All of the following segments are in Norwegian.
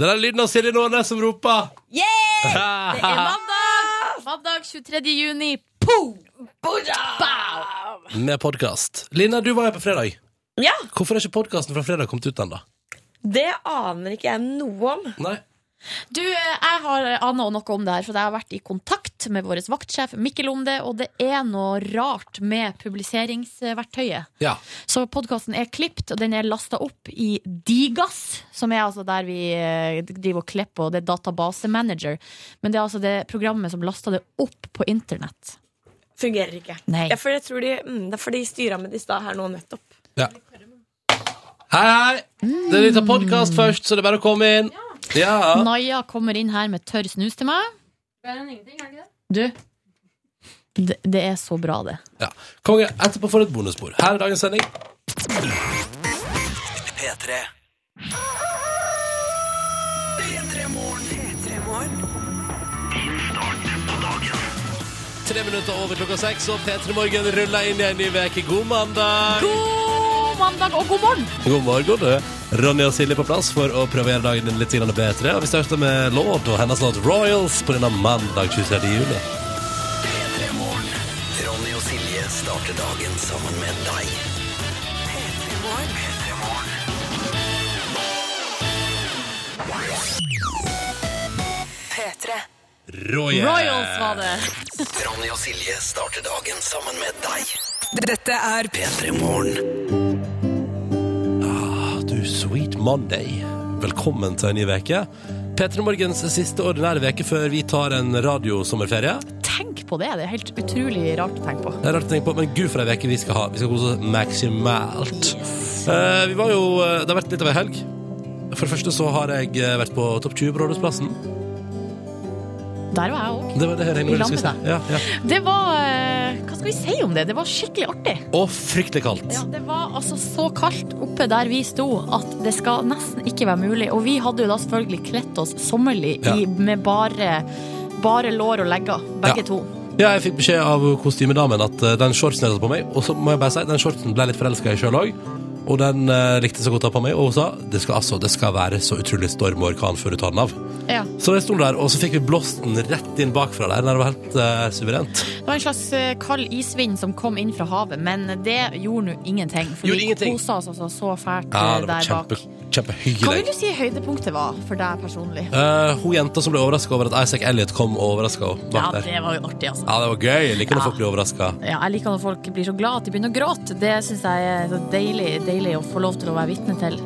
Det er lyden av Silje Nordnes som roper. Yeah! Det er Med mandag! Mandag 23. juni. Poo! Bow! podkast. Lina, du var her på fredag. Ja, Hvorfor er ikke podkasten fra fredag kommet ut ennå? det aner ikke jeg noe om. Nei. Du, eh, jeg har ana noe om det her, for jeg har vært i kontakt med vår vaktsjef Mikkel om det, og det er noe rart med publiseringsverktøyet. Ja. Så podkasten er klipt, og den er lasta opp i Digas, som er altså der vi eh, driver og klipper, og det er databasemanager. Men det er altså det programmet som lasta det opp på internett. Fungerer ikke. Nei. Ja, for jeg tror de, mm, det er fordi de styra med det i stad her nå nettopp. ja. Hei, hei! Det er litt av podkast først, så det er bare å komme inn. Ja. Naja kommer inn her med tørr snus til meg. Du, det, det er så bra, det. ja. Konge, etterpå får du et bonusbord. Her er dagens sending. Tre minutter over klokka seks, og P3 Morgen ruller inn i en ny uke. God mandag! God mandag og god morgen! God morgen, du. Ronny og Silje på plass for å prøvere dagen din litt grann bedre. Og vi starter med låt og hennes låt 'Royals' på denne mandag 23. juli. Ronny og Silje starter dagen sammen med deg. Royals. Royals var det. Ronny og Silje starter dagen sammen med deg. Dette er P3 Morgen. Ah, du sweet Monday. Velkommen til en ny uke. P3 Morgens siste ordinære uke før vi tar en radiosommerferie. Tenk på det. Det er helt utrolig rart å tenke på. Det er rart å tenke på, men gud for ei uke vi skal ha. Vi skal kose oss maksimalt. Eh, vi var jo, eh, det har vært litt av ei helg. For det første så har jeg eh, vært på Topp 20 på Rådhusplassen. Der var jeg òg. Det var det jeg regnet med du skulle I lag si. Ja, ja. Det var eh, Hva skal vi si om det? Det var skikkelig artig. Og fryktelig kaldt. Ja, det var altså så kaldt oppe der vi sto at det skal nesten ikke være mulig. Og vi hadde jo da selvfølgelig kledd oss sommerlig i, Ja. med bare, bare lår og legger, begge Ja. to. Ja, jeg fikk beskjed av kostymedamen at eh, den shortsen jeg hadde på meg, og så må jeg bare si, den shortsen ble jeg litt forelska i sjøl òg, og den eh, likte jeg så godt å ha på meg, og hun sa det skal, altså, det skal være så utrolig storm og orkan før du tar den av. Ja. Så jeg sto der, og så fikk vi blåst den rett inn bakfra der, det var helt eh, suverent. Det var en slags eh, kald isvind som kom inn fra havet, men det gjorde nå ingenting. For Gjorde vi ingenting. kosa oss altså så fælt Ja, eh, det var der kjempe, bak. Hva vil kjempehyggelig. du si høydepunktet var for deg personlig? Eh, hun jenta som ble overraska over at Isaac Elliot kom og overraska henne. Ja, bak der. det var jo artig, altså. Ja, det var gøy. Jeg liker når Ja. folk blir overraska. Ja, jeg liker når folk blir så glad at de begynner å gråte. Det syns jeg er så deilig, deilig å få lov til å være vitne til.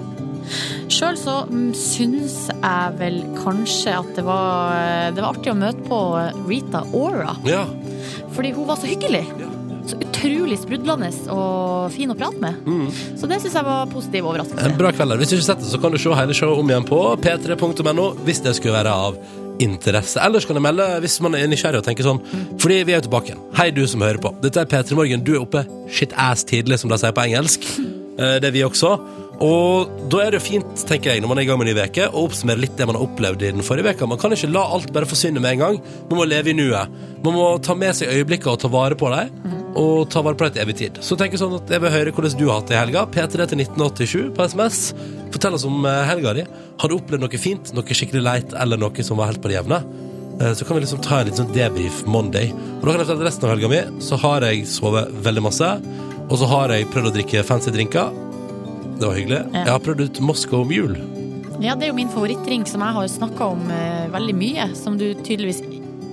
Sjøl så mm, syns jeg vel kanskje at det var, eh, det var artig å møte på Rita Ora. Ja. Fordi hun var så hyggelig. Ja. Så utrolig sprudlende og fin å prate med. Så det syns jeg var positiv En overraskelse. Eh, bra kveld. her. Hvis du ikke har sett det, så kan du se hele showet om igjen på p3.no hvis det skulle være av interesse. Ellers kan du melde hvis man er nysgjerrig og tenker sånn, fordi vi er jo tilbake igjen. Hei, du som hører på. Dette er P3 Morgen. Du er oppe shit ass tidlig, som de sier på engelsk. Eh, Det er vi også. Og da er det jo fint, tenker jeg, når man er i gang med en ny uke, å oppsummere litt det man har opplevd i den forrige veka. Man kan ikke la alt bare forsvinne med en gang. Man må leve i nuet. Man må ta med seg øyeblikkene og ta vare på dem. Mhm. Og ta vare på dem til evig tid. Så tenk sånn at jeg vil høre hvordan du har hatt det i helga. P3 til 1987 på SMS. Fortell oss om eh, helga di. Har du opplevd noe fint, noe skikkelig leit, eller noe som var helt på det jevne? Eh, Så kan vi liksom ta en litt sånn debrief Monday. Og da kan jeg fortelle at resten av helga mi så har jeg sovet veldig masse. Og så har jeg prøvd å drikke fancy drinker. Det var hyggelig. Ja. Jeg har prøvd ut Moscow Mule. Ja, det er jo min favorittdrink som jeg har snakka om eh, veldig mye, som du tydeligvis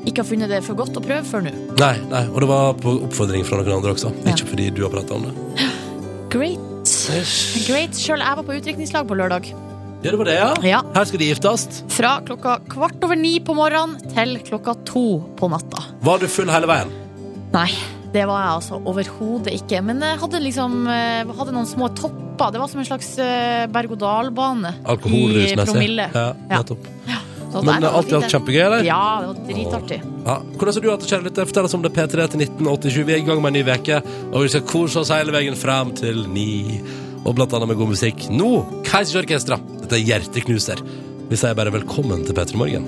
ikke har funnet det for godt å prøve før nå. Nei, nei, og det var på oppfordring fra noen andre også. Ja. Ikke fordi du har prata om det. Great. Ish. Great. Sjøl jeg var på utdrikningslag på lørdag. Ja, det var det, ja. Ja. Her skal de giftes. Fra klokka kvart over ni på morgenen til klokka to på natta. Var du full hele veien? Nei, det var jeg altså overhodet ikke. Men jeg hadde liksom eh, hadde noen små topper. Det var som en slags eh, berg-og-dal-bane i Alkoholrusmessig. promille. Ja, Ja. nettopp. Så der var Men det alt i fint, alt det. kjempegøy, eller? Ja, det var dritartig. Ja. Hvordan har du hatt det, kjære lytter? Fortell oss om det P3 til 1987. Vi er i gang med en ny veke og vi skal kose oss hele veien frem til ni. Og blant annet med god musikk. Nå, Kaizers Orkestra. Dette er Hjerteknuser. Vi sier bare velkommen til P3 Morgen.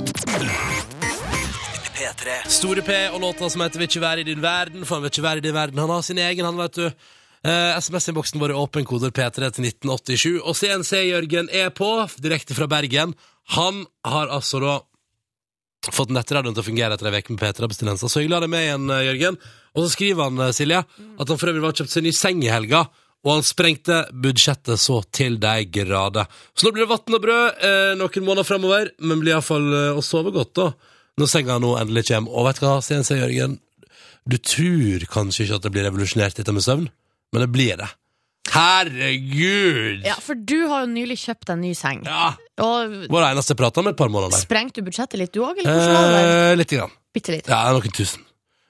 P3. Store P og låta som heter 'Vil ikke være i din verden', for han vil ikke være i din verden. Han har sin egen, han, vet du. Eh, SMS-innboksen vår er åpen koder P3 til 1987. Og CNC-Jørgen er på, direkte fra Bergen. Han har altså da fått nettradioen til å fungere etter ei uke med P3-abstinenser. Så hyggelig å ha deg med igjen, eh, Jørgen. Og så skriver han, eh, Silje, at han for øvrig var og kjøpte seg ny seng i helga. Og han sprengte budsjettet så til de grader. Så nå blir det vann og brød eh, noen måneder framover, men blir iallfall eh, å sove godt, da. Når senga nå endelig kommer. Og vet du hva, CNC Jørgen, du tror kanskje ikke at det blir revolusjonert dette med søvn, men det blir det. Herregud! Ja, for du har jo nylig kjøpt deg en ny seng. Ja, Og Det var det eneste jeg prata om et par måneder. sprengte du budsjettet litt, du òg? Eller hvordan var det? Eh, litt. Grann. Bitte litt. Ja, noen tusen.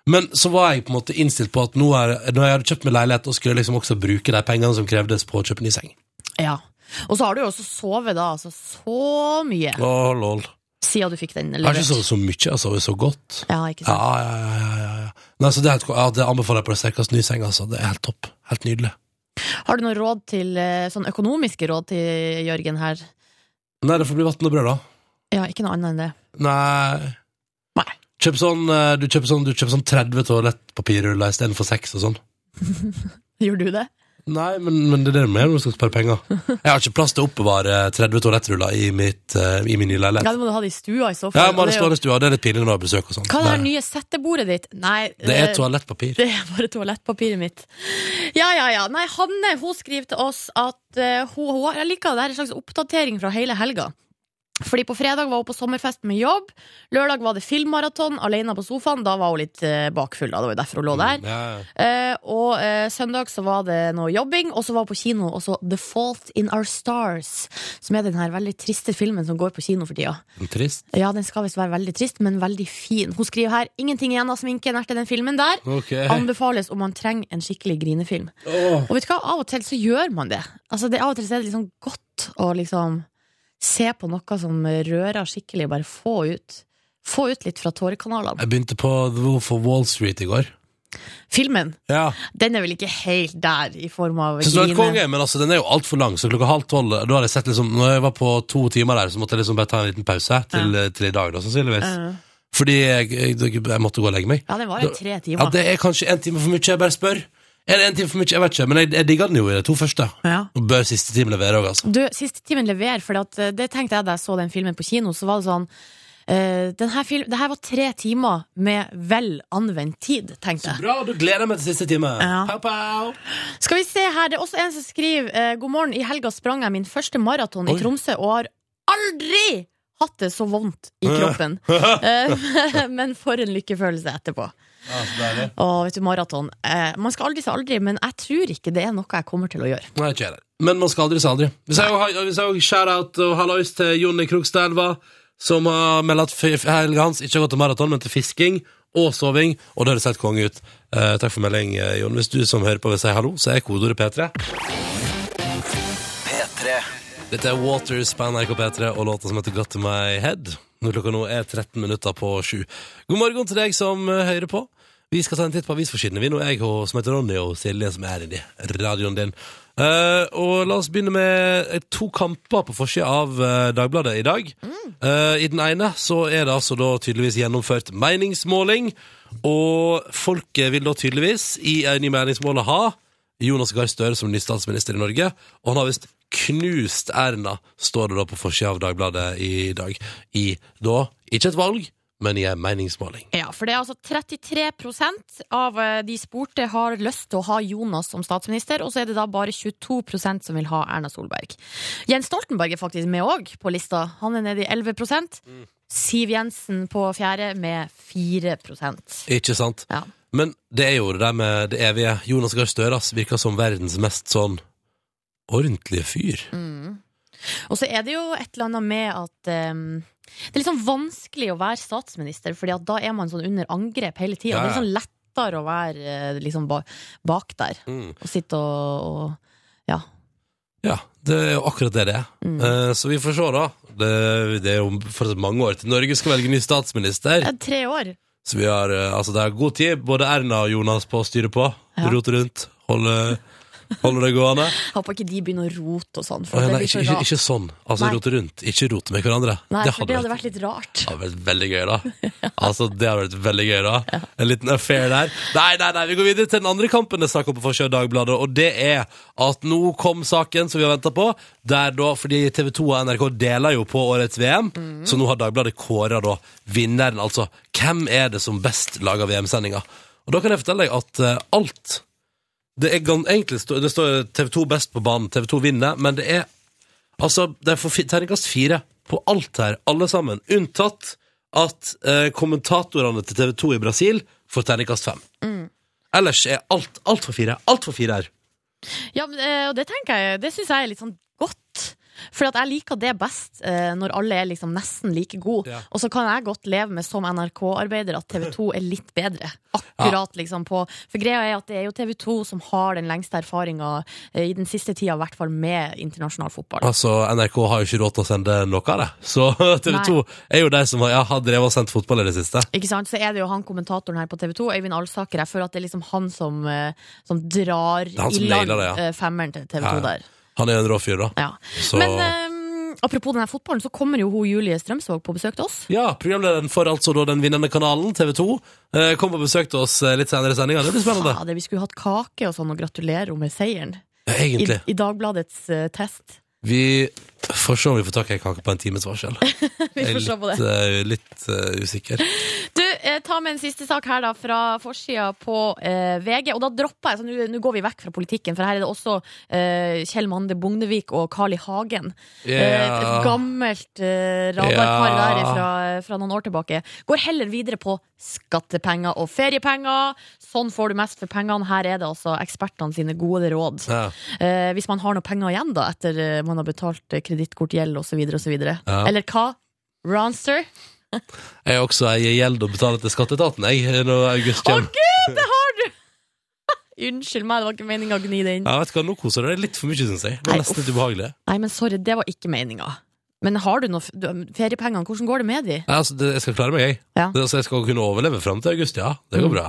Men så var jeg på en måte innstilt på at nå er, når jeg hadde kjøpt meg leilighet, og skulle jeg liksom også bruke de pengene som krevdes på å kjøpe ny seng. Ja. Og så har du jo også sovet da, altså så mye, Åh, lol. siden du fikk den Jeg har ikke levert. sovet så mye, jeg har sovet så godt. Ja, ikke Ja, sant. ja, ja, ja, ja, ja. Nei, så det, er helt, ja, det anbefaler jeg på det sterkeste ny seng, altså. Det er helt topp. Helt nydelig. Har du noen råd til, eh, sånn økonomiske råd til Jørgen her? Nei, det får bli vann og brød, da. Ja, ikke noe annet enn det. Nei. Nei. Kjøp sånn, eh, du kjøper sånn, du kjøper sånn 30 toalettpapirruller istedenfor 6 og sånn. Gjør du det? Nei, men, men det er det du mener når du skal spare penger. Jeg har ikke plass til å oppbevare 30 toalettruller i, mitt, eh, i min nye Ja, leilighet. det må du ha det i stua i så Ja, fall. jeg Og det må ha det er jo- stående i stua, det er litt pinlig når jeg har besøk og sånn. Hva er det her Nei. nye settebordet ditt? Nei, Det er eh, toalettpapir. Det er bare toalettpapiret mitt. Ja, ja, ja. Nei, Hanne hun skriver til oss at eh, hun, hun har- Jeg liker det her, en slags oppdatering fra hele helga. Fordi På fredag var hun på sommerfest med jobb. Lørdag var det filmmaraton alene på sofaen. Da var hun litt eh, bakfull. Da. Det var jo derfor hun lå der. Ja, ja. Eh, og eh, søndag så var det noe jobbing, og så var hun på kino også The Fault in Our Stars. Som er den her veldig triste filmen som går på kino for tida. Trist. Ja, Den skal visst være veldig trist, men veldig fin. Hun skriver her 'ingenting igjen av sminken etter den filmen der'. Ok. Anbefales om man trenger en skikkelig grinefilm. Åh. Og vet du hva, av og til så gjør man det. Altså, det av og til så er det liksom godt å liksom se på noe som rører skikkelig, bare få ut. Få ut litt fra tårekanalene. Jeg begynte på The Wolf of Wall Street i går. Filmen Ja. den er vel ikke helt der, i form av Synes den er grine. konge, men altså, den er jo altfor lang, så klokka halv tolv Da hadde jeg sett liksom Når jeg var på to timer der, så måtte jeg liksom bare ta en liten pause til, til i dag, da, sannsynligvis. Ja. Fordi jeg, jeg, jeg måtte gå og legge meg. Eh, Ja, den var i tre Ja, timer. det er kanskje en time for mye, jeg bare spør. Er det en time for mye? Jeg vet ikke, men jeg, jeg digga den jo i de to første. Ja. Og bør siste time levere òg, altså. Du, siste timen lever, for eh, det tenkte jeg da jeg så den filmen på kino, så var det sånn eh, den her film, det her var tre timer med vel anvendt tid, tenkte jeg. Bra, du gleder jeg meg til siste time. Ja. Pow, pow. Skal vi se her, det er også en som skriver eh, God morgen, i helga sprang jeg min første maraton i Oi. Tromsø Og har aldri hatt det så vondt i kroppen Eh, Men for en lykkefølelse etterpå Ja, så deilig. Og vet du, maraton eh, Man skal aldri si aldri, men jeg tror ikke det er noe jeg kommer til å gjøre Nei, ikke jeg heller. Men man skal aldri si aldri. Vi sier jo hei- vi sier jo shout-out og hallois til Jonny Krokstadelva, som har meldt at f- helga hans ikke har gått til maraton, men til fisking og soving. Og det høres helt konge ut. Eh, takk for melding, eh, Jon. Hvis du som hører på vil si hallo, så er kodeordet P3. P3. Dette er Waters på NRK P3 og låta som heter Got to my head. Når klokka nå er 13 minutter på sju. God morgen til deg som eh, hører på. Vi skal ta en titt på avisforsidene. Vi nå er jeg og- som heter Ronny og Silje som er i radioen din. Eh, og la oss begynne med eh, to kamper på forsida av eh, Dagbladet i dag. Eh, I den ene så er det altså da tydeligvis gjennomført meningsmåling, og folket vil da tydeligvis i en ny meningsmåling ha Jonas Gahr Støre som ny statsminister i Norge, og han har visst knust Erna, står det da på forsida av Dagbladet i dag. I da ikke et valg, men i en meningsmåling. Ja, for det er altså 33 av eh, de spurte har lyst til å ha Jonas som statsminister, og så er det da bare 22 som vil ha Erna Solberg. Jens Stoltenberg er faktisk med òg på lista. Han er nede i 11 Siv Jensen på fjerde med 4 Ikke sant? Ja. Men det er jo det der med det evige. Jonas Gahr Støre ass, virker som verdens mest sånn ordentlige fyr. Og så er det jo et eller annet med at eh, det er litt sånn vanskelig å være statsminister, Fordi at da er man sånn under angrep hele tida. Ja, Det er ja. sånn lettere å være eh, liksom ba bak der Mm. og sitte og, og ja. Ja, det er jo akkurat det det er. Eh, så vi får se, da. Det, det er jo fortsatt mange år til Norge skal velge ny statsminister. Det er Eh, Tre år. Så vi har, eh, altså det er god tid, både Erna og Jonas på å styre på, Ja. rote rundt, holde, Holder det gående? Håper ikke de begynner å rote og sånn. For Å, ja, det nei, blir så ikke, ikke, rart. ikke sånn. Altså, Nei. rote rundt. Ikke rote med hverandre. Nei, det for hadde vært litt rart. det hadde vært veldig gøy, da. Altså, Det hadde vært veldig gøy, da. En liten affair der. Nei, nei, nei, vi går videre til den andre kampen det er snakk om på Forsida Dagbladet, og det er at nå kom saken som vi har venta på, der da Fordi TV 2 og NRK deler jo på årets VM, så nå har Dagbladet kåra da vinneren, altså. Hvem er det som best lager VM-sendinga? Og da kan jeg fortelle deg at eh, alt det er gan- egentlig stå- det står TV2 best på banen, TV2 vinner, men det er Altså, det er for fi- terningkast fire på alt her, alle sammen, unntatt at eh, kommentatorene til TV2 i Brasil får terningkast fem. Mm. Ellers er alt alt for fire. Alt for fire her. Ja, men, eh, og det tenker jeg Det syns jeg er litt sånn godt. For at jeg liker det best eh, når alle er liksom nesten like gode. Ja. Og så kan jeg godt leve med som NRK-arbeider at TV2 er litt bedre. Akkurat liksom på For greia er at det er jo TV2 som har den lengste erfaringa eh, i den siste tida, i hvert fall med internasjonal fotball. Altså, NRK har jo ikke råd til å sende noe av det, så TV2 er jo de som har, ja, har drevet og sendt fotball i det siste. Ikke sant? Så er det jo han kommentatoren her på TV2, Øyvind Alsaker. Jeg føler at det er liksom han som, eh, som drar er han som i land nailer det, ja. eh, femmeren til TV2 Ja, ja. der. Han er jo en rå fyr, da. Ja. Så- Men eh, apropos denne fotballen, så kommer jo hun Julie Strømsvåg på besøk til oss. Ja, programlederen for altså da den vinnende kanalen, TV2, eh, kom og besøkte oss eh, litt senere i sendinga. Det blir spennende. Fader, vi skulle hatt kake og sånn og gratulere henne med seieren Ja, i, egentlig. i Dagbladets eh, test. Vi får se om vi får tak i en kake på en times varsel. Vi får se på det. Jeg er litt, eh, litt eh, usikker. Du, eh, ta med en siste sak her da fra forsida på eh, VG. Og da dropper jeg, så nå- nå går vi vekk fra politikken, for her er det også eh, Kjell Mande Bondevik og Carl I. Hagen. Eh, Ja. Et gammelt eh, radarpar Ja. der fra, fra noen år tilbake. Går heller videre på skattepenger og feriepenger. Sånn får du mest for pengene. Her er det altså ekspertene sine gode råd. Ja. Eh, hvis man har noe penger igjen da etter eh, man har betalt eh, kredittkortgjeld osv. osv. Ja. Eller hva? Ronster? Jeg er også ei gjeld å betale til skatteetaten, jeg, når august Å kommer. gud, det har du! Unnskyld meg, det var ikke meninga å gni det inn. Ja, vet du hva, Nå koser du deg litt for mye, syns jeg. Det Nei, var nesten litt ubehagelig. Nei, men sorry, det var ikke meninga. Men har du noe f- du- eh, feriepengene? Hvordan går det med de? Nei, altså, det, jeg skal klare meg, jeg. Ja. Mm. Det, altså, jeg skal kunne overleve fram til august, ja. Det går bra.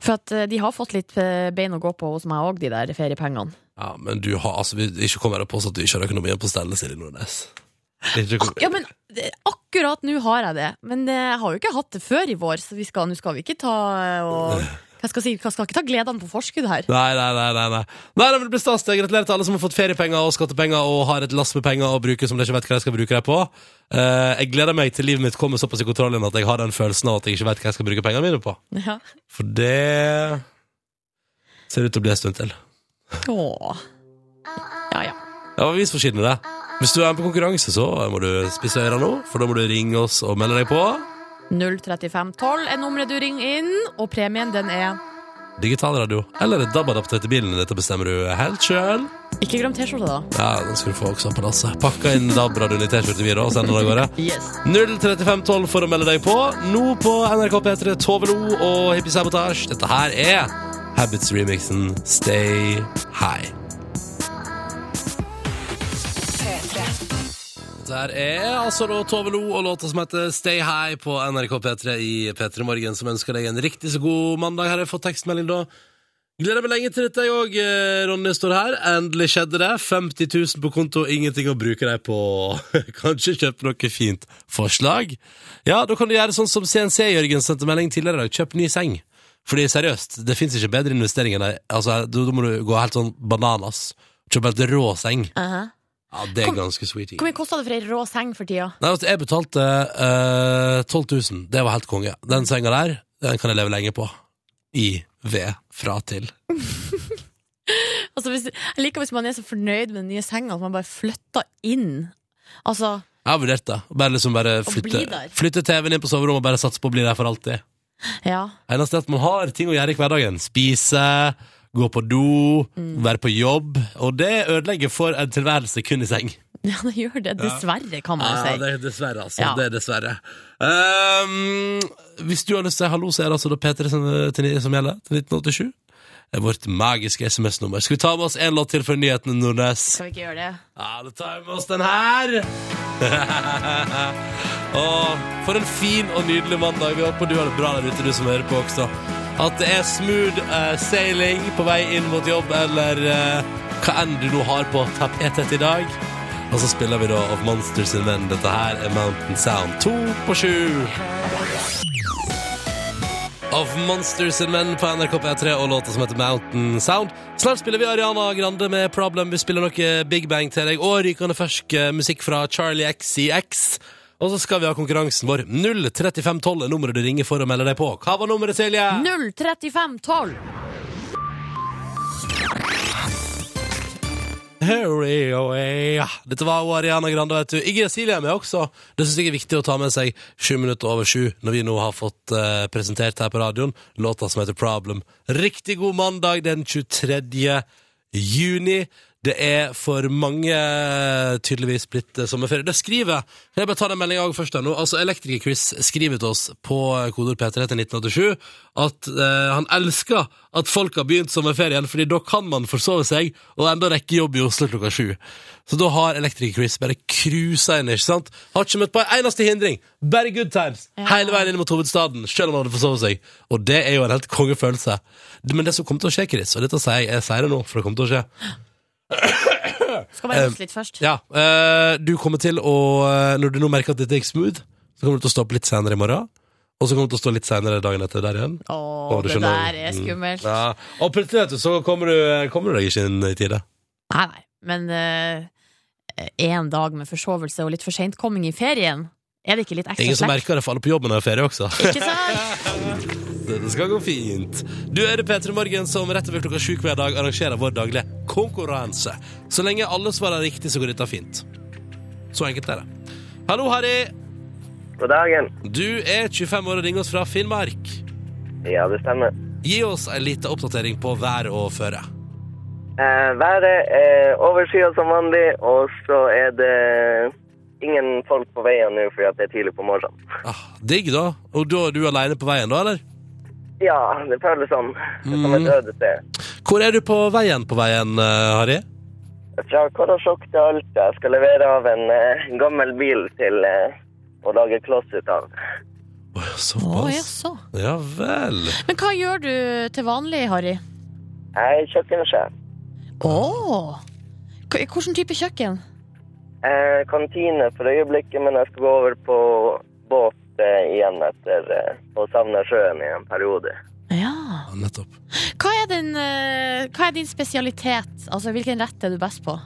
For at eh, de har fått litt eh, bein å gå på hos meg òg, de der feriepengene. Ja, Men du har altså, vi- ikke kom her og påstå at du ikke har økonomien på stell, Silje Nordnes. Ikke kom- Ja, men eh, akkurat nå har jeg det. Men eh, jeg har jo ikke hatt det før i vår, så vi skal, nå skal vi ikke ta eh, og Hva skal jeg si? Jeg skal ikke ta gledene på forskudd her. Nei, nei, nei. nei, nei. nei det blir stas. Jeg gratulerer til alle som har fått feriepenger og skattepenger og har et lass med penger å bruke som de ikke vet hva de skal bruke dem på. Eh, jeg gleder meg til livet mitt kommer såpass i kontroll igjen at jeg har den følelsen av at jeg ikke vet hva jeg skal bruke pengene mine på. Ja. For det ser ut til å bli en stund til. Åh. Ja, ja. Ja, men vis forskjellen i det. Hvis du er med på konkurranse, så må du spisse øra nå, for da må du ringe oss og melde deg på. 03512 er nummeret du ringer inn, og premien den er Digitalradio eller et DAB-adapter til bilen. Dette bestemmer du helt sjøl. Ikke glem T-skjorta, da. Ja, den skal du få også på lasset. Pakka inn DAB-radioen i T-skjorte, vi, da, og send den av gårde. Yes. 03512 for å melde deg på. Nå på NRK P3, Tove Lo og Hippie Sabotage. Dette her er Habits-remixen Stay High. Der er altså da Tove Lo og låta som heter Stay High på NRK P3 i P3 Morgen, som ønsker deg en riktig så god mandag. Her har jeg fått tekstmelding, da. Gleder meg lenge til dette, jeg òg. Ronny står her. Endelig skjedde det. 50 000 på konto, ingenting å bruke dem på. Kanskje kjøpe noe fint. Forslag? Ja, da kan du gjøre sånn som CNC-Jørgen sendte melding tidligere i dag. Kjøp ny seng. Fordi seriøst, det fins ikke bedre investering enn ei altså, Da da må du gå helt sånn bananas. Kjøpe helt rå seng. Uh-huh. Ja, det er ganske sweetie. Hvor mye kosta det for ei rå seng for tida? Nei, altså, jeg betalte eh, 12 000. Det var helt konge. Den senga der, den kan jeg leve lenge på. I ved fra til. Altså, hvis, jeg liker hvis man er så fornøyd med den nye senga at man bare flytter inn. Altså, Jeg har vurdert det. Bare liksom bare flytte, bli der. flytte TV-en inn på soverommet og bare satse på å bli der for alltid. ja. Eneste er at man har ting å gjøre i hverdagen. Spise, gå på do, Mm. være på jobb. Og det ødelegger for en tilværelse kun i seng. ja, det gjør det. Dessverre, kan man Ja, jo si. det er dessverre, altså. Ja. Det er dessverre. Ehm, hvis du har lyst til hallo, så er det altså da P3 som, til- som gjelder til 1987. Det er vårt magiske SMS-nummer. Skal vi ta med oss en låt til for nyhetene, Nordnes? Skal vi ikke gjøre det? Ja, da tar vi med oss den her. Åh, for en fin og nydelig mandag. Vi håper du har det bra der ute, du som hører på også. At det er smooth eh, sailing på vei inn mot jobb, eller eh, hva enn du nå har på tapetet i dag. Og så spiller vi da Of Monsters and Men. Dette her er Mountain Sound. To på sju. Of Monsters and Men på NRK P3 og låta som heter Mountain Sound. Snart spiller vi Ariana Grande med Problem. Vi spiller noe Big Bang til deg og rykende fersk eh, musikk fra Charlie XCX. Og så skal vi ha konkurransen vår. 03512 er nummeret du ringer for å melde deg på. Hva var nummeret, Silje? 03512. Hurry away. oh, eh, Dette var jo Ariana Grande, vet du. Iggy Silje er med også. Det syns jeg er viktig å ta med seg sju minutter over sju, når vi nå har fått eh, presentert her på radioen låta som heter Problem. Riktig god mandag den 23. juni. Det er for mange eh, tydeligvis blitt eh, sommerferie. Det skriver Kan jeg bare ta den meldinga først? da, nå? Altså, Elektriker-Chris skriver til oss på kodord P3 til 1987 at eh, han elsker at folk har begynt sommerferien, fordi da kan man forsove seg og enda rekke jobb i Oslo klokka sju. Så da har Elektriker-Chris bare cruisa inn, ikke sant? Har ikke møtt på en eneste hindring. Bare good times hele veien inn mot hovedstaden, selv om han hadde forsovet seg. Og det er jo en helt kongefølelse. Men det som kommer til å skje, Chris, og dette sier jeg, jeg sier det nå, for det kommer til å skje Skal bare hoste litt først. ja, eh, du kommer til å eh, Når du nå merker at dette gikk smooth Så kommer du til å stå opp litt senere i morgen Og så kommer du til å stå litt senere dagen etter der igjen Å, Å, du det skjønner. Mm. der er skummelt. ja. Og plutselig vet du, så kommer du, kommer du deg ikke inn i tide Nei, nei. Men én dag med forsovelse og litt for sentkomming i ferien, er det ikke litt Det er ekstra ingen som slekt? merker det for alle på jobben og ferie også Ikke sant? Det skal gå fint Du er det Petre Morgen som rett over klokka 7 hver dag Arrangerer vår daglige konkurranse Så lenge alle svarer riktig så går dette fint Så enkelt er det Hallo Harry, God dagen. du er 25 år og ringer oss fra Finnmark Ja, det stemmer. Gi oss en liten oppdatering på vær og føre Eh, været er overskyet som vanlig, og så er det ingen folk på veien nå fordi at det er tidlig på morgenen. Ah, digg, da. Og da er du aleine på veien, da, eller? Ja, det føles sånn. Det er Mm. Som et øde sted. Hvor er du på veien på veien, eh, Harry? Fra Karasjok til Alta. Jeg skal levere av en eh, gammel bil til eh, å lage kloss ut av. Åh, Å, Såpass? jaså. Ja vel. Men hva gjør du til vanlig, Harry? Jeg er kjøkkensjef. Å! K- Hvilken type kjøkken? Eh, kantine for øyeblikket, men jeg skal gå over på båt eh, igjen etter eh, å savne sjøen i en periode. Ja. Ja, nettopp. Hva er, din, eh, hva er din spesialitet? Altså, Hvilken rett er du best på?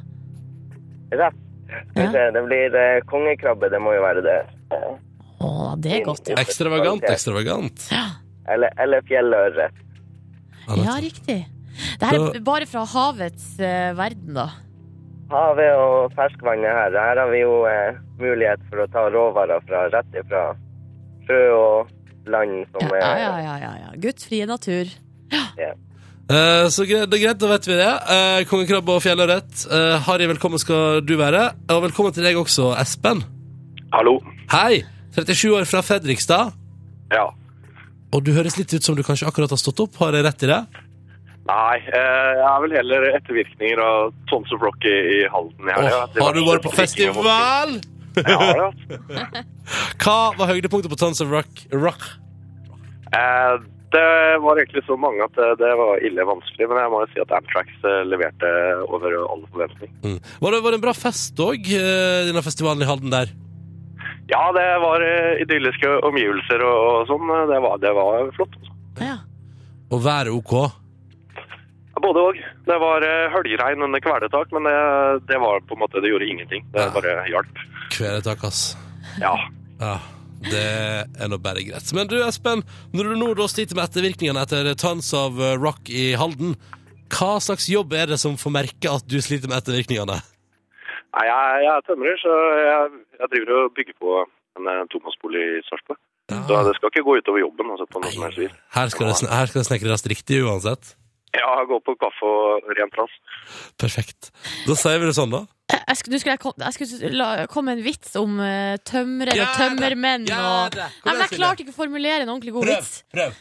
Rett. Skal vi Ja. se, Det blir eh, kongekrabbe, det må jo være det. Eh, Å, det er godt, ja. Ekstravagant, ekstravagant. Eller, eller fjellørret. Ja, Ja, nettopp. riktig. Det her er b- bare fra havets eh, verden, da. Havet og ferskvannet her. Her har vi jo eh, mulighet for å ta råvarer fra rett ifra sjø og land Ja, som er ja, ja. ja, ja, ja. Guttfrie natur. Eh, så greit, det er greit, da vet vi det. Eh, Kongekrabbe og fjellørret. Eh, Harry, velkommen skal du være. Og velkommen til deg også, Espen. Hallo. Hei! 37 år fra Fredrikstad. Ja. Og du høres litt ut som du kanskje akkurat har stått opp. Har jeg rett i det? Nei, eh, jeg er vel heller ettervirkninger av Tons og Flock i, i Halden. i helga. Åh, Det har du verste vært på drikking og vodka. festival? Jeg har det, altså. Hva var høydepunktet på Tons of Rock? Rock? Eh, det var egentlig så mange at eh, det, det var ille vanskelig, men jeg må jo si at Amtrax eh, leverte over all forventning. Mm. Var, det, var det en bra fest òg, denne festivalen i Halden der? Ja, det var eh, idylliske omgivelser og, og sånn. Det var, det var flott. altså. Ja. Og været OK? Både òg. Det var eh, høljregn under kvelertak, men det, det var på en måte, det gjorde ingenting. Det Ja. bare hjalp. Kvelertak, ass. Ja. Ja, det er nå bare greit. Men du, Espen, når du nå da sliter med ettervirkningene etter Tons of eh, Rock i Halden, hva slags jobb er det som får merke at du sliter med ettervirkningene? Nei, jeg, jeg er tømrer, så jeg, jeg driver og bygger på en eh, tomannsbolig i Sarpsborg. Ah. Så det skal ikke gå utover jobben. Altså, på noe som helst vis. Her skal det, sn- her skal det snekres riktig uansett. Ja, gå på kaffe og ren plass. Perfekt. Da sier vi det sånn, da. Jeg, jeg skulle, nå skulle jeg, kom, jeg skulle la, komme med en vits om eh, tømrer og tømmermenn og Nei, men jeg klarte ikke å formulere en ordentlig god vits. prøv.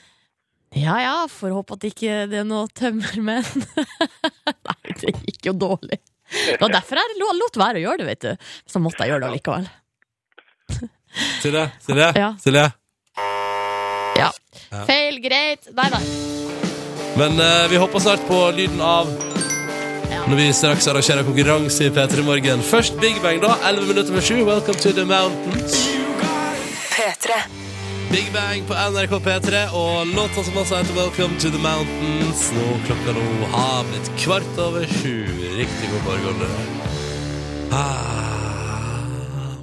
Ja ja, får håpe at ikke det er noe tømmermenn. Nei, det gikk jo dårlig. Det var derfor jeg lo- lot være å gjøre det, vet du. Så måtte jeg gjøre det likevel. Silje, Silje, Ja. Silje. Ja. Feil, greit. Nei da. Men eh, vi håper snart på lyden av Når vi straks arrangerer konkurranse i P3 Morgen. Først Big Bang, da. 11 minutter med 7. Welcome to the mountains. Big Bang på NRK P3 og låta som altså heter Welcome to the mountains. Nå klokka nå har blitt kvart over sju. Riktig god morgen. dere. Ah.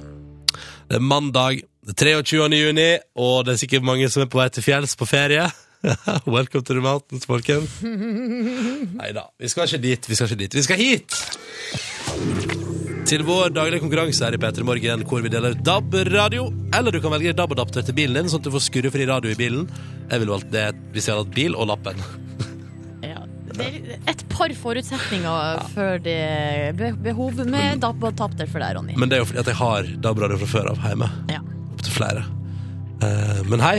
Det er mandag det er 23. juni, og det er sikkert mange som er på vei til fjells på ferie. Welcome to the mountains, folkens. Nei da, vi skal ikke dit, vi skal ikke dit. Vi skal hit! Til vår daglige konkurranse her i P3 Morgen, hvor vi deler ut DAB-radio. Eller du kan velge DAB-adapter til bilen din, sånn at du får skurrefri radio i bilen. Jeg ville valgt det hvis jeg hadde hatt bil og lappen. Ja. Det er et par forutsetninger for det be- behov Mm. med DAB og tapter for deg, Ronny. Men det er jo fordi at jeg har DAB-radio fra før av hjemme. Ja. Opptil flere. Eh, men hei,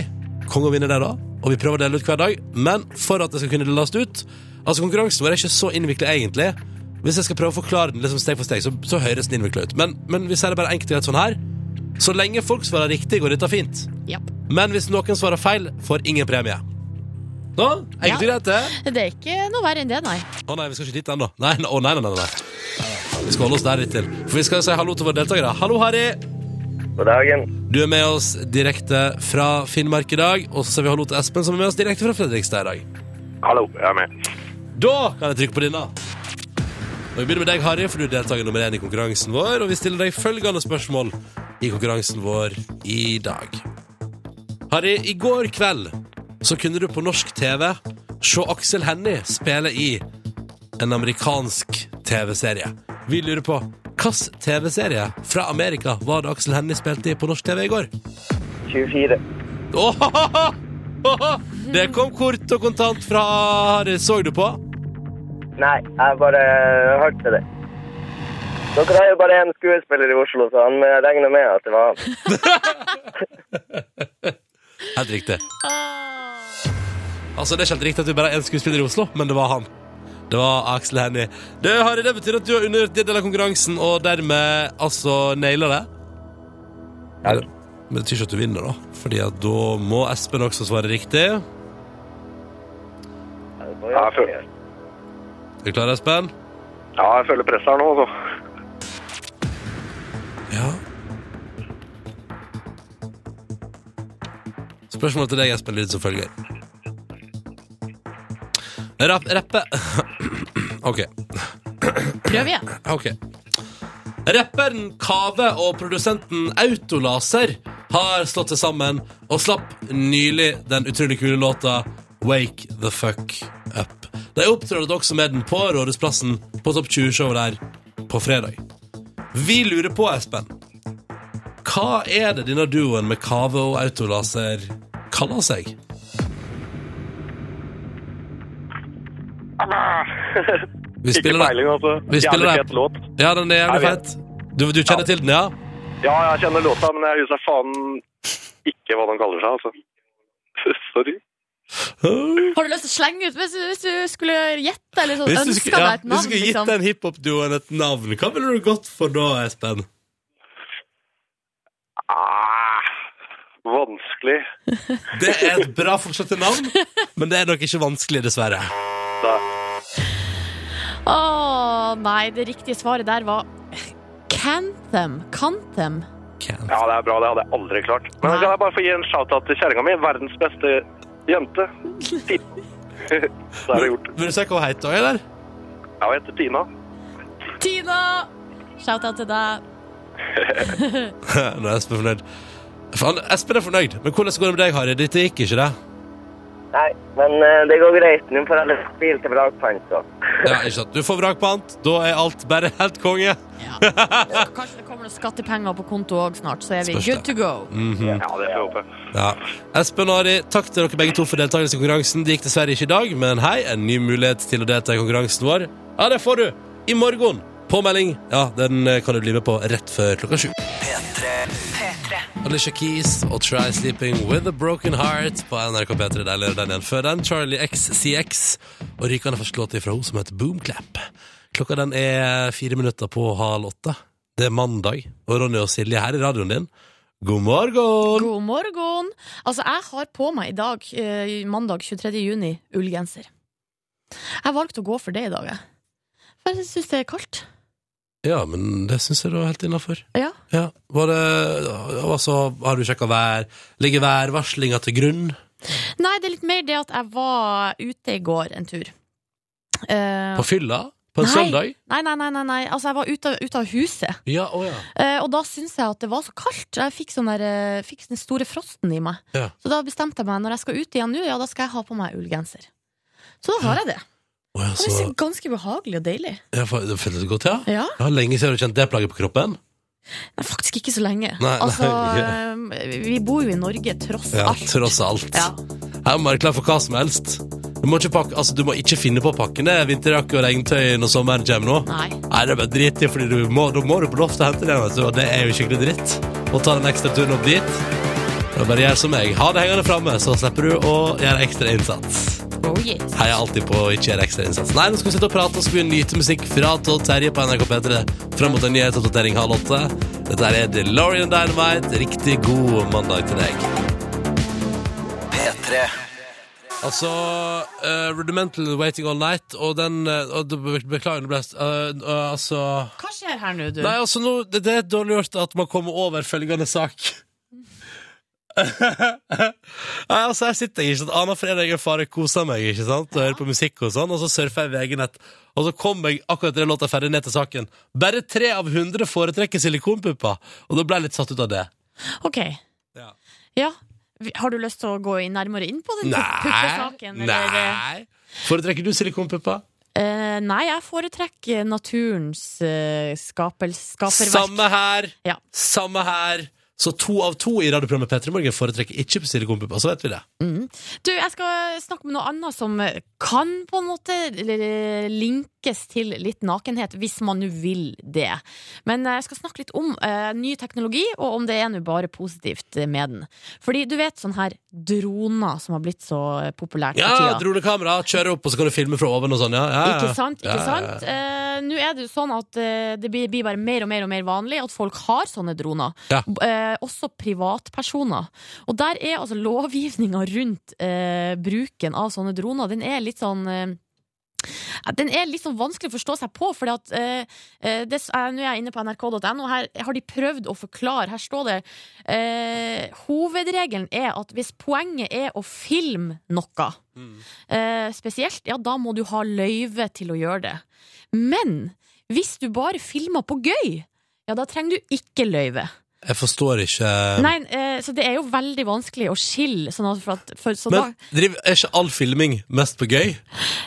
Kongo vinner det, da. Og vi prøver å dele ut hver dag. Men for at det skal kunne deles ut Altså, konkurransen vår er ikke så innvikla, egentlig. Hvis jeg skal prøve å forklare den liksom steg for steg, så, så høres den innvikla ut. Men, men vi sier det bare enkelt og greit sånn her. Så lenge folk svarer riktig, går dette fint. Ja. Men hvis noen svarer feil, får ingen premie. Nå, enkelt og Ja. greit, det. Det er ikke noe verre enn det, nei. Å nei, vi skal ikke dit ennå. Nei, nei, å nei, nei, nei, nei. Vi skal holde oss der litt til. For vi skal si hallo til våre deltakere. Hallo, Harry. God dagen. Du er med oss direkte fra Finnmark i dag. Og så sier vi hallo til Espen, som er med oss direkte fra Fredrikstad i dag. Hallo, jeg er med. Da kan jeg trykke på denne. Og Vi begynner med deg, Harry, for du er deltaker nummer én i konkurransen vår. Og vi stiller deg følgende spørsmål i konkurransen vår i dag. Harry, i går kveld så kunne du på norsk TV se Aksel Hennie spille i en amerikansk TV-serie. Vi lurer på hvilken TV-serie fra Amerika var det Aksel Hennie spilte i på norsk TV i går? 24. Åhåhå! Åhå! Det kom kort og kontant fra Harry. Så du på? Nei, jeg bare hørte det. Dere har jo bare én skuespiller i Oslo, så han eh, regner med at det var han. Helt riktig. Altså, det er ikke helt riktig at vi bare er én skuespiller i Oslo, men det var han. Det var Aksel Hennie. Det, Harry, det betyr at du har undergjort din del av konkurransen, og dermed altså naila det. Ja. Men- Men det betyr ikke at du vinner, da. Fordi at da må Espen også svare riktig. Er Ja, jeg føler, du klar, Espen? ja, jeg føler presset her nå, altså. Ja. Spørsmålet til deg, Espen, lyder som følger. Rapp, rappe OK. Prøv igjen. Ok Rapperen Kave og produsenten Autolaser har slått seg sammen og slapp nylig den utrolig kule låta Wake the fuck up. De opptrådte også med den på Rådhusplassen på Topp 20-showet der på fredag. Vi lurer på, Espen, hva er det denne duoen med Kave og Autolaser kaller seg? Vi Ikke spiller den. peiling, altså. Vi spiller Jævlig det. fet låt. Ja, den er jævlig Jeg vet. fett. Du, du kjenner til den, ja? Ja, jeg kjenner låta, men jeg husker faen ikke hva den kaller seg, altså. Sorry. Har du lyst til å slenge ut hvis, hvis du skulle gjette eller sånn, Hvis du ønska skulle, ja, deg et hvis du navn? skulle gitt Liksom. den hiphop-duoen et navn, hva ville du gått for da, Espen? Ah, vanskelig. Det er et bra forslag til navn, men det er nok ikke vanskelig, dessverre. Da. Åh, nei, det riktige svaret der var Cantem. Cantem. Can't. Ja, det er bra. Det hadde jeg aldri klart. Men Nei. kan jeg bare få gi en shout-out til kjerringa mi? Verdens beste jente. Ti- Så er det gjort. Vil du se hva hun heter òg, eller? Ja, hun heter Tina. Tina! Shout-out til deg. Nå er Espen fornøyd. Faen, Espen er fornøyd, men hvordan går det med deg, Harry? Dette gikk ikke, det? Nei, men eh, det går greit. Nå får jeg litt bil til vrakpant, så. Ja, ikke sant. Du får vrakpant, da er alt bare helt konge. Kanskje det kommer noen skattepenger på konto òg snart, så er vi Spørs det. good to go. Ja, det får jeg håpe. Mhm. Ja. Espen og Ari, takk til dere begge to for deltakelse i konkurransen. Det gikk dessverre ikke i dag, men hei, en ny mulighet til å delta i konkurransen vår. Ja, det får du i morgen. Påmelding. Ja, den eh, kan du bli med på rett før klokka sju. Alicia Keys og Try Sleeping With A Broken Heart på NRK P3. Der lever den igjen. Før den Charlie XCX og rykende første låt fra hun som heter Boomclap. Klokka den er fire minutter på halv åtte. Det er mandag, og Ronny og Silje er her i radioen din. God morgen! God morgen! Altså, jeg har på meg i dag, eh, mandag 23. juni, ullgenser. Jeg valgte å gå for det i dag, jeg. For jeg syns det er kaldt. Ja, men det syns jeg du er helt innafor. Ja. Ja. Var det Altså, har du sjekka vær? Ligger værvarslinga til grunn? Nei, det er litt mer det at jeg var ute i går en tur. Eh, På fylla? På en Nei. søndag? nei, nei, nei, nei, nei. Altså, jeg var ute av, ute av huset. Ja, å ja. Eh, og da syntes jeg at det var så kaldt. Jeg fikk, sånn der, eh, fikk den store frosten i meg. Ja. Så da bestemte jeg meg når jeg skal ut igjen nå, ja, da skal jeg ha på meg ullgenser. Så da har jeg det. Å ja, Og det så er ganske behagelig og deilig. ja, fa- Det føltes godt, ja? Ja. ja? Lenge siden har du kjent det plaget på kroppen? Nei, faktisk ikke så lenge. Nei, altså, nei, eh, vi bor jo i Norge, tross Ja, alt. tross alt. Ja. Her må være klar for hva som helst. Du må ikke, pakke, altså, du må ikke finne på å pakke ned vinterjakke og regntøy når sommeren kommer nå. Nei. Nei, det er bare dritt i, fordi du må, da må du på loftet og hente det, vet du, og det er jo skikkelig dritt. Å ta den ekstra turen opp dit, da bare gjør som meg. Ha det hengende framme, så slipper du å gjøre ekstra innsats. Oh, yes. Heier alltid på å ikke gjøre ekstra innsats. Nei, nå skal vi sitte og prate, og så skal vi nyte musikk fra Todd Terje på NRK P3 fram mot en nyhetsoppdatering halv åtte. Dette er DeLorean Dynamite. Riktig god mandag til deg. P3. Altså, eh, Rudimental Waiting All Night og den eh, og det- be- Beklager, det ble eh, eh, Altså Hva skjer her nå, du? Nei, altså, nå, det, det er dårlig gjort at man kommer over følgende sak. Nei, altså, Her sitter jeg ikke sant? Annen fredag og far koser meg ikke sant? og hører på musikk, og sånn Og så surfer jeg VG-nett. Og så kommer jeg akkurat til den låta er ferdig ned til saken. Bare tre av 100 foretrekker silikonpupper. Og da ble jeg litt satt ut av det. Ok. Ja. Ja. Vi- Har du lyst til å gå i- nærmere inn på den puppesaken? Nei! eller? Nei. Foretrekker du silikonpupper? Eh, nei, jeg foretrekker naturens eh, skapel, skaperverk. Samme her! Ja. Samme her! Så to av to i radioprogrammet P3 Morgen foretrekker ikke silikonpupper, så vet vi det. Mm, Du, jeg skal snakke med noe annet som kan på en måte l- linkes til litt nakenhet, hvis man nå vil det. Men eh, jeg skal snakke litt om eh, ny teknologi, og om det er nå bare positivt med den. Fordi du vet sånn her droner som har blitt så eh, populært for Ja, tida. dronekamera, kjøre opp, og så kan du filme fra oven og sånn, ja. ja, ja. Ikke sant? ikke Ja, ja, ja. sant? Eh, Nå er det jo sånn at eh, det blir, blir bare mer og mer og mer vanlig at folk har sånne droner. Ja. B- eh, også privatpersoner. Og der er altså lovgivninga rundt eh, bruken av sånne droner, den er litt sånn eh, ja, den er litt sånn vanskelig å forstå seg på, for at eh, eh, det, s- eh, nå er jeg inne på nrk.no, her har de prøvd å forklare. Her står det eh, hovedregelen er at hvis poenget er å filme noe, eh, spesielt, ja, da må du ha løyve til å gjøre det. Men hvis du bare filmer på gøy, ja, da trenger du ikke løyve. Jeg forstår ikke Nei, eh, så det er jo veldig vanskelig å skille, sånn at for at for, så da, Men driv, er ikke all filming mest på gøy?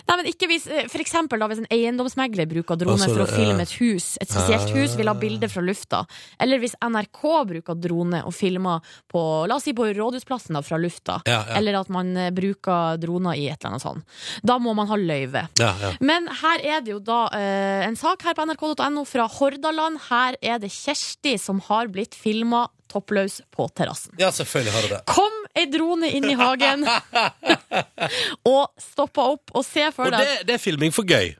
Nei, men ikke hvis, eh, for eksempel da, hvis en eiendomsmegler bruker drone Altså, for å det, filme eh, et hus, et spesielt hus, vil ha bilder fra lufta. Eller hvis NRK bruker drone og filmer på, la oss si på Rådhusplassen da, fra lufta. Ja, ja. Eller at man eh, bruker droner i et eller annet sånt. Da må man ha løyve. Ja, ja. Men her er det jo da eh, en sak her på nrk.no fra Hordaland. Her er det Kjersti som har blitt filma toppløs på terrassen. ja selvfølgelig har du det. Kom ei drone inn i hagen og stoppa opp. Og se for Og deg det, det er filming for gøy.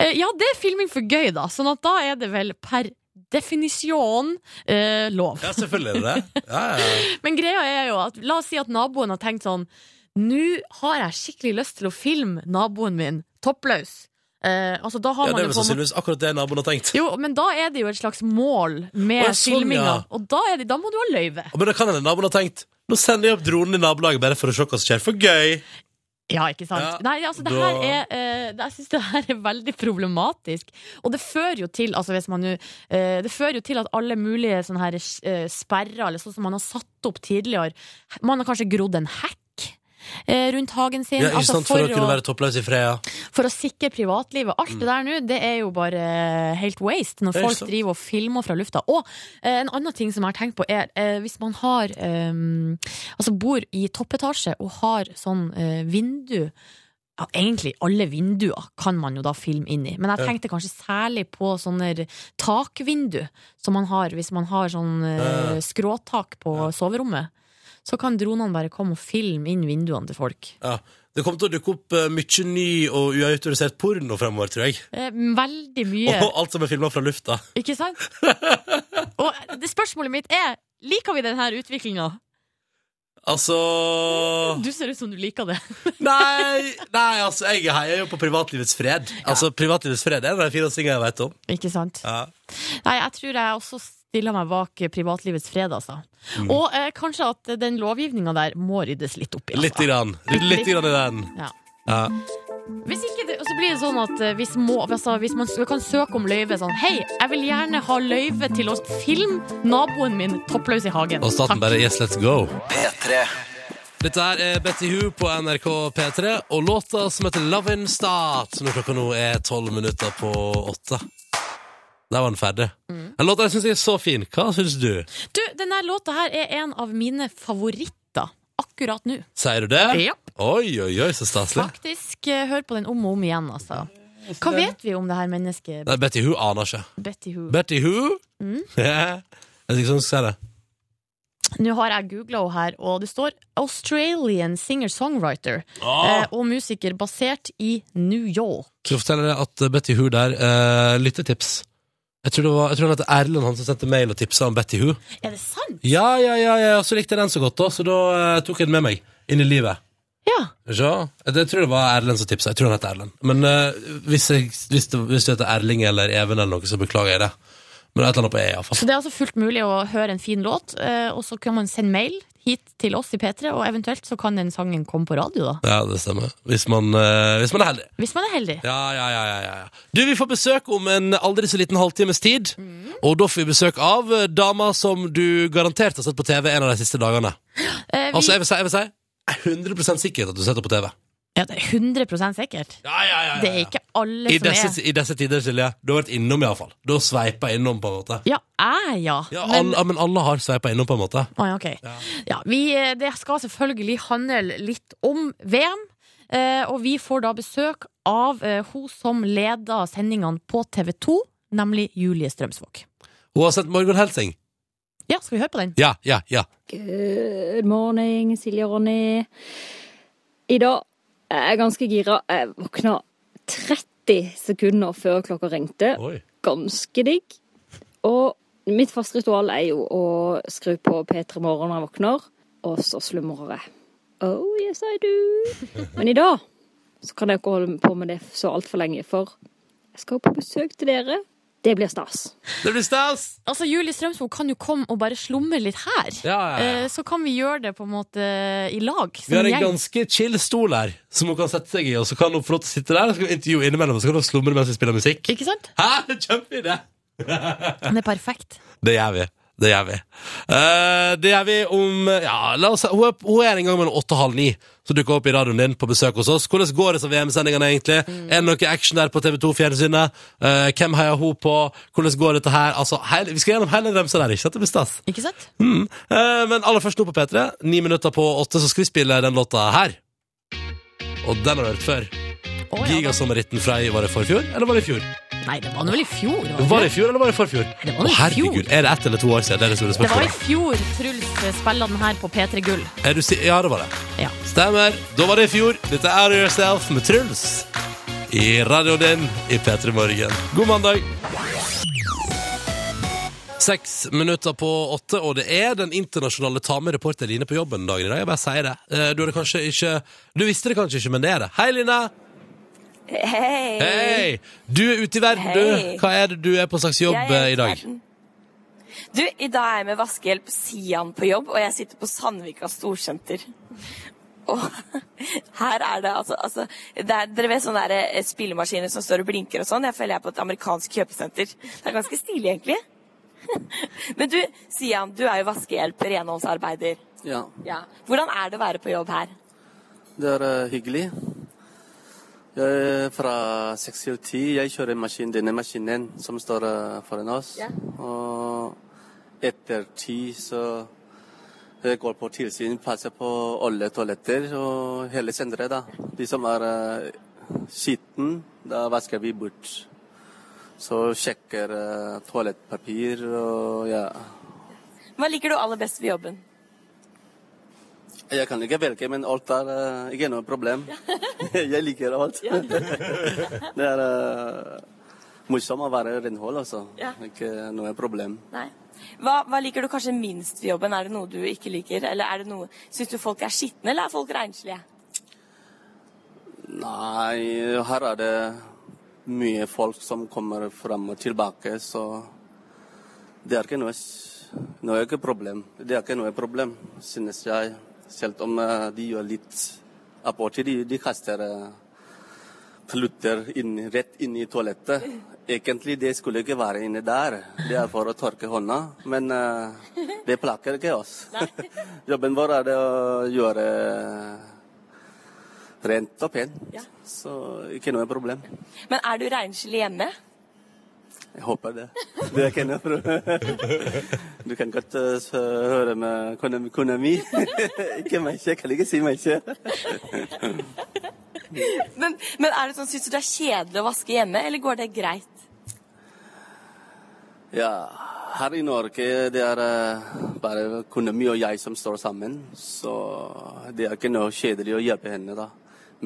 Eh, Ja, det er filming for gøy, da. Sånn at da er det vel per definisjon eh, lov. Ja, selvfølgelig er det det. Ja, ja, ja. Men greia er jo at la oss si at naboen har tenkt sånn Nå har jeg skikkelig lyst til å filme naboen min toppløs. Eh, altså, da har ja man det jo på en er vel måte- sannsynligvis akkurat det naboen har tenkt. Jo, men da er det jo et slags mål med Å, ja, sånn, filminga. ja. Og da, er det, da må du ha løyve. Men da kan hende naboen har tenkt nå sender jeg opp dronen i nabolaget bare for å se hva som skjer. For gøy! Ja, ikke sant? Ja, Nei, altså, det da- her er, eh, det- jeg syns det her er veldig problematisk. Og det fører jo til altså, hvis man, nå, eh, Det fører jo til at alle mulige sånne her, eh, sperrer, eller sånn som man har satt opp tidligere Man har kanskje grodd en hekk. eh, Rundt hagen sin. Ja, ikke altså sant, For å kunne være toppløs i fred, ja. for å sikre privatlivet. Alt det der nå, det er jo bare eh, helt waste når Mm. Det er folk sant. driver og filmer fra lufta. Og eh, en annen ting som jeg har tenkt på, er eh, hvis man har eh, Altså bor i toppetasje og har sånn eh, vindu ja, Egentlig alle vinduer kan man jo da filme inn i, men jeg tenkte kanskje særlig på sånne takvindu som man har hvis man har sånn eh, Ja. skråtak på soverommet. Så kan dronene bare komme og filme inn vinduene til folk. ja. Det kommer til å dukke opp eh, mye ny og uautorisert porno fremover, tror jeg. Eh, veldig mye Og alt som er filma fra lufta. Ikke sant? Og det spørsmålet mitt er Liker vi denne utviklinga? Altså Du ser ut som du liker det. Nei, nei altså, jeg heier jo på privatlivets fred. Altså, Privatlivets fred er en av de fineste tingene jeg vet om. Ikke sant? Ja. Nei, jeg tror jeg også stiller meg bak privatlivets fred, altså. Mm. Og eh, kanskje at den lovgivninga der må ryddes litt opp i. altså. Litt, grann. Litt grann i den. Ja. Ja. Hvis ikke, det- og så blir det sånn at eh, hvis, må, altså, hvis man s- kan søke om løyve sånn Hei, jeg vil gjerne ha løyve til å filme naboen min toppløs i hagen. Og staten Takk. bare Yes, let's go. P3. Dette her er Betty Hu på NRK P3 og låta som heter Love In Start, som når klokka nå er tolv minutter på åtte. Der var den ferdig. Mm. Den låta syns jeg er så fin. Hva syns du? Du, denne låta her er en av mine favoritter akkurat nå. Sier du det? Ja. Oi, oi, oi, så staselig. Faktisk, eh, hør på den om og om igjen, altså. Hva vet vi om det her mennesket Nei, Betty Hu aner ikke. Betty Who? Betty Who? Mm. jeg vet ikke hvordan jeg skal si det. Nå har jeg googla henne her, og det står Australian singer-songwriter eh, Åh! og musiker basert i New York. Skal jeg fortelle deg at Betty Who der eh, lyttetips. Jeg tror det var jeg tror han heter Erlend han som sendte mail og tipsa om Betty Who. Er det sant? Ja, ja, ja, ja, og så likte jeg den så godt, da, så da eh, tok jeg den med meg inn i livet. Ja. Skal vi se? Jeg tror det var Erlend som tipsa. Jeg tror han heter Erlend. Men eh, hvis, jeg, hvis, det, hvis du heter Erling eller Even eller noe, så beklager jeg det. Men det er et eller annet på E, iallfall. Så det er altså fullt mulig å høre en fin låt, eh, og så kan man sende mail hit til oss i P3, og eventuelt så kan den sangen komme på radio, da. Ja, det stemmer. Hvis man, eh, hvis man er heldig. Hvis man er heldig. Ja, ja, ja, ja, ja. Du, vi får besøk om en aldri så liten halvtimes tid. Mm. Og da får vi besøk av eh, dama som du garantert har sett på TV en av de siste dagene. Eh, vi, Altså, jeg vil si, jeg vil si jeg er 100 sikkert at du har sett henne på TV. ja, det er 100 sikkert. Ja, ja, ja, ja, ja. Det er ikke alle I som disse, er I disse tider, Silje. Du har vært innom, iallfall. Du har sveipa innom, på en måte. Ja, jeg, ja. Ja, Men- alle, men alle har sveipa innom, på en måte. Å, ja, ok. Ja. Ja, vi, eh, det skal selvfølgelig handle litt om VM. eh, Og vi får da besøk av eh, hun som leder sendingene på TV 2, nemlig Julie Strømsvåg. Hun har sendt morgenhelsing. Ja, skal vi høre på den? Ja, ja, ja. Good morning, Silje og Ronny. I dag er jeg ganske gira. Jeg våkna 30 sekunder før klokka ringte. Oi. Ganske digg. Og mitt faste ritual er jo å skru på P3 Morgen når jeg våkner, og så slumrer jeg. Oh yes, I do. Men i dag så kan jeg ikke holde på med det så altfor lenge, for jeg skal på besøk til dere. Det blir stas. Det blir stas! Altså, Julie Strømsvåg kan jo komme og bare slumre litt her. Ja, ja, ja. Eh, Så kan vi gjøre det på en måte i lag. Vi Som har en gjeng. ganske chill stol her, som hun kan sette seg i. Og så kan hun få lov til å sitte der og så kan vi intervjue innimellom, og så kan hun slumre mens vi spiller musikk. Ikke sant? Hæ? Kjempeidé! Det er perfekt. Det gjør vi. Det gjør vi. Eh, det gjør vi om Ja, la oss, hun, er, hun er en gang mellom åtte og halv ni, så dukker hun opp i radioen din på besøk hos oss. Hvordan går det som VM-sendingene, egentlig? Mm. Er det noe action der på TV2-fjernsynet? Eh, hvem heier hun på? Hvordan går dette her? Altså, hele, vi skal gjennom hele remsa der, ikke sant? Det blir stas. Ikke sant? Mm. Eh, men aller først nå på P3, ni minutter på åtte, så skal vi spille den låta her. Og den har du hørt før. Å, ja, da- Gigasommerritten fra i var det forfjor, eller var det i fjor? Nei, det var nå vel i fjor? det? Var det i fjor, eller var det i forfjor? det var Å, i fjor. herregud, er det ett eller to år siden? Det er det store Det var spørsmålet. i fjor Truls spilla den her på P3 Gull. Er du si ja, det var det. Ja. Stemmer. Da var det i fjor. Dette er Out of Yourself med Truls. I radioen din i P3 Morgen. God mandag. Seks minutter på åtte, og det er den internasjonale ta med reporter Line på jobben dagen i dag. Jeg bare sier det. Eh, Du, hadde kanskje ikke, du visste det kanskje ikke, men det er det. Hei, Line. Hei! Hei. Du er ute i verden, Hei. du. Hva er det du er på slags jobb Jeg er eh, i dag? verden. Du, i dag er jeg med vaskehjelp Sian på jobb, og jeg sitter på Sandvika storsenter. Og her er det altså, altså det er, Dere vet sånne der, eh, spillemaskiner som står og blinker og sånn? Jeg føler jeg er på et amerikansk kjøpesenter. Det er ganske stilig, egentlig. Men du, Sian, du er jo vaskehjelp, renholdsarbeider. Ja, Ja. Hvordan er det å være på jobb her? det er eh, hyggelig. Jeg er fra 6 til 10. Jeg kjører maskin, denne maskinen som står eh, foran oss. Ja. Og etter 10 så jeg går på tilsyn, passer på alle toaletter og hele senteret. da. De som er uh, skitten, da vasker vi bort. Så sjekker eh, toalettpapir og ja. Hva liker du aller best ved jobben? Eh, Jeg kan ikke velge, men alt er eh, ikke noe problem. jeg liker alt. det er eh, morsomt å være renhold, altså. Ja. Ikke noe problem. Nei. Hva, hva liker du kanskje minst ved jobben? Er det noe du ikke liker? Eller er det noe Syns du folk er skitne, eller er folk renslige? Nei, her er det mye folk som kommer frem og tilbake, så det er ikke noe, s- noe ikke problem. Det er ikke noe problem, synes jeg. Selv om eh, de gjør litt av og til, de, de kaster eh, plutter inn, rett inn i toalettet. Egentlig det skulle ikke være inne der, det er for å tørke hånda, men eh, det plager ikke oss. Jobben vår er det å gjøre eh, rent og pent, så ikke noe problem. Men er du renslig hjemme? Jeg håper det. Det kan jeg prøve. Du kan godt eh, s- høre med kona, kona mi. Ikke meg, jeg kan ikke si meg ikke. Men, men er det sånn, syns du det er kjedelig å vaske hjemme, eller går det greit? Ja, her i Norge det er eh, bare kona mi og jeg som står sammen, så det er ikke noe kjedelig å hjelpe henne, da.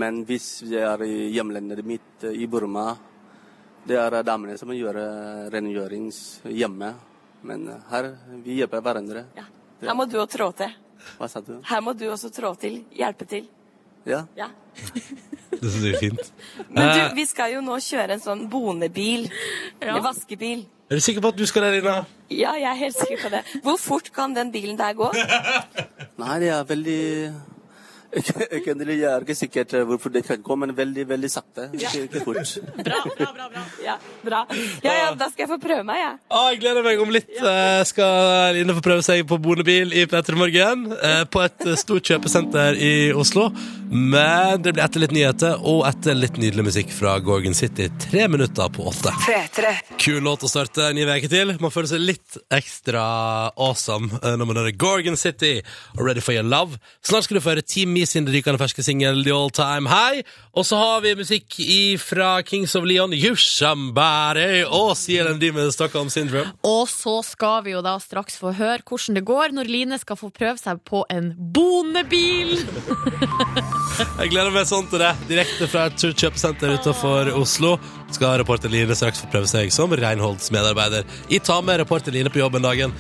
Men hvis jeg er i hjemlandet mitt, eh, i Burma, det er damene som gjør eh, rengjøring hjemme. Men eh, her, vi hjelper hverandre. Ja. Her må du og trå til. Hva sa du? Her må du også trå til. Hjelpe til. Ja? Ja. Det synes jeg er fint. Men du, Eh, vi skal jo nå kjøre en sånn bonebil. En vaskebil. Er du sikker på at du skal der, Ina? Ja, jeg er helt sikker på det. Hvor fort kan den bilen der gå? Nei, det er veldig Ikke- ikke- Jeg er ikke sikkert eh, hvorfor det kan gå, men veldig, veldig sakte. Ikke, ikke fort. Ja, bra. Ja, ja, da skal jeg få prøve meg, jeg. Å, jeg gleder meg om litt. eh, skal Line få prøve seg på bonebil i P3 Morgen. eh, på et eh, stort kjøpesenter i Oslo. Men det blir etter litt nyheter og etter litt nydelig musikk fra Gorgon City. Tre minutter på åtte. Kul låt å starte en ny uke til. Man føler seg litt ekstra awesome eh, når man hører Gorgon City og Ready for Your Love. Snart skal du få høre Team Me sin rykende ferske singel The All Time High. Og så har vi musikk fra Kings of Leon, You Somebody og CLMD med Stockholm Syndrome. Og så skal vi jo da straks få høre hvordan det går når Line skal få prøve seg på en bonebil. Jeg gleder meg sånn til det. Direkte fra et stort kjøpesenter utenfor Oslo skal reporter Line straks få prøve seg som renholdsmedarbeider. I ta med reporter Line på jobb en dagen.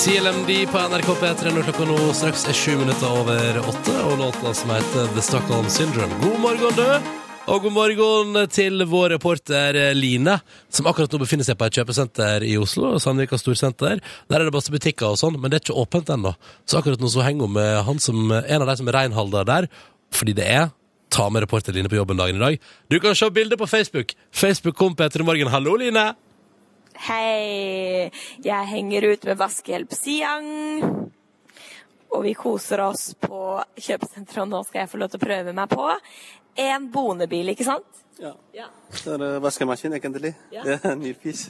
CLMD på NRK P3 når klokka nå straks er sju minutter over åtte, og låta som heter The Stockholm Syndrome. God morgen, du! Og god morgen til vår reporter eh, Line, som akkurat nå befinner seg på et kjøpesenter i Oslo. Sandvika Storsenter. Der er det masse butikker og sånn, men det er ikke åpent ennå. Så akkurat nå så henger hun med han som, eh, en av de som er reinholder der, fordi det er Ta med reporter Line på jobben dagen i dag. Du kan se bildet på Facebook. Facebook kom på etter i morgen. Hallo, Line! Hei, jeg henger ut med vaskehjelp Siang. Og vi koser oss på kjøpesenteret, og nå skal jeg få lov til å prøve meg på en bonebil, ikke sant? Ja. Så eh, er det vaskemaskin, egentlig. Det er en ny fis.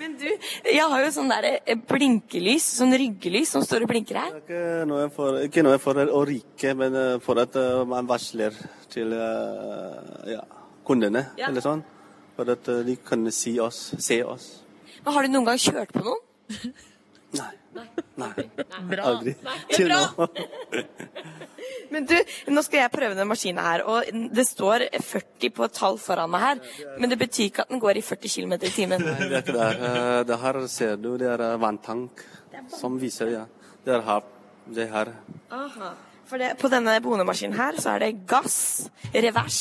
Men du, jeg har jo sånn der eh, blinkelys, sånn ryggelys som står og blinker her. Ikke noe for, ikke noe for å rike, men eh, for at eh, man varsler til eh, ja, kundene, eller sånn. For at eh, de kan si oss, se oss. Men har du noen gang kjørt på noen? Nei. Nei. Aldri. Til nå. Men du, nå skal jeg prøve den maskinen her, og det står 40 på et tall foran meg her, men det betyr ikke at den går i 40 km i timen. Nei, det er ikke der. Eh, Det her ser du, det er eh, vanntank som viser, ja. Det er hav. Det her. Aha. For det, på denne bonemaskinen her så er det gass, revers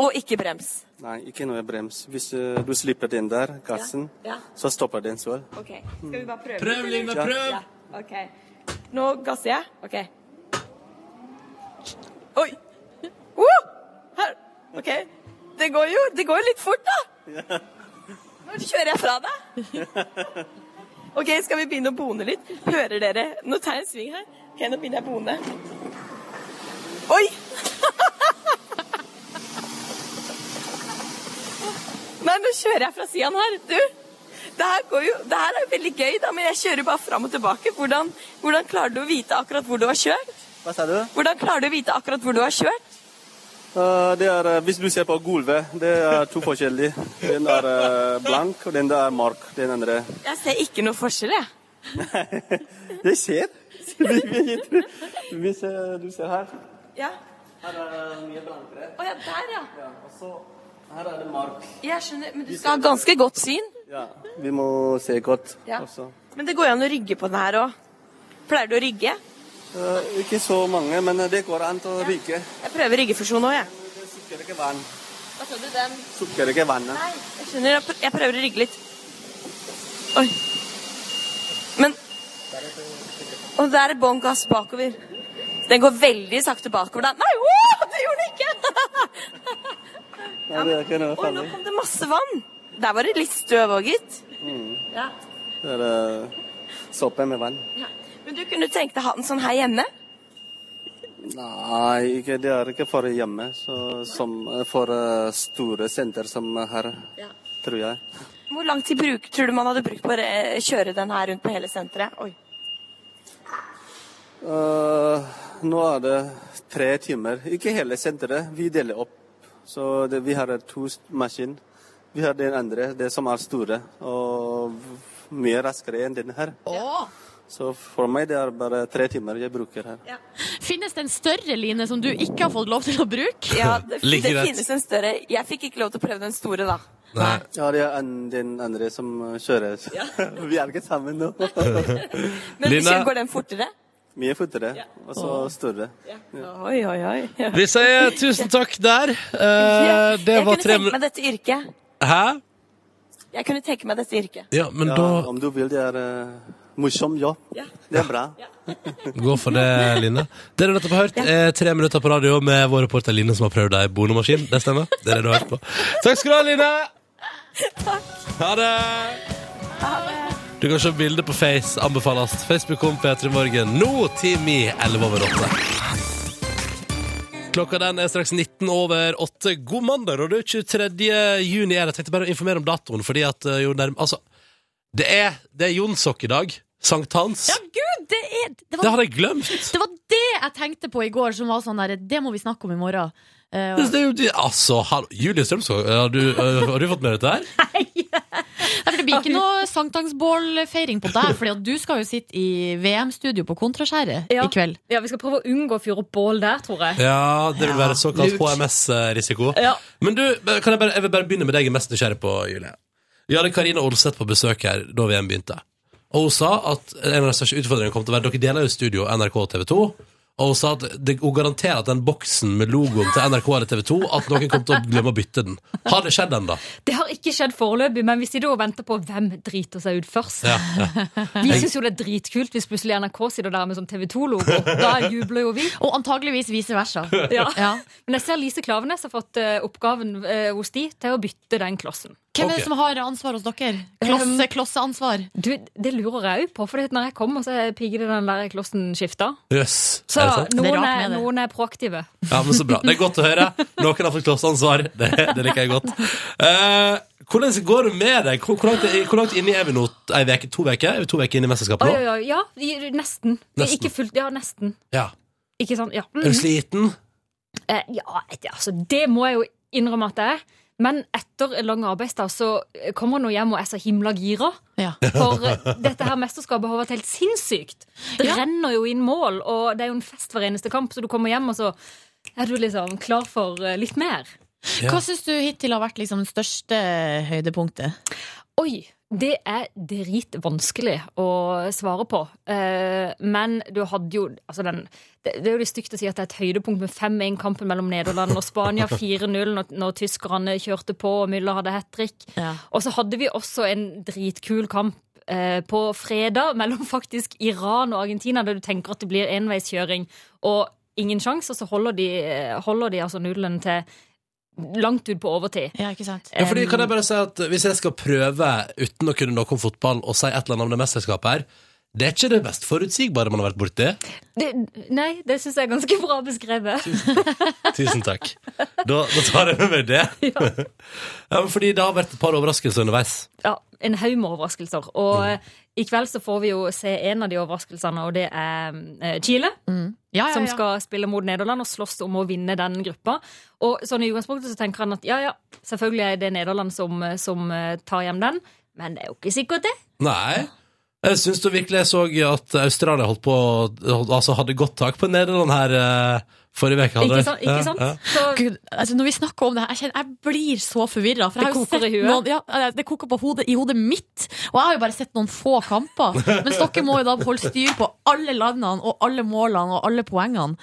og ikke brems. Nei, ikke noe brems. Hvis eh, du slipper den der, gassen, Ja, ja. så stopper den selv. Ok, skal vi bare prøve? Prøv, Line, prøv! Ja, ok. Nå gasser jeg. Ok. Oi! Uh! Her. Ok. Det går jo det går jo litt fort, da. Nå kjører jeg fra deg. Ok, skal vi begynne å bone litt? Hører dere? Nå tar jeg en sving her. Ok, nå begynner jeg å bone. Oi! Nei, nå kjører jeg fra siden her. Du, det her, går jo, det her er jo veldig gøy, da, men jeg kjører jo bare fram og tilbake. Hvordan, hvordan klarer du å vite akkurat hvor du har kjørt? Hva sa du? Hvordan klarer du å vite akkurat hvor du har kjørt? Eh, det er, eh, hvis du ser på gulvet, det er to forskjellige. Den er eh, blank, og den der er mørk. Den andre. Jeg ser ikke noe forskjell, jeg. Det skjer. Vi vet. Hvis eh, du ser her. Ja. Her er det mye blankere. Å ja, der, ja. Og så her er det mørk. Jeg skjønner, men du skal ha ganske godt syn. Ja, vi må se godt Ja. også. Men det går jo an å rygge på den her òg. Pleier du å rygge? Eh, ikke så mange, men eh, det går an å ryke. Jeg prøver ryggefusjon òg, jeg. Det sukker ikke vann. Hva sa du, den? Sukker ikke vannet. Nei, jeg skjønner. Jeg pr- Jeg prøver å rygge litt. Oi. Men Og der er bånn gass bakover. Den går veldig sakte bakover da. Nei, wow, det gjorde den ikke! Nei, det er ikke noe Oi, nå farlig. kom det masse vann. Der var det litt støv òg, gitt. Ja. Det er eh, såpe med vann. Men du kunne tenkt deg å ha den sånn her hjemme? Nei, ikke, det er ikke for hjemme, så, som eh, for eh, store senter som her, tror jeg. Hvor lang tid bruk, tror du man hadde brukt på å eh, kjøre den her rundt på hele senteret? Oi. Eh, nå er det tre timer. Ikke hele senteret. Vi deler opp. Så det, vi har to s- maskin. Vi har den andre, det som er store, og v- mye raskere enn den her. Så for meg det er bare tre timer jeg bruker her. Finnes det en større line som du ikke har fått lov til å bruke? Ja, det, Ligger det rett. finnes en større. Jeg fikk ikke lov til å prøve den store, da. Nei. Ja, det er en, den andre som eh, kjører. vi er ikke sammen nå. Men Line- ikke går den fortere? mye fortere, og så større. Oi, oi, oi. Ja. Vi sier tusen takk der. Eh, det jeg kunne var tre tenke minutter meg dette yrket. Hæ? Jeg kunne tenke meg dette yrket. Ja, men Ja, da om du vil, det er eh, morsom jobb. Ja. Det er bra. Gå for det, Line. Det du nettopp har hørt, er tre minutter på radio med vår reporter Line, som har prøvd ei bonemaskin. Det stemmer? Det er det du har hørt på. Takk skal du ha, Line! Ha det! Du kan se bildet på Face anbefales. Facebook-kom P3 Morgen nå time i 11 over 8. Klokka den er straks 19 over 8. God mandag, og det er 23. juni. er det. Jeg tenkte bare å informere om datoen, fordi at eh, jo nærm... Altså, det er, det er Jonsok i dag. Sankthans. Ja, gud! Det, er, det, Det var, har jeg glemt! det var det jeg tenkte på i går, som var sånn der Det må vi snakke om i morgen. Eh, Det er jo de, altså, hallo, Julie Strømskog, har du, øh, har du fått med deg dette her? Nei, for det blir ikke noe sankthansbålfeiring på deg, for du skal jo sitte i VM-studio på Kontraskjæret Ja. i kveld. Ja, Vi skal prøve å unngå å fyre opp bål der, tror jeg. Ja, det vil være såkalt lurt. HMS-risiko. Ja. Men du, eh, kan jeg, bare, jeg vil bare begynne med deg jeg er mest nysgjerrig på, Julie. Vi hadde Karina Olseth på besøk her da VM begynte. Og hun sa at en av de største utfordringene kom til å være Dere deler jo studio, NRK og TV 2. Og hun sa at det, hun garanterer at den boksen med logoen til NRK eller TV 2 At noen kom til å glemme å bytte den. Har det skjedd ennå? Det har ikke skjedd foreløpig, men vi sitter og venter på hvem driter seg ut først. Ja, ja. Vi syns jo det er dritkult hvis plutselig NRK sitter der med sånn TV 2-logo. Da jubler jo vi. Og antageligvis vice versa. Ja. Ja. Men jeg ser Lise Klavenes har fått eh, oppgaven eh, hos de til å bytte den klossen. Ehm, Hvem er Ok. det som har ansvar hos dere? Klosse, klosseansvar. Du, Det lurer jeg òg på, for når jeg kommer, så er piggene den der klossen skifta. Jøs. Så er det sant? Det er noen rart er, med det. noen er proaktive. Ja, men så bra. Det er godt å høre. Noen har fått klosseansvar. Det, det liker jeg godt. Eh, hvordan går det med deg? Hvor, hvor, langt, hvor langt inne er vi nå? Ei veke, to uker? Er vi to uker inne i mesterskapet Oi, oi, nå? oi. Ja, i- nesten. Nesten. Ikke fullt, ja, nesten. Ja. Ikke sant? Ja. Mhm. Er du sliten? Eh, ja, et- altså, det må jeg jo innrømme at jeg er. Men etter en lang arbeidsdag så eh, kommer han nå hjem og er så himla gira. Ja. For eh, dette her mesterskapet har vært helt sinnssykt. Det Ja. renner jo inn mål, og det er jo en fest hver eneste kamp, så du kommer hjem, og så er du liksom klar for eh, litt mer. Ja. Hva syns du hittil har vært liksom det største høydepunktet? Oi, det er dritvanskelig å svare på. Eh, men du hadde jo altså den, det, det er jo litt stygt å si at det er et høydepunkt med 5-1-kampen mellom Nederland og Spania. 4-0 når, når tyskerne kjørte på og Müller hadde hat trick. Ja. Og så hadde vi også en dritkul kamp eh, på fredag mellom faktisk Iran og Argentina, der du tenker at det blir enveiskjøring og ingen sjanse, og så holder de, holder de altså nudlene til langt ut på overtid. Ja, ikke sant? Ja, fordi Em, kan jeg bare si at Hvis jeg skal prøve uten å kunne noe om fotball og si et eller annet om det mesterskapet her, det er ikke det mest forutsigbare man har vært borti. det, nei, det syns jeg er ganske bra beskrevet. Tusen takk. Da, da tar jeg med meg det. Ja. men fordi det har vært et par overraskelser underveis. Ja, en haug med overraskelser. Og Mm. eh, i kveld så får vi jo se en av de overraskelsene, og det er eh, Chile. Mm. Ja, ja, Som ja. skal spille mot Nederland og slåss om å vinne den gruppa. Og sånn i utgangspunktet så tenker han at ja, ja, eh, selvfølgelig er det Nederland som, som eh, tar hjem den, men det er jo ikke sikkert, det. Nei. Jeg syns du virkelig jeg så at Australia holdt på å- Altså hadde godt tak på Nederland her eh, forrige uke. hadde Ikke de? sant? Ja, Ikke sant? ja. Gud, altså når vi snakker om det her, jeg, kjenner, jeg blir så forvirra. Det koker i huet. ja, det koker på hodet, i hodet mitt. Og jeg har jo bare sett noen få kamper. Mens dere må jo da holde styr på alle landene og alle målene og alle poengene.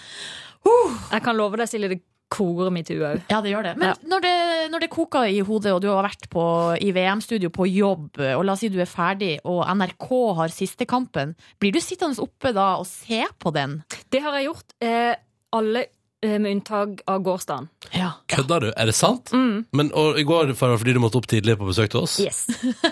Jeg kan love deg, Silje, det koker mitt hue òg. Ja, det gjør det. Men når, det, når det koker i hodet, og du har vært på, i VM-studio på jobb, og la oss si du er ferdig, og NRK har siste kampen, blir du sittende oppe da og se på den? Det har jeg gjort. Eh, alle eh, med unntak av gårsdagen. Kødder du? Er det sant? Mm. Men og, i går Farah, fordi du måtte opp tidlig på besøk til oss? Yes.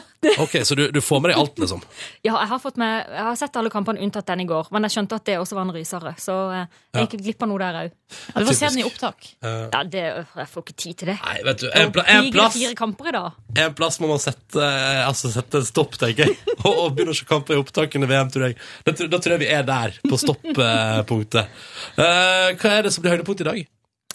Ok, Så du, du får med deg alt, liksom? Ja, jeg har, fått med, jeg har sett alle kampene unntatt den i går, men jeg skjønte at det også var en rysere. Så eh, Ja. jeg gikk glipp av noe der òg. Ja, du får se Typisk. den i opptak. Eh, Ja, det, jeg får ikke tid til det. Nei, vet du, en, pla en, Fire, plass, fire kamper i dag. en plass må man sette, eh, altså sette en stopp, tenker jeg. Og, og begynne å se kamper i opptakene i VM, tror jeg. Da, tror- da tror jeg vi er der, på stoppunktet. hva er det som blir høydepunkt i dag?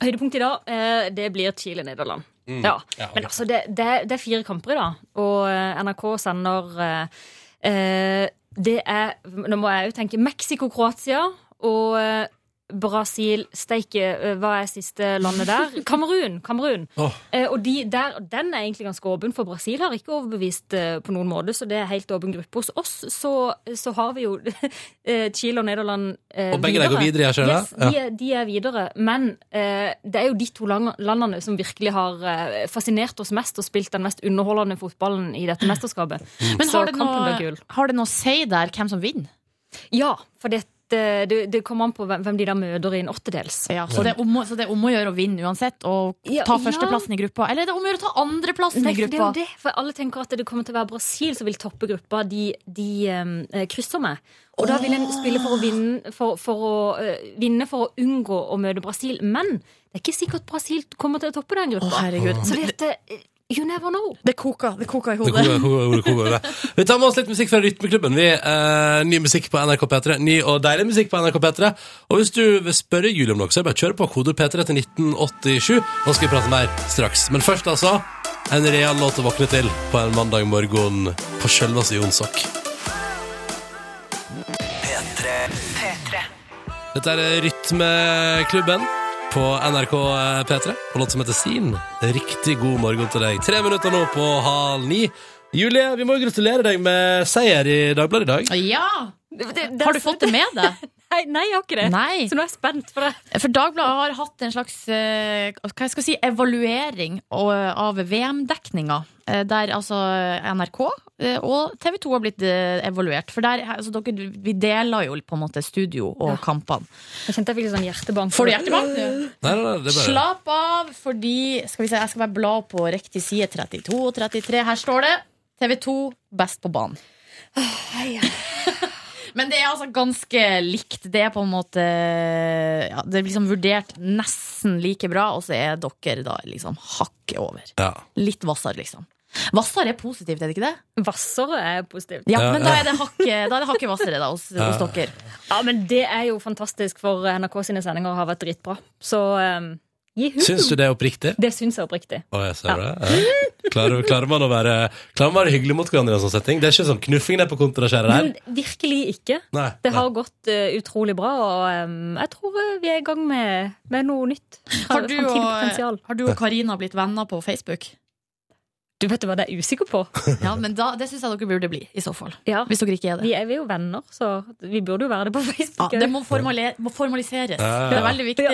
Høydepunkt i dag, eh, det blir Chile-Nederland. Mm. Ja. Ja, ok. Men altså, det, det, det er fire kamper i dag, og eh, NRK sender eh, eh, Det er Nå må jeg jo tenke Mexico-Kroatia og eh, Brasil Steike, eh, hva er siste landet der? Kamerun! Kamerun. Åh. Eh, og de der, og den er egentlig ganske åpen, for Brasil har ikke overbevist eh, på noen måte, så det er helt åpen gruppe. Hos oss så, så har vi jo eh, Chile og Nederland eh, Og begge de går videre, jeg skjønner. Yes, de, er- de er videre. Men eh, det er jo de to lang- landene som virkelig har eh, fascinert oss mest og spilt den mest underholdende fotballen i dette mesterskapet. Mm. Men har så det, kampen noe, blir gull. har det noe å si der hvem som vinner? Ja, for det, det, det kommer an på hvem hvem de der møter i en åttedels. Ja, Så det er om, å- så det er om å gjøre å vinne uansett, og Ja, ta ja. førsteplassen i gruppa? Eller er det om å gjøre å ta andreplassen Nei, for i det er jo gruppa? det. For alle tenker at det kommer til å være Brasil som vil toppe gruppa de, de eh, krysser med. Og da vil en spille for å, vinne for, for å eh, vinne for å unngå å møte Brasil. Men det er ikke sikkert Brasil kommer til å toppe den gruppa. herregud. så det, at, eh, you never know. Det koker, det koker i Det hodet. koker, koker, koker, koker. Vi tar med oss litt musikk fra Rytmeklubben. Vi, eh, ny musikk på NRK P3. Ny og deilig musikk på NRK P3. Og hvis du vil spørre Julie om noe, så er det bare å kjøre på kodet P3 til 1987. Nå skal vi prate mer straks. Men først, altså, en real låt å våkne til på en mandag morgen på sjølveste Jonsok. Dette er Rytmeklubben på NRK eh, P3 og låt som heter Sin. Riktig god morgen til deg. Tre minutter nå på halv ni. Julie, vi må jo gratulere deg med seier i Dagbladet i dag. Ja! Det- det- Har du fått det med deg? Nei, nei, jeg har ikke det. Nei. Så nå er jeg spent for det. For Dagbladet har hatt en slags eh, hva jeg skal si, evaluering og- av VM-dekninga. eh, Der altså NRK eh, og TV 2 har blitt eh, evaluert. For der, altså, dere, vi deler jo på en måte studio og kampene. Jeg kjente jeg fikk litt sånn hjertebank. Får du hjertebank? Nei, nei, nei, det er bare... Slapp av, fordi skal vi se, Jeg skal bare bla på riktig side 32 og 33. Her står det TV 2 best på banen. Men det er altså ganske likt. Det er på en måte ja, Det er liksom vurdert nesten like bra, og så er dere da liksom hakket over. Ja. Litt hvassere, liksom. Hvassere er positivt, er det ikke det? Vassere er positivt. Ja, Ja, men da er det hakket, da er det hakket hvassere da, hos, hos dere. Ja, men det er jo fantastisk, for NRK sine sendinger har vært dritbra. Så um, gi hu. Syns du det er oppriktig? Det syns jeg oppriktig. Å, jeg ser det. Ja. Klarer, klarer man å være, klarer man å være hyggelig mot hverandre i en sånn setting? Det er ikke sånn knuffing ned på kontraskjæret her. Men virkelig ikke. Nei, Det nei. har gått eh, utrolig bra, og em, jeg tror eh, vi er i gang med, med noe nytt. Har du Fremtidig eh, potensial. og- har du og Karina blitt venner på Facebook? Du vet hva det er jeg usikker på? Ja, men da, Det syns jeg dere burde bli, i så fall. Ja, Hvis dere ikke er det. Vi er vi er jo venner, så vi burde jo være det på Ja, Facebook. det må, formale- må formaliseres. Ja. Det er veldig viktig.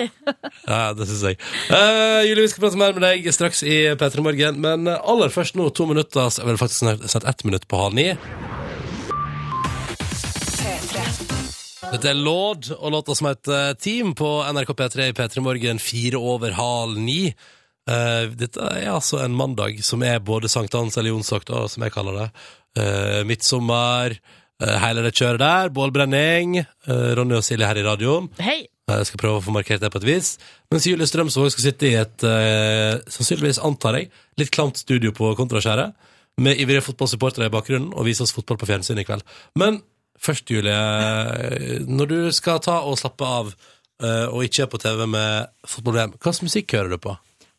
Ja, det syns jeg. Eh, Julie, vi skal prate mer med deg straks i P3 Morgen, men aller først nå to minutter, så- vel faktisk snart, snart ett minutt på halv ni. Dette er Lord og låta som heter eh, Team på NRK P3 i P3 Morgen fire over halv ni. Eh, dette er altså en mandag som er både sankthans eller jonsakt, da, som jeg kaller det. Eh, midtsommer, eh, hele det kjøret der, bålbrenning. eh, Ronny og Silje her i radioen. Hei! Eh, Jeg skal prøve å få markert det på et vis. Mens Julie Strømsvåg skal sitte i et, eh, sannsynligvis antar jeg, litt klamt studio på Kontraskjæret, med ivrige fotballsupportere i bakgrunnen, og vise oss fotball på fjernsyn i kveld. Men først, Julie, eh, når du skal ta og slappe av, eh, og ikke er på TV med fotball-VM, hva slags musikk hører du på?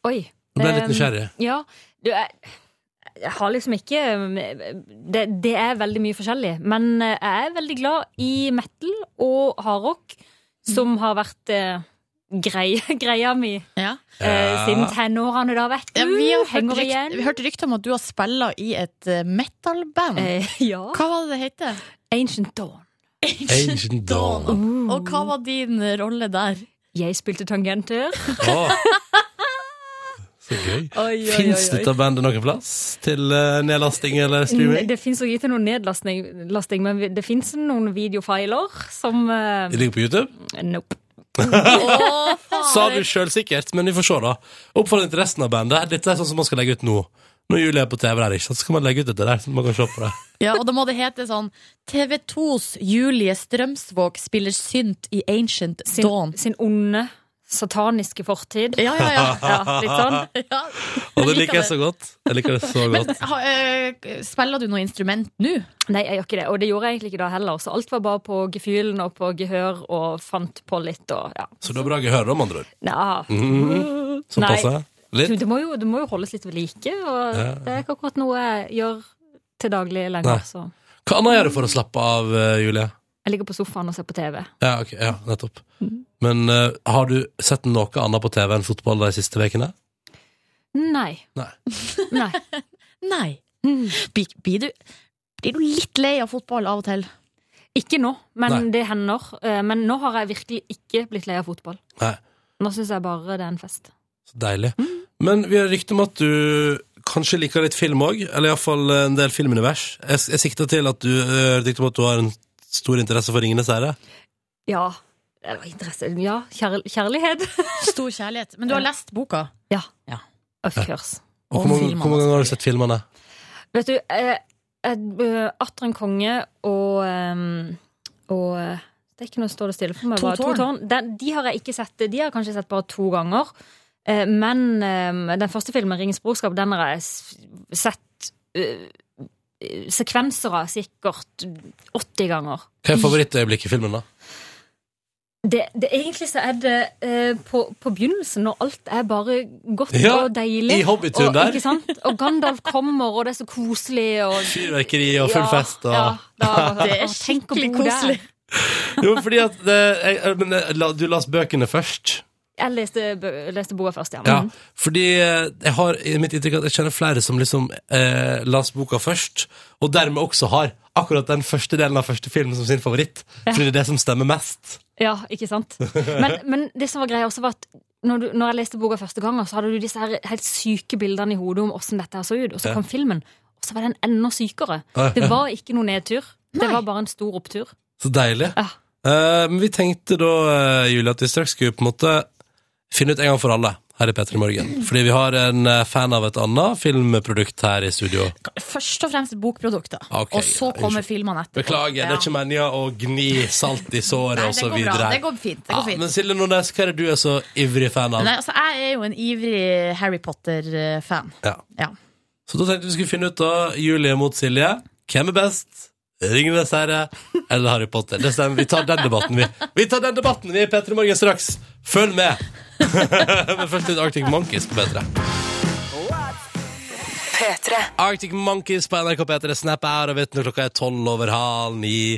Oi. Nå ble jeg litt Em, nysgjerrig. Ja, du, jeg, jeg har liksom ikke det, det er veldig mye forskjellig. Men eh, jeg er veldig glad i metal og hardrock, som har vært eh, greie, greia mi eh, siden tenårene, da, vet du. Ja, vi har hørt Uh, Henger rykt- vi har hørt rykter om at du har spilla i et eh, metal-band. Eh, ja. Hva var det det heter? Ancient Dawn. Ancient Dawn. Og hva var din rolle der? Jeg spilte tangenter. Å. Så gøy. Oi, oi, oi, Fins oi. dette bandet noen plass til eh, nedlasting eller streaming? Det fins ikke noen nedlasting, lasting, men vi- det fins noen videofiler som eh, Det ligger på YouTube? Nope. Sa du sjølsikkert, men vi får se, da. Oppfordring til resten av bandet. Dette er sånn som man skal legge ut nå. Når Julie er på TV der, ikke sant, så kan man legge ut dette der. Så man kan se på det. Ja, og da må det hete sånn TV2s Julie Strømsvåg spiller synt i Ancient sin, Dawn. sin onde, sataniske fortid. Ja, ja, ja. litt sånn. Ja. Og det liker jeg så godt. Jeg liker det så Men godt. ha, eh, spiller du noe instrument nå? Nei, jeg gjør ikke det, og det gjorde jeg egentlig ikke da heller. Så alt var bare på gefühlen og på gehør og fant på litt og ja. Så du har bra gehør, da, med andre ord. Nja. Mhm. Som Nei. passer? Litt? Det, må jo, det må jo holdes litt ved like, og Ja. det er ikke akkurat noe jeg gjør til daglig Nei. lenger. Så Hva annet gjør du for å slappe av, eh, Julie? jeg ligger på sofaen og ser på TV. Ja, ok, ja, nettopp. Men eh, har du sett noe annet på TV enn fotball de siste ukene? Nei. Nei. Nei. Nei. Mm. Blir, blir, du, blir du litt lei av fotball av og til? Ikke nå, men Nei. det hender. Eh, Men nå har jeg virkelig ikke blitt lei av fotball. Nei. Nå syns jeg bare det er en fest. Så deilig. Men vi har rykte om at du kanskje liker litt film òg, eller iallfall en del filmunivers. Jeg, jeg sikter til at du eh, rykte om at du har en stor interesse for Ringenes herre. Ja. Eller interesse Ja, kjærl- kjærlighet. Stor kjærlighet. Men du har lest boka? Ja. Ja. Of course. Og Og hvor mange, filmene, hvor mange altså. ganger har du sett filmene? Vet du, eh, et- eh, Atter en konge og, em, og eh, det er ikke noe står det stille for meg. To hva- tårn. Den, de har jeg ikke sett. De har jeg kanskje sett bare to ganger. Eh, men em, den første filmen, 'Ringens brorskap', den har jeg s- sett eh, sekvenser av sikkert 80 ganger. Hva er favorittøyeblikket i filmen, da? Det, det, egentlig så er det eh, på, på begynnelsen, når alt er bare godt Ja, og deilig. i Hobbitun og, der. Ikke sant? Og Gandalf kommer, og det er så koselig. Og, Fyrverkeri og full fest og Ja, da, Det er og tenk å skikkelig bo der. koselig. Jo, fordi at det, jeg, jeg- men, eh, la- Du las bøkene først. Jeg leste, bø- leste boka først, ja. Ja, Mm. fordi eh, jeg har i mitt inntrykk at jeg kjenner flere som liksom eh, las boka først, og dermed også har akkurat den første delen av første filmen som sin favoritt. Fordi det er det som stemmer mest. ja ikke sant? Men, men det som var greia også, var at når, du, når jeg leste boka første gangen, så hadde du disse her helt syke bildene i hodet om åssen dette her så ut, og så Ja. kom filmen, og så var den enda sykere. Ja, Det ja. var ikke noe nedtur. Det Nei. var bare en stor opptur. Så deilig. Ja. Eh, men vi tenkte da, eh, Julie, at vi straks skulle på en måte finne ut en gang for alle her i P3 Morgen. Fordi vi har en eh, fan av et annet filmprodukt her i studio. Først og fremst bokprodukter. Ok, og så ja, kommer unnskyld. filmene etterpå. Beklager, det er ikke meningen å gni salt i såret Nei, og det så går videre. bra. Det går fint. Det går fint. Ja, men Silje Nordnes, hva er det du er så ivrig fan av? Nei, altså, jeg er jo en ivrig Harry Potter-fan. Ja. Ja. Så da tenkte vi skulle finne ut da, Julie mot Silje, hvem er best? Ringenes herre eller Harry Potter? Det stemmer, vi tar den debatten, vi. Vi tar den debatten, vi i P3 Morgen straks. Følg med! Men først litt Arctic Monkeys på P3. Arctic Monkeys på NRK P3 Snap out av it når klokka er tolv over halv ni.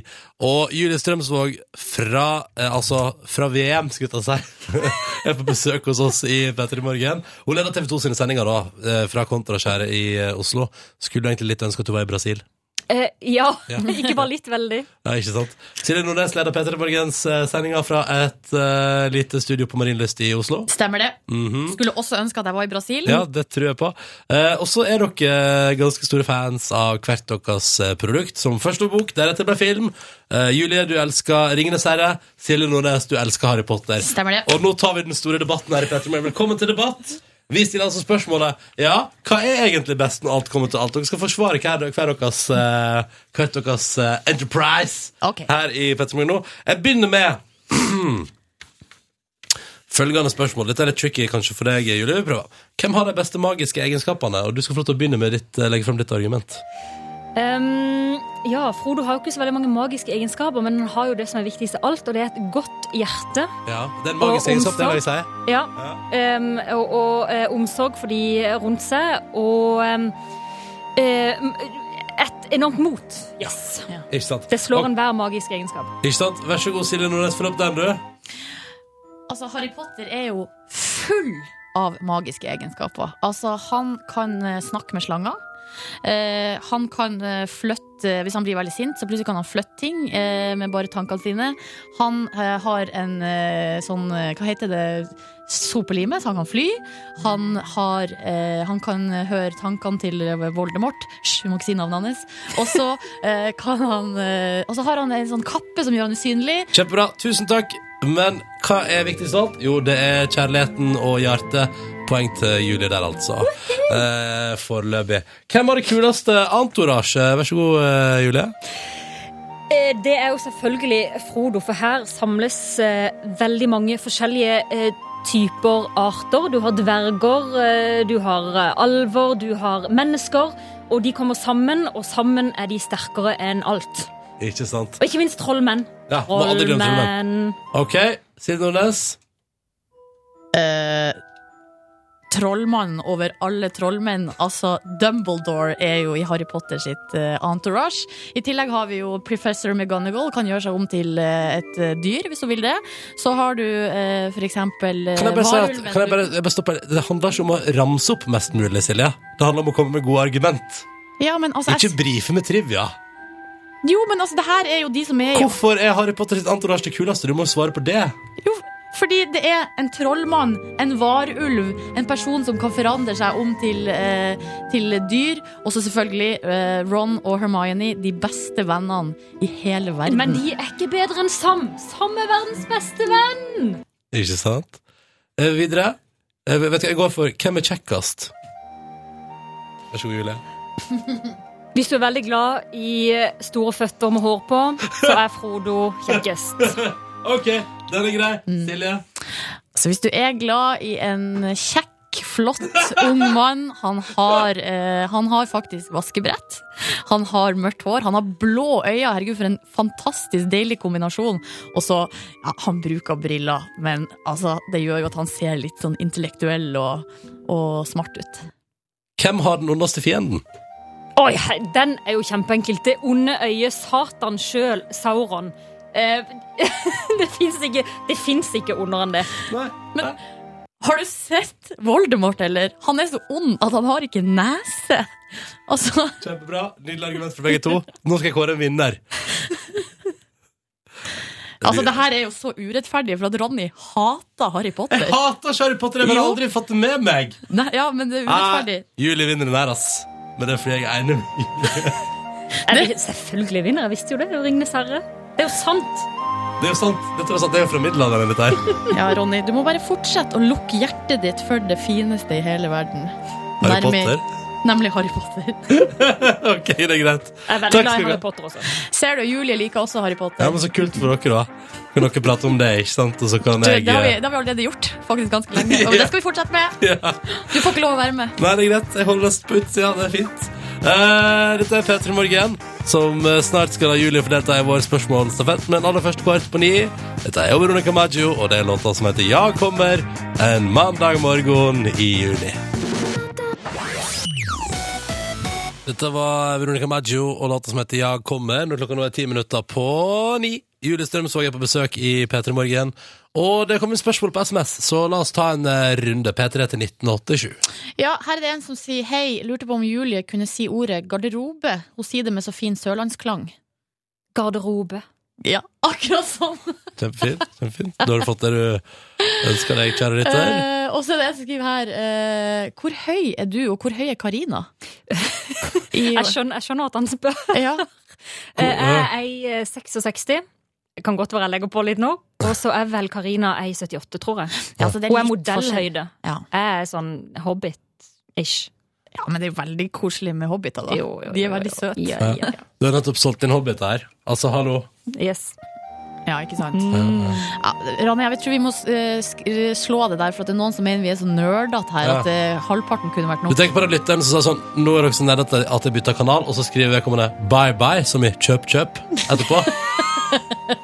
Og Julie Strømsvåg fra, eh, altså, fra VM, skulle jeg ta si, er på besøk hos oss i P3 Morgen. Hun leder TV 2 sine sendinger da, eh, fra Kontraskjæret i eh, Oslo. Skulle du egentlig litt ønske at du var i Brasil? Eh, ja. Ja. ikke bare litt, veldig. Ja, ikke sant? Silje Nordnes leder P3 Morgens eh, sendinger fra et eh, lite studio på Marienlyst i Oslo. Stemmer det. Mhm. Skulle også ønske at jeg var i Brasil. Ja, det tror jeg på. Eh, og så er dere ganske store fans av hvert deres eh, produkt, som først var bok, deretter ble film. Eh, Julie, du elsker 'Ringenes herre'. Silje Nordnes, du elsker 'Harry Potter'. Stemmer det. Og nå tar vi den store debatten her i Petter Morgen. Velkommen til debatt! Vi stiller altså spørsmålet ja, hva er egentlig best når alt kommer til alt. Dere skal forsvare hver, hver deres, eh, hvert deres eh, enterprise Ok. her i Petter Morgen nå. Jeg begynner med følgende spørsmål. Dette er litt tricky kanskje for deg, Julie. Vi prøver. Hvem har de beste magiske egenskapene? Og du skal få lov til å begynne med ditt, eh, legge frem ditt argument. Ehm, ja, Frodo har jo ikke så veldig mange magiske egenskaper, men han har jo det som er viktigst av alt, og det er et godt hjerte. Ja, Den Og magiske egenskapen, det vil jeg si. Ja. Ehm, og og eh, omsorg for de rundt seg. Og ehm, eh, et enormt mot. Yes. Ikke sant? Det slår Og- enhver magisk egenskap. Ikke sant? Vær så god, Silje Nordnes, følg opp den, du. Altså, Harry Potter er jo full av magiske egenskaper. Altså, han kan eh, snakke med slanger. Eh, han kan eh, flytte Hvis han blir veldig sint, så plutselig kan han flytte ting eh, med bare tankene sine. Han eh, har en eh, sånn eh, Hva heter det? Sopelime, så han kan fly. Han, har, eh, han kan høre tankene til Voldemort. Hysj, vi må ikke si navnet hans. Og så eh, kan han eh, Og så har han en sånn kappe som gjør han usynlig. Kjempebra. Tusen takk. Men hva er viktigst av alt? Jo, det er kjærligheten og hjertet. Poeng til Julie der, altså. Eh, Foreløpig. Hvem var det kuleste entourage? Vær så god, eh, Julie. Eh, Det er jo selvfølgelig Frodo, for her samles eh, veldig mange forskjellige eh, typer arter. Du har dverger, eh, du har eh, alver, du har mennesker. Og de kommer sammen, og sammen er de sterkere enn alt. Ikke sant? Og ikke minst trollmenn. Ja, må aldri glemme Trollmenn. OK, Silje Nordnes. eh, trollmann over alle trollmenn. Altså, Dumbledore er jo i Harry Potter sitt eh, entourage. I tillegg har vi jo Professor McGonagall, kan gjøre seg om til eh, et eh, dyr, hvis hun vil det. Så har du eh, for eksempel eh, Kan jeg bare si at varulven. kan jeg bare, jeg bare stoppe? Det handler ikke om å ramse opp mest mulig, Silje. Det handler om å komme med gode argument. Ja, men altså, ikke brife med trivia. jeg, jo, men altså, det her er jo de som er i Hvorfor er Harry Potter sitt entourage det kuleste? Du må jo svare på det. Fordi det er en trollmann, en varulv, en person som kan forandre seg om til, eh, til dyr. Og så selvfølgelig eh, Ron og Hermione, de beste vennene i hele verden. Men de er ikke bedre enn Sam. Sam er verdens beste venn. Ikke sant? Eh, videre. Eh, vet du hva jeg går for? Hvem er kjekkest? Vær så god, Julie. Hvis du er veldig glad i eh, store føtter med hår på, så er Frodo kjekkest. Mm. OK, den er grei. Silje? Så hvis du er glad i en kjekk, flott ung mann han har, eh, han har faktisk vaskebrett. Han har mørkt hår. Han har blå øyne. Herregud, for en fantastisk deilig kombinasjon. Og så ja, Han bruker briller, men altså, det gjør jo at han ser litt sånn intellektuell og, og smart ut. Hvem har den ondeste fienden? Oi, hei, den er jo kjempeenkelt. Det onde øyet, Satan sjøl, Sauron. Eh, det fins ikke, det finnes ikke ondere enn det. Men har du sett Voldemort, eller? Han er så ond at han har ikke nese. Altså Kjempebra. Nydelig argument fra begge to. Nå skal jeg kåre en vinner. Altså, det her er jo så urettferdig, for at Ronny hater Harry Potter. Jeg hater ikke Harry Potter. Jeg har Jo. aldri fått det med meg. Nei, ja, men det er urettferdig. Nei, Julie vinner den her, ass. Men det er fordi jeg er enig med Julie. Er det selvfølgelig vinner, jeg visste jo det. Det er jo Ringenes herre. Det er jo sant. Det er jo sant. Dette var sant. Det er jo fra middelalderen, dette her. Ja, Ronny, du må bare fortsette å lukke hjertet ditt for det fineste i hele verden. Harry Nærmere- Potter. Nemlig Harry Potter. OK, det er greit. Jeg er veldig glad Takk skal i du ha. Harry Potter også. Ser du, Julie liker også Harry Potter. Ja, men Så kult for dere, da. Kan dere prate om det, ikke sant? Og så kan du, jeg det, har vi, det har vi allerede gjort, faktisk ganske lenge. Og det skal vi fortsette med. Ja. Du får ikke lov å være med. Nei, det er greit. Jeg holder oss på utsida. Det er fint. Eh, dette er P3 Morgen, som eh, snart skal ha Julie for delta i vår spørsmålstafett. Men aller først kvart på ni. Dette er jo Veronica Maggio, og det er låta som heter Ja kommer en mandag morgen i juni. Dette var Veronica Maggio og låta som heter Ja kommer, når klokka nå er ti minutter på ni. Julie Strømsvåg er på besøk i P3 Morgen, og det kommer spørsmål på SMS, så la oss ta en eh, runde. P3 til 1987. Ja, her er det en som sier hei, lurte på om Julie kunne si ordet garderobe. Hun sier det med så fin sørlandsklang. Garderobe. Ja, akkurat sånn. Kjempefint. kjempefint Da har du fått det du ønsker deg, kjære lytter. Eh, og så er det en som skriver her, eh, hvor høy er du, og hvor høy er Karina? I- Jeg skjønner, jeg skjønner at han spør. Ja. Eh, Jeg er ei eh, 66. Det kan godt være jeg legger på litt nå. Og så er vel Karina ei 78, tror jeg. Ja, altså, det er Hun er litt forskjell. modellhøyde. Ja. Jeg er sånn hobbit-ish. Ja, men det er jo veldig koselig med hobbiter, da. Jo, jo, De jo, er veldig jo. søte. Ja, Ja. ja, ja. Du har nettopp solgt din hobbit her. Altså, hallo. Yes. Ja, ikke sant? Mm. Ja, Rane, jeg tror vi må eh, sk- eh, slå det der, for at det er noen som mener vi er så nerdete her Ja. at eh, halvparten kunne vært Du nok. tenker på den lytteren som sa sånn Nå er dere så nede at jeg- at jeg bytter kanal, og så skriver vedkommende bye bye, som i kjøp, kjøp, etterpå.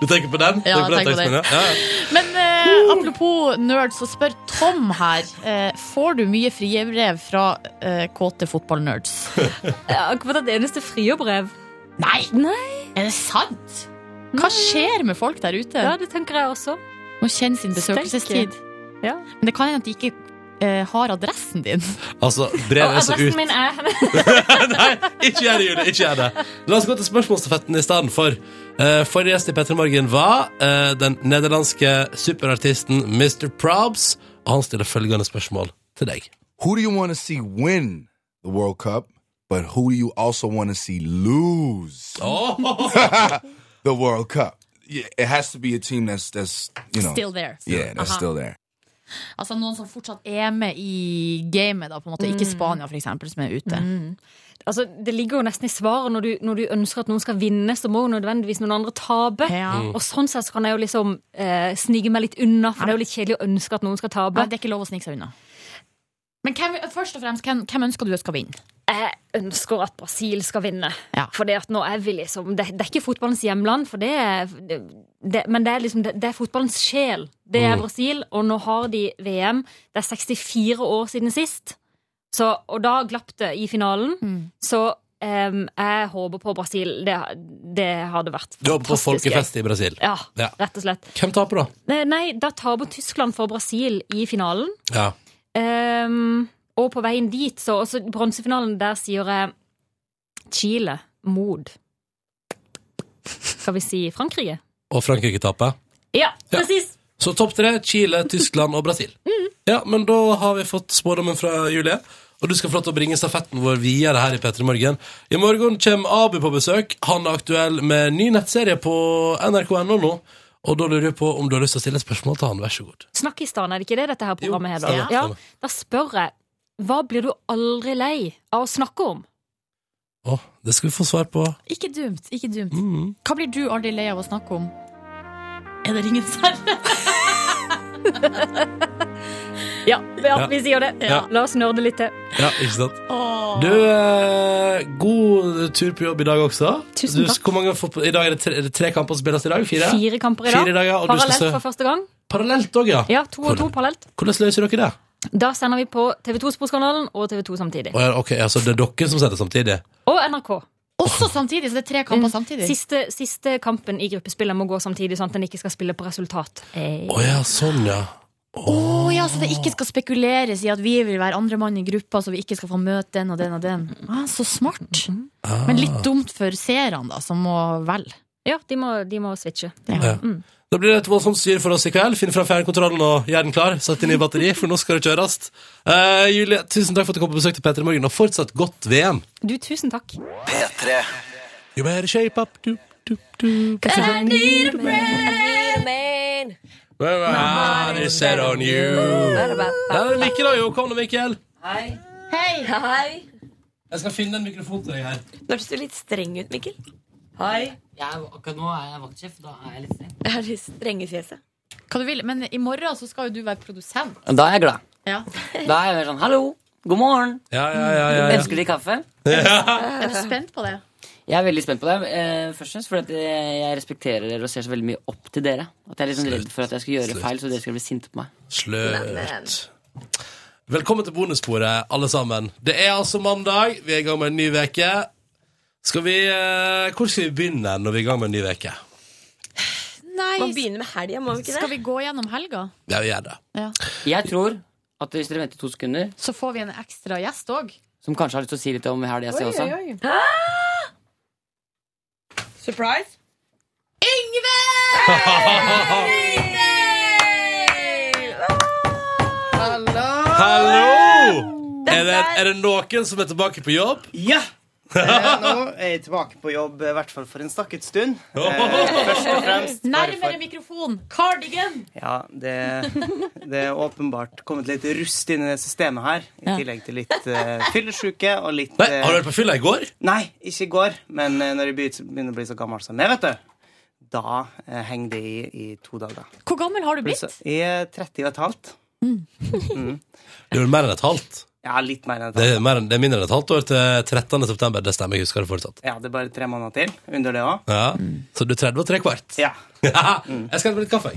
Du tenker på den? Ja, Tenker på jeg tenker på teksten, det. ja. Ja, ja. Men eh, apropos nerd, så spør Tom her. Eh, får du mye friebrev fra eh, kåte fotballnerds? Ja, Akkurat et eneste friobrev. Nei! Nei. Er det sant? Hva skjer med folk der ute? Ja, det tenker jeg også. Må kjenne sin besøkelsestid. Ja. Men det kan hende at de ikke eh, har adressen din. Altså, brevet er så ut min er Nei, ikke gjør det, Julie. Ikke gjør det. La oss gå til spørsmålsstafetten i stedet for. Eh, Forrige gjest i Petter Morgen var eh, den nederlandske superartisten Mr. Probs, og han stiller følgende spørsmål til deg. Who do you want to see win the World Cup, but who do you also want to see lose the World Cup? Yeah, It has to be a team that's that's you know Still there. Uh-huh. Yeah, that's Aha. still there. Altså noen som fortsatt er med i gamet, da, på en måte. Ikke Spania, for eksempel, som er ute. Altså, det ligger jo nesten i svaret når du, når du ønsker at noen skal vinne, så må jo nødvendigvis noen andre tape. Ja. Mm. Og sånn sett så kan jeg jo liksom eh, snike meg litt unna, for det er jo litt kjedelig å ønske at noen skal tape. Nei, det er ikke lov å snike seg unna. Men hvem, først og fremst, hvem, hvem ønsker du skal vinne? Jeg ønsker at Brasil skal vinne. Ja. For det at nå er vi liksom Det, det er ikke fotballens hjemland, for det er det, det, Men det er liksom det, det er fotballens sjel. Det er Mm. Brasil, og nå har de VM. Det er 64 år siden sist, så, og da glapp det i finalen. Så em, jeg håper på Brasil. Det, det hadde vært Du håper på fantastisk gøy. folkefest i Brasil. Ja, Ja. rett og slett. Hvem taper, da? Nei, Nei, da taper Tyskland for Brasil i finalen. Ja. Ehm, og på veien dit, så også bronsefinalen, der sier jeg Chile, mod. Skal vi si Frankrike? Og Frankrike taper? Ja, presis! Så topp tre Chile, Tyskland og Brasil. Mm. Ja, men da har vi fått spådommen fra Julie. Og du skal få lov til å bringe stafetten vår videre her i P3 Morgen. I morgen kommer Abu på besøk. Han er aktuell med ny nettserie på nrk.no nå. Og da lurer jeg på om du har lyst til å stille et spørsmål til han. Vær så god. Snakkistan, er det ikke det dette her programmet Jo, heter? stemmer, Ja, stemmer. da spør jeg, hva blir du aldri lei av å snakke om? Å, det skal vi få svar på. Ikke dumt. ikke dumt Mm. Hva blir du aldri lei av å snakke om? Er det ringens herre? Ja, ja, Ja. vi sier det. Ja. La oss nørde litt til. Ja, ikke sant? Du, eh, god tur på jobb i dag også. Tusen Du, takk. hvor mange fotball- I dag er det tre, er det tre kamper som spilles i dag? Fire? Fire kamper i dag. Fire dager, og du skal Parallelt se- for første gang. Parallelt òg, ja. Ja, to og to Hvordan- parallelt. Hvordan løser dere det? Da sender vi på TV2 Sportskanalen og TV2 samtidig. Å, ja, ok, altså det er dere som ser det samtidig? Og NRK. Mm. Også samtidig, så det er tre kamper samtidig. Siste, siste kampen i gruppespillet må gå samtidig, sånn at en ikke skal spille på resultat. Eh, Å ja, sånn, ja. Å ja, Så det ikke skal spekuleres i at vi vil være andremann i gruppa, så vi ikke skal få møte den og den og den. Ah, så smart. Ah. Men litt dumt for seerne, da, som må velge. Ja, de må, de må switche. Ja. Da blir det et voldsomt styr for oss i kveld. Finn fram fjernkontrollen og gjør den klar. Sett inn i batteri, for nå skal det kjøres. Eh, Julie, tusen takk for at du kom på besøk til P3 Morgen, og fortsatt godt VM. Du, tusen takk. P3 You better shape up du, du, du. Where are they set on you? Det er Mikkel, da, jo. Kom nå, Mikkel. Hei. Jeg skal finne en mikrofon til deg her. Nå høres du litt streng ut, Mikkel. akkurat nå er jeg vaktsjef. Da er jeg litt streng. Jeg har det strenge fjeset. Hva du vil, Men i morgen så skal jo du være produsent. Da er jeg glad. Ja. Da er jeg mer sånn hallo, god morgen. Ja, ja, ja, ja, ja. Ønsker de kaffe? Er du spent på det? Jeg er veldig spent på det. eh, Først og fremst fordi at eh, jeg respekterer dere og ser så veldig mye opp til dere. At jeg er litt sånn redd for at jeg skal gjøre Slutt. feil, så dere skal bli sinte på meg. Slørt. Velkommen til bonussporet, alle sammen. Det er altså mandag. Vi er i gang med en ny uke. Skal vi eh, Hvor skal vi begynne når vi er i gang med en ny uke? Nei, Man begynner med helga, må vi ikke skal det? vi gå gjennom helga? Ja, vi gjør det. Ja. Jeg tror at hvis dere venter to sekunder, Så får vi en ekstra gjest òg. som kanskje har lyst til å si litt om helga si også Surprise? Hallo! Er det, er det noen som er tilbake på jobb? Ja! Eh, nå er jeg tilbake på jobb, i hvert fall for en stakket stund. Eh, først og fremst bare Nærmere for mikrofon! Cardigan! Ja, det, det er åpenbart kommet litt rust inn i det systemet her. I Ja. tillegg til litt uh, fyllesyke og litt Nei, eh, Har du vært på fylla i går? Nei, ikke i går. Men eh, når jeg begynner begynner å bli så gammel som jeg, vet du, da eh, henger det i i to dager. Hvor gammel har du Pluss blitt? jeg er 30 og et halvt. Det er jo mer enn et halvt. Ja, Mm. litt mer enn et Det halvt. er, mer, enn- det er mindre enn et halvt år til 13. september. Det stemmer, jeg husker det fortsatt. Ja, det er bare tre måneder til under det òg. Ja. Så du er 30 og tre kvart? Ja. Mm. Jeg skal ha litt kaffe.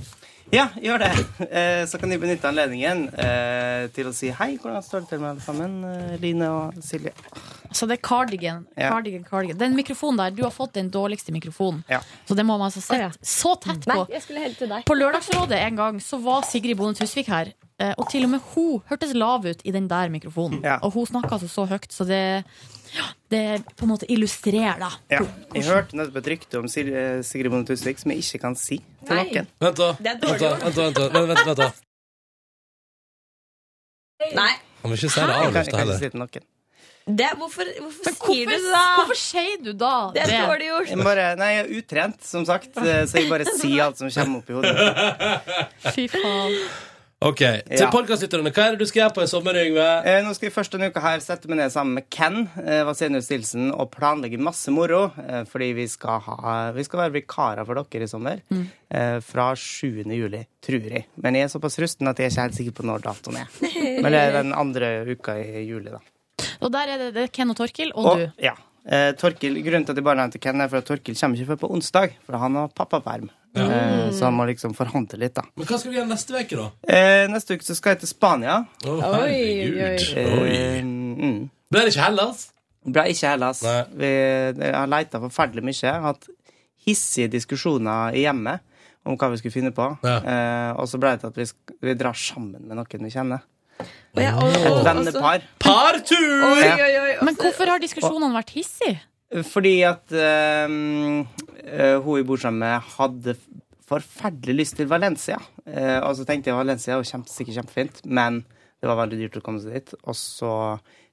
Ja, gjør det. Eh, Så kan de benytte anledningen eh, til å si hei, hvordan står det til med alle sammen, eh, Line og Silje? Så det er cardigan. Ja. cardigan, cardigan. Den mikrofonen der, du har fått den dårligste mikrofonen. Ja. Så det må man altså sette så tett på. På Lørdagsrådet en gang så var Sigrid Bonde Tusvik her. eh, Og til og med hun hørtes lav ut i den der mikrofonen. Og hun snakka altså så høyt, så det, ja, det på en måte illustrerer da. Ja. Jeg hørte nettopp et rykte om Sil- eh, Sigrid Bonde Tusvik som jeg ikke kan si til Nei. noen. Vent, da. Det er Vent, da. dårlig. Vent, da. Vent, da. Vent, vent, vent, da. Nei. Han vil ikke si det Jeg av kan, jeg lufta kan ikke heller. si det til noen. Det, hvorfor hvorfor sier Hvorfor, du det, da? hvorfor sier du da Det er dårlig gjort. Jeg bare, nei, jeg er utrent, som sagt, eh, så jeg bare sier alt som kommer opp i hodet. Fy faen. Ok, Til Ja. podcastlytterne, hva er det du skal gjøre på en sommer, Yngve? Eh, nå skal jeg først denne uka her sette meg ned sammen med Ken eh, Vasenius Nilsen og planlegge masse moro, eh, fordi vi skal, ha, vi skal være vikarer for dere i sommer. Mm. Eh, fra 7. juli, tror jeg. Men jeg er såpass rusten at jeg er ikke helt sikker på når datoen er. Men det er den andre uka i juli, da. Og der er det, det er Ken og Torkil og, du. Ja. Eh, Torkil, grunnen til at jeg bare nevnte Ken, er for at Torkil kommer ikke før på onsdag, for han har pappaperm. Eh, så han må liksom forhandle litt, da. Men hva skal du gjøre neste uke, da? Eh, neste uke så skal jeg til Spania. Å, herregud. Oi, oi, oi. Eh, mm. Ble det ikke Hellas? Ble ikke Hellas. Vi jeg har leita forferdelig mye. Jeg har Hatt hissige diskusjoner i hjemmet om hva vi skulle finne på. Eh, og så ble det til at vi, sk- vi drar sammen med noen vi kjenner. Et vennepar. Partur! Ja. Men hvorfor Altså- har diskusjonene vært hissige? Fordi at ehm, eh, hun jeg bor sammen med, hadde f- forferdelig lyst til Valencia. Eh, og så tenkte jeg Valencia er jo kjempe, sikkert kjempefint, men det var veldig dyrt å komme seg dit. Og så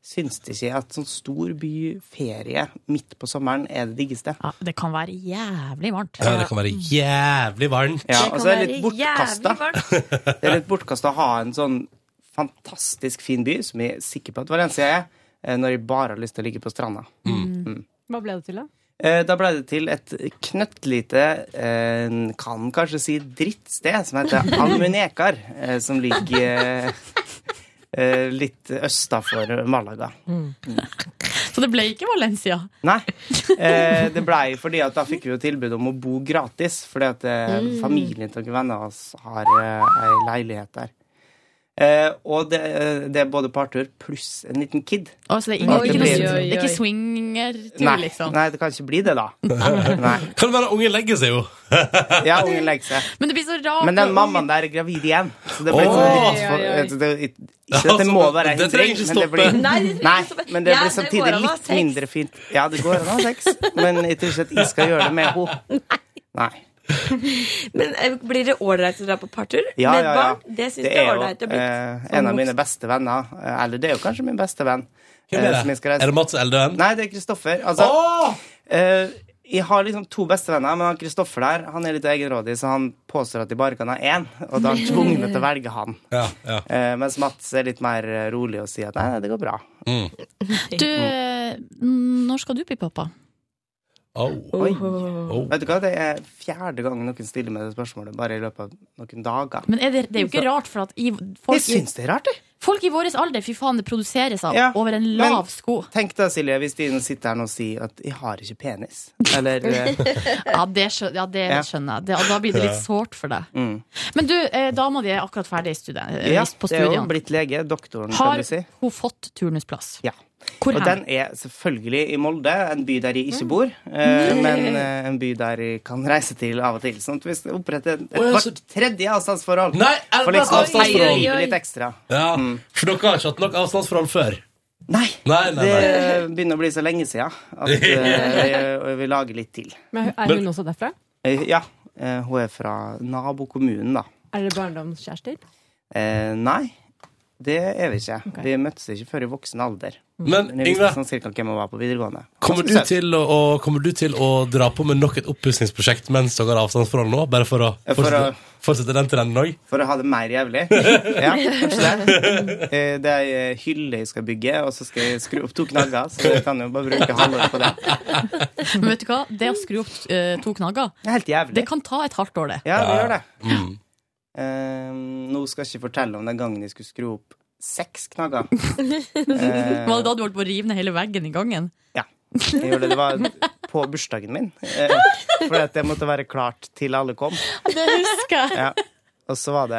syns det ikke jeg at sånn stor byferie midt på sommeren er det diggeste. det kan være jævlig varmt. Ja, det kan være jævlig varmt. Ja, og så er det litt bortkasta. Det er litt bortkasta å ha en sånn fantastisk fin by, som jeg er sikker på at Valencia er, eh, når jeg bare har lyst til å ligge på stranda. Mm. Hva ble det til, da? Eh, Da ble det til et knøttlite, eh, kan kanskje si drittsted, som heter Almunekar, eh, som ligger eh, eh, litt østa for Malaga. Mm. Så det ble ikke Valencia. Nei. Eh, det blei fordi at da fikk vi jo tilbud om å bo gratis, fordi at eh, Mm. familien til noen venner av oss har eh, ei leilighet der. Eh, og det, eh, det er både partur pluss en liten kid. Å, så Altså, det er, ingen, At det er ikke, blir- noe, det er ikke swingertur, Nei, liksom. nei, det kan ikke bli det, da. Nei. Kan være ungen legger seg, jo. ja, ungen legger seg. Men det blir så rart. Men den når mammaen der er gravid igjen. Så det blir Åh! sånn litt for, Oi, oi, oi. det- det, ikke at det må være en Det trenger hindring, men ikke det stoppe. blir Nei, det trenger ikke Nei, stoppe. men det blir Ja, det går samtidig an å ha litt sex. mindre fint. Ja, det går an å ha sex, men jeg tror ikke at jeg skal gjøre det med henne. Nei. Men eh, blir det ålreit å dra på partur Ja, ja, med ja. barn? Det syns jeg er ålreit å bli. eh, en av mine beste venner. eh, Eller det er jo kanskje min beste venn. Hvem er eh, det? som jeg skal reise- Er det Mats Eldøen? Nei, det er Kristoffer. Altså, eh, jeg har liksom to bestevenner, men han Kristoffer der han er litt egenrådig, så han påstår at de bare kan ha én, og da er han tvunget til å velge han. Ja, ja. Eh, mens Mats er litt mer eh, rolig og sier at nei, nei, det går bra. mm. Du, eh, når skal du bli pappa? Oi. Vet du hva, det er fjerde gang noen stiller meg det spørsmålet bare i løpet av noen dager. Men er det, det er jo ikke rart, for at i, folk, Jeg syns det er rart, jeg. folk i vår alder, fy faen, det produseres av Ja, over en men lav sko. Tenk da, Silje, hvis du sitter her nå og sier at 'jeg har ikke penis', eller eh, ja, det skjø- ja, det Ja. skjønner jeg. Det, da blir det litt Ja. sårt for deg. mm. Men du, eh, dama di er akkurat ferdig i studiet, eh, Ja, på det er jo studiene. blitt lege. Doktoren, kan Har du si. hun fått turnusplass? Ja. Hvor og hen? Mm. den er selvfølgelig i Molde, en by der jeg ikke bor, eh, men eh, en by der jeg kan reise til av og til. Sånn at vi skal opprette et, et Å, ja, så- vårt tredje avstandsforhold. Nei, er det For liksom bare sånn? å feire avstandsforhold? livet litt ekstra. Ja, Mm. For dere har ikke hatt nok avstandsforhold før? Nei. nei, nei, Det nei. begynner å bli så lenge siden at eh, vi- vi lager litt til. Men er hun også derfra? Eh, ja, eh, hun er fra nabokommunen, da. Er dere barndomskjærester? Eh, nei, det er vi ikke. Vi møttes ikke før i voksen alder. Men, jeg Yngve- visste sånn cirka hvem jeg var på videregående. Kommer Ganske du, søt. til å, å- kommer du til å dra på med nok et oppussingsprosjekt mens dere har avstandsforhold nå? Bare for å for fortsette, å- fortsette den trenden òg? For å ha det mer jævlig. Ja, kanskje det. Eh, Det er ei hylle jeg skal bygge, og så skal jeg skru opp to knagger. Så jeg kan jo bare bruke halvåret på det. Men vet du hva, det å skru opp eh, to knagger, det kan ta et halvt år, det. Mm. Ja, det gjør det. Eh, nå skal jeg ikke fortelle om den gangen jeg skulle skru opp seks knagger. Eh. Var det da du holdt på å rive ned hele veggen i gangen? Jeg gjorde det, det var på bursdagen min. Eh, Fordi at det måtte være klart til alle kom. Det husker jeg. Ja. Og så var det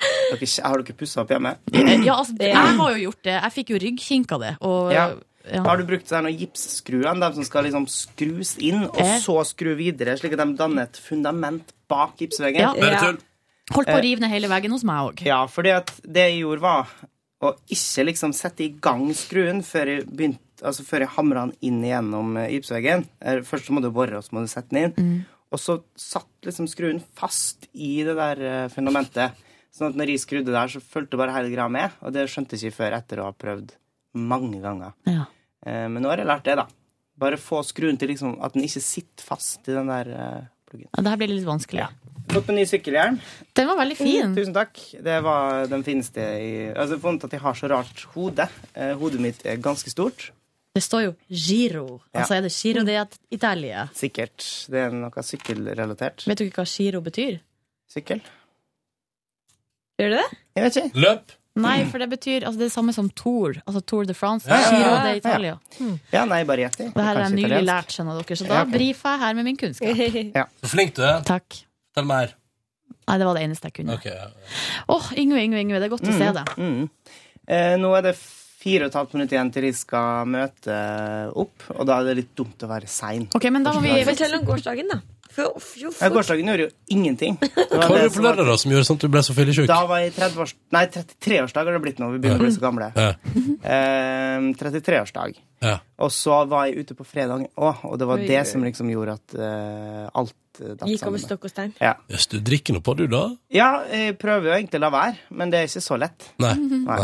dere, Har dere pussa opp hjemme? Ja, altså, jeg har jo gjort det. Jeg fikk jo ryggkink av det. Og, Ja. ja. Har du brukt sånne gipsskruene, de som skal liksom skrus inn, og Eh. så skru videre, slik at de danner et fundament bak gipsveggen? Ja. Bare tull. Holdt på å rive ned hele veggen hos meg òg. Ja, fordi at det jeg gjorde var å ikke liksom sette i gang skruen før jeg begynte Altså før jeg hamra den inn igjennom eh, gipsveggen. Eh, Først så må du bore, og så må du sette den inn. Og så satt liksom skruen fast i det der eh, fundamentet. Sånn at når jeg skrudde der, så fulgte bare hele greia med. Og det skjønte jeg ikke før etter å ha prøvd mange ganger. Eh, Men nå har jeg lært det, da. Bare få skruen til liksom at den ikke sitter fast i den der eh, pluggen. Ja, det her blir litt vanskelig. Fått meg ny sykkelhjelm. Den var veldig fin. Mm, Tusen takk. Det var den fineste i Altså, det er vondt at jeg har så rart hode. Eh, Hodet mitt er ganske stort. Det står jo Giro. Ja. Altså er det Giro di Italia. Sikkert. Det er noe sykkelrelatert. Vet du ikke hva Giro betyr? Sykkel. Gjør det det? Jeg vet ikke. Løp. Nei, for det betyr altså, det er det samme som Tour. Altså Tour de France. Ja, ja, ja. Giro Ja, di ja. Italia. Hmm. Ja, nei, bare gjett. Det her er nylig lært, skjønner dere, så da Ja, ok. brifer jeg her med min kunnskap. Så flink du er. Takk. Fortell mer. Nei, det var det eneste jeg kunne. Ok, ja. Åh, Yngve, Yngve, Yngve, det er godt å se deg. Mm. Eh, nå er det fire og et halvt minutt igjen til de skal møte opp, og da er det litt dumt å være sein. Ok, men da må vi Fortell om gårsdagen, da. For, for, Ja, gårsdagen gjorde jo ingenting. Det var Hva var det det som på lørdag da som gjorde sånn at du ble så fyllesyk? Da var jeg 30 års... Nei, 33-årsdag har det blitt nå. Vi begynner å bli så gamle. Ja. Eh, 33-årsdag. Ja. Og så var jeg ute på fredag òg, og det var Oi. det som liksom gjorde at eh, alt eh, datt Gikk over sammen. stokk og stein. Ja. Jøss, du drikker nå på, du, da? ja, jeg prøver jo egentlig å la være, men det er ikke så lett. Nei. Nei.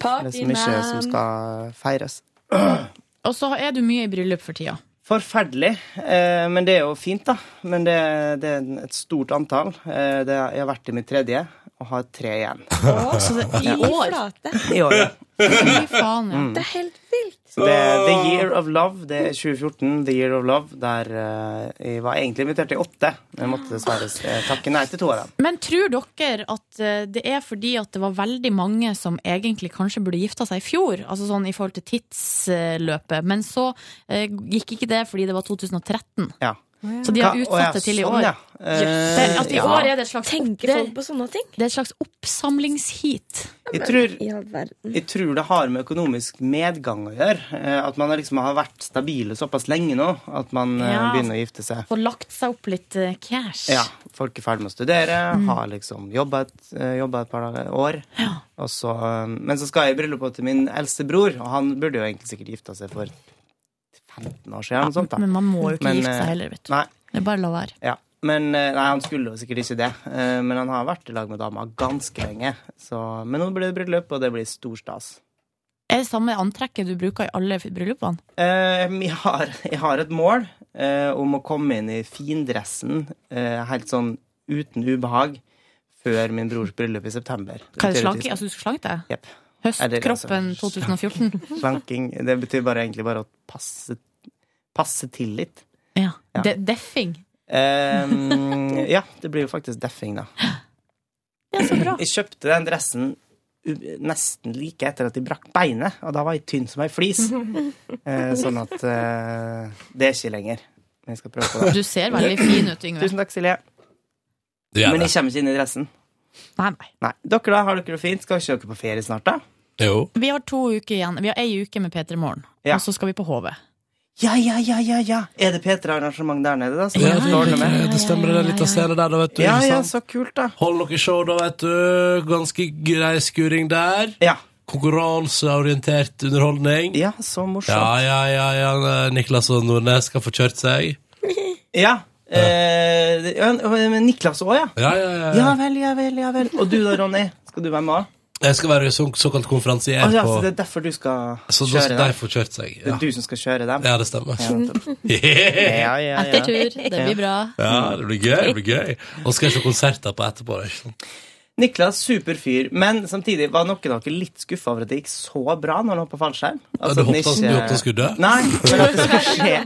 Det er så mye som skal feires. Og så er du mye i bryllup for tida. Forferdelig, eh, men det er jo fint, da. Men det, det er et stort antall. Eh, det, jeg har vært i mitt tredje og har tre igjen. så det, Ja. flate. I år, ja. Fy faen, ja. Mm. Det er helt vilt. Så det er The Year of Love, det er 2014, The Year of Love, der eh, jeg var egentlig invitert til åtte, men måtte dessverre eh, takke nei til to av dem. Men tror dere at eh, det er fordi at det var veldig mange som egentlig kanskje burde gifta seg i fjor, altså sånn i forhold til tidsløpet, men så eh, gikk ikke det fordi det var 2013? Ja. Så de har Hva- utsatt å, ja, det til i sånn, år. ja. Eh, Men at i ja. år er det et slags Tenker det- folk på sånne ting? Det er et slags oppsamlingsheat. Jeg tror, I all verden. jeg tror det har med økonomisk medgang å gjøre. eh, At man liksom har vært stabile såpass lenge nå at man eh, Ja. begynner å gifte seg. Få lagt seg opp litt eh, cash. Ja, Folk er ferdig med å studere, Mm. har liksom jobba et, eh, jobba et par dager- år. Og så, eh, men så skal jeg i bryllupet til min eldste bror, og han burde jo egentlig sikkert gifta seg for 15 år siden. eller noe sånt, da. Men man må jo ikke Men, gifte eh, seg heller, vet du. Nei, Det er bare å la være. ja. Men, eh, nei, han skulle jo sikkert ikke det. Eh, Men han har vært i lag med dama ganske lenge. Så, men nå blir det bryllup, og det blir stor stas. Er det samme antrekket du bruker i alle bryllupene? Eh, Jeg har, jeg har et mål eh, om å komme inn i findressen eh, helt sånn uten ubehag før min brors bryllup i september. Hva er betyr det slanke? at- Altså, du skal slanke deg? Jepp. Eller, Høstkroppen 2014? Slanking Det betyr bare egentlig bare å passe, passe til litt. Ja. Ja. De deffing? Ehm, ja, det blir jo faktisk deffing, da. Jeg kjøpte den dressen u- nesten like etter at jeg brakk beinet, og da var jeg tynn som ei flis. Eh, sånn at eh, Det er ikke lenger. Men jeg skal prøve på det. Du ser veldig fin ut, Yngve. Tusen takk, Silje. Du gjør Men det. jeg kommer ikke inn i dressen. Nei, nei. Nei. Dere, da? Har dere det fint? Skal ikke dere på ferie snart, da? Jo. Vi har to uker igjen. Vi har ei uke med P3 Morgen, og så skal vi på HV. Ja, ja, ja, ja, ja. Er det P3-arrangement der nede, da? som dere Ja, skal ordne med? det stemmer, det er litt av scenen der, da, vet du. Ja, ikke ja, sant? så kult, da. Hold noe show, da, vet du. Ganske grei skuring der. Konkurranseorientert underholdning. Ja, så morsomt. Ja, ja, ja, ja. Niklas og Nordnes skal få kjørt seg. Ja. Eh, det- ja, men Niklas òg, ja. Ja, ja, ja. Ja vel, ja vel, ja vel. Og du da, Ronny? Skal du være med òg? Jeg skal være så, såkalt konferansier Altså, på så det er derfor du skal Så da kjøre skal dem? de få kjørt seg. Det er du som skal kjøre dem? Ja, det stemmer. Ja, nettopp. Ja, ja, ja. Etter tur. Det blir bra. Ja, det blir gøy. det blir gøy Og så skal jeg se konserter på etterpå. da, ikke sant? Niklas, super fyr, men samtidig var noen av dere litt skuffa over at det gikk så bra når han hoppa fallskjerm. Altså Ja, du at den håpte han- ikke- du håpte han skulle dø? Nei, men at det skulle skje et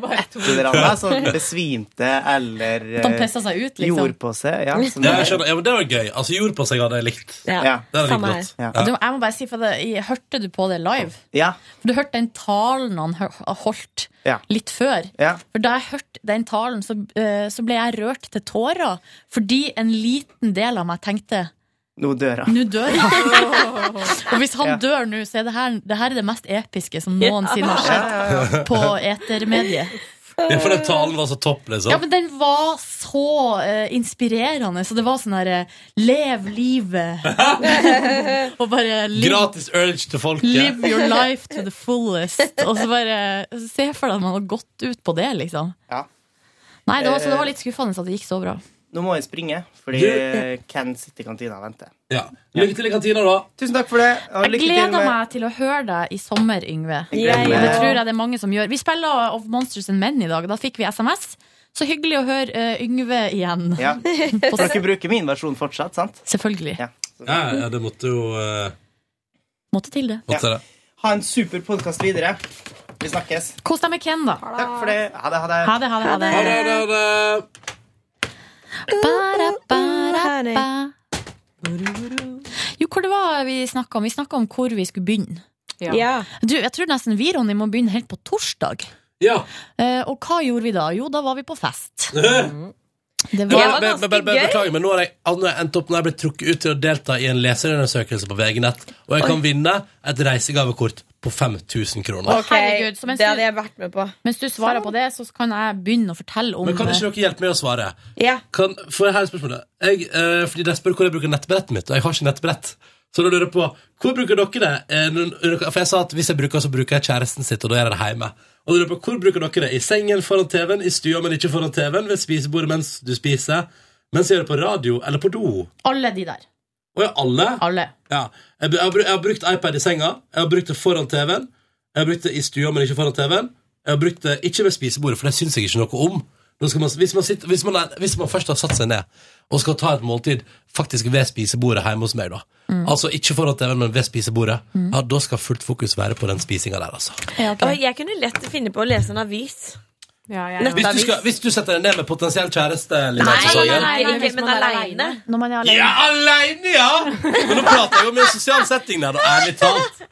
eller annet. Altså, han besvimte eller At han eh, pisset seg ut, liksom. Gjorde på seg. Ja, som det Ja, jeg er. skjønner. Ja, men det var gøy. Altså, jord på seg hadde jeg likt. Ja. Det hadde jeg Samme likt her. godt. Ja. Og Du, jeg må bare si, for det, jeg, Hørte du på det live? Ja. For Du hørte den talen han hø- holdt Ja. litt før. Ja. For Da jeg hørte den talen, så, eh, så ble jeg rørt til tårer. Fordi en liten del av meg tenkte Nå dør han. nå dør han. Og hvis han Ja. dør nå, så er det her det, her er det mest episke som noensinne har skjedd Ja, ja, ja. på etermediet. Det er fordi talen var så topp, sånn? liksom. Ja, men den var så eh, inspirerende, så det var sånn herre Lev livet! og bare live, Gratis urge til folket. live your life to the fullest. Og så bare Se for deg at man har gått ut på det, liksom. Ja. Eh. Nei, det var, så det var litt skuffende at det gikk så bra. Nå må jeg springe, fordi Du- Ken sitter i kantina og venter. Ja. Lykke til i kantina, da. Tusen takk for det. og Jeg lykke til gleder med- meg til å høre deg i sommer, Yngve. Jeg gleder Og meg. det tror jeg det er mange som gjør. Vi spiller Of Monsters and Men i dag. Da fikk vi SMS. Så hyggelig å høre eh, Yngve igjen. Ja. På- For dere bruker min versjon fortsatt, sant? Selvfølgelig. Ja. Ja, ja, det måtte jo eh, Måtte til det. måtte det. Ha en super podkast videre. Vi snakkes. Kos deg med Ken, da. Takk for det. Ha det, ha det. Ha det, ha det, ha det. Ha det, ha Ba, ba, da, ba. Jo, hvor det var vi snakka om? Vi snakka om hvor vi skulle begynne. Ja. Ja. Du, jeg tror nesten vi, Ronny, må begynne helt på torsdag. Ja. Eh, og hva gjorde vi da? Jo, da var vi på fest. Det Men- var, men- men- men- Beklager, men nå har jeg, nå har jeg endt opp Nå har jeg blitt trukket ut til å delta i en leserundersøkelse på VG-nett, og jeg kan vinne et reisegavekort på 5000 kroner. Å, herregud, så mens det du- hadde jeg vært med på. Mens du svarer på det, så kan jeg begynne å fortelle om eh, Men kan ikke dere hjelpe meg å svare? Ja. Kan, for her er spørsmålet jeg, eh, Fordi de spør hvor jeg bruker nettbrettet mitt, og jeg har ikke nettbrett. Så da lurer jeg på hvor bruker dere det? Eh, når- når dere- For jeg sa at hvis jeg bruker, så bruker jeg kjæresten sitt, og da gjør jeg det hjemme. Og da lurer jeg på, hvor bruker dere det? I sengen foran TV-en, i stua, men ikke foran TV-en, ved spisebordet mens du spiser, mens jeg gjør det på radio, eller på do? alle de der. Og ja, alle? Ja. Jeg, jeg, har, bru- jeg har brukt iPad i senga, jeg har brukt det foran TV-en, jeg har brukt det i stua, men ikke foran TV-en. Jeg har brukt det ikke ved spisebordet, for det syns jeg ikke noe om. Nå skal man, hvis, man sitter, hvis, man er, hvis man først har satt seg ned og skal ta et måltid faktisk ved spisebordet hjemme hos meg, da. Mm. Altså ikke foran TV-en, men ved spisebordet. Mm. Ja, da skal fullt fokus være på den spisinga der, altså. Og jeg kunne lett finne på å lese en avis. Hvis du, skal, hvis du setter deg ned med potensiell kjæreste Lina, så- ikke, men aleine. Når man er alene. Ja, aleine, ja! Men nå prater jeg jo om en sosial setting der, da, ærlig talt.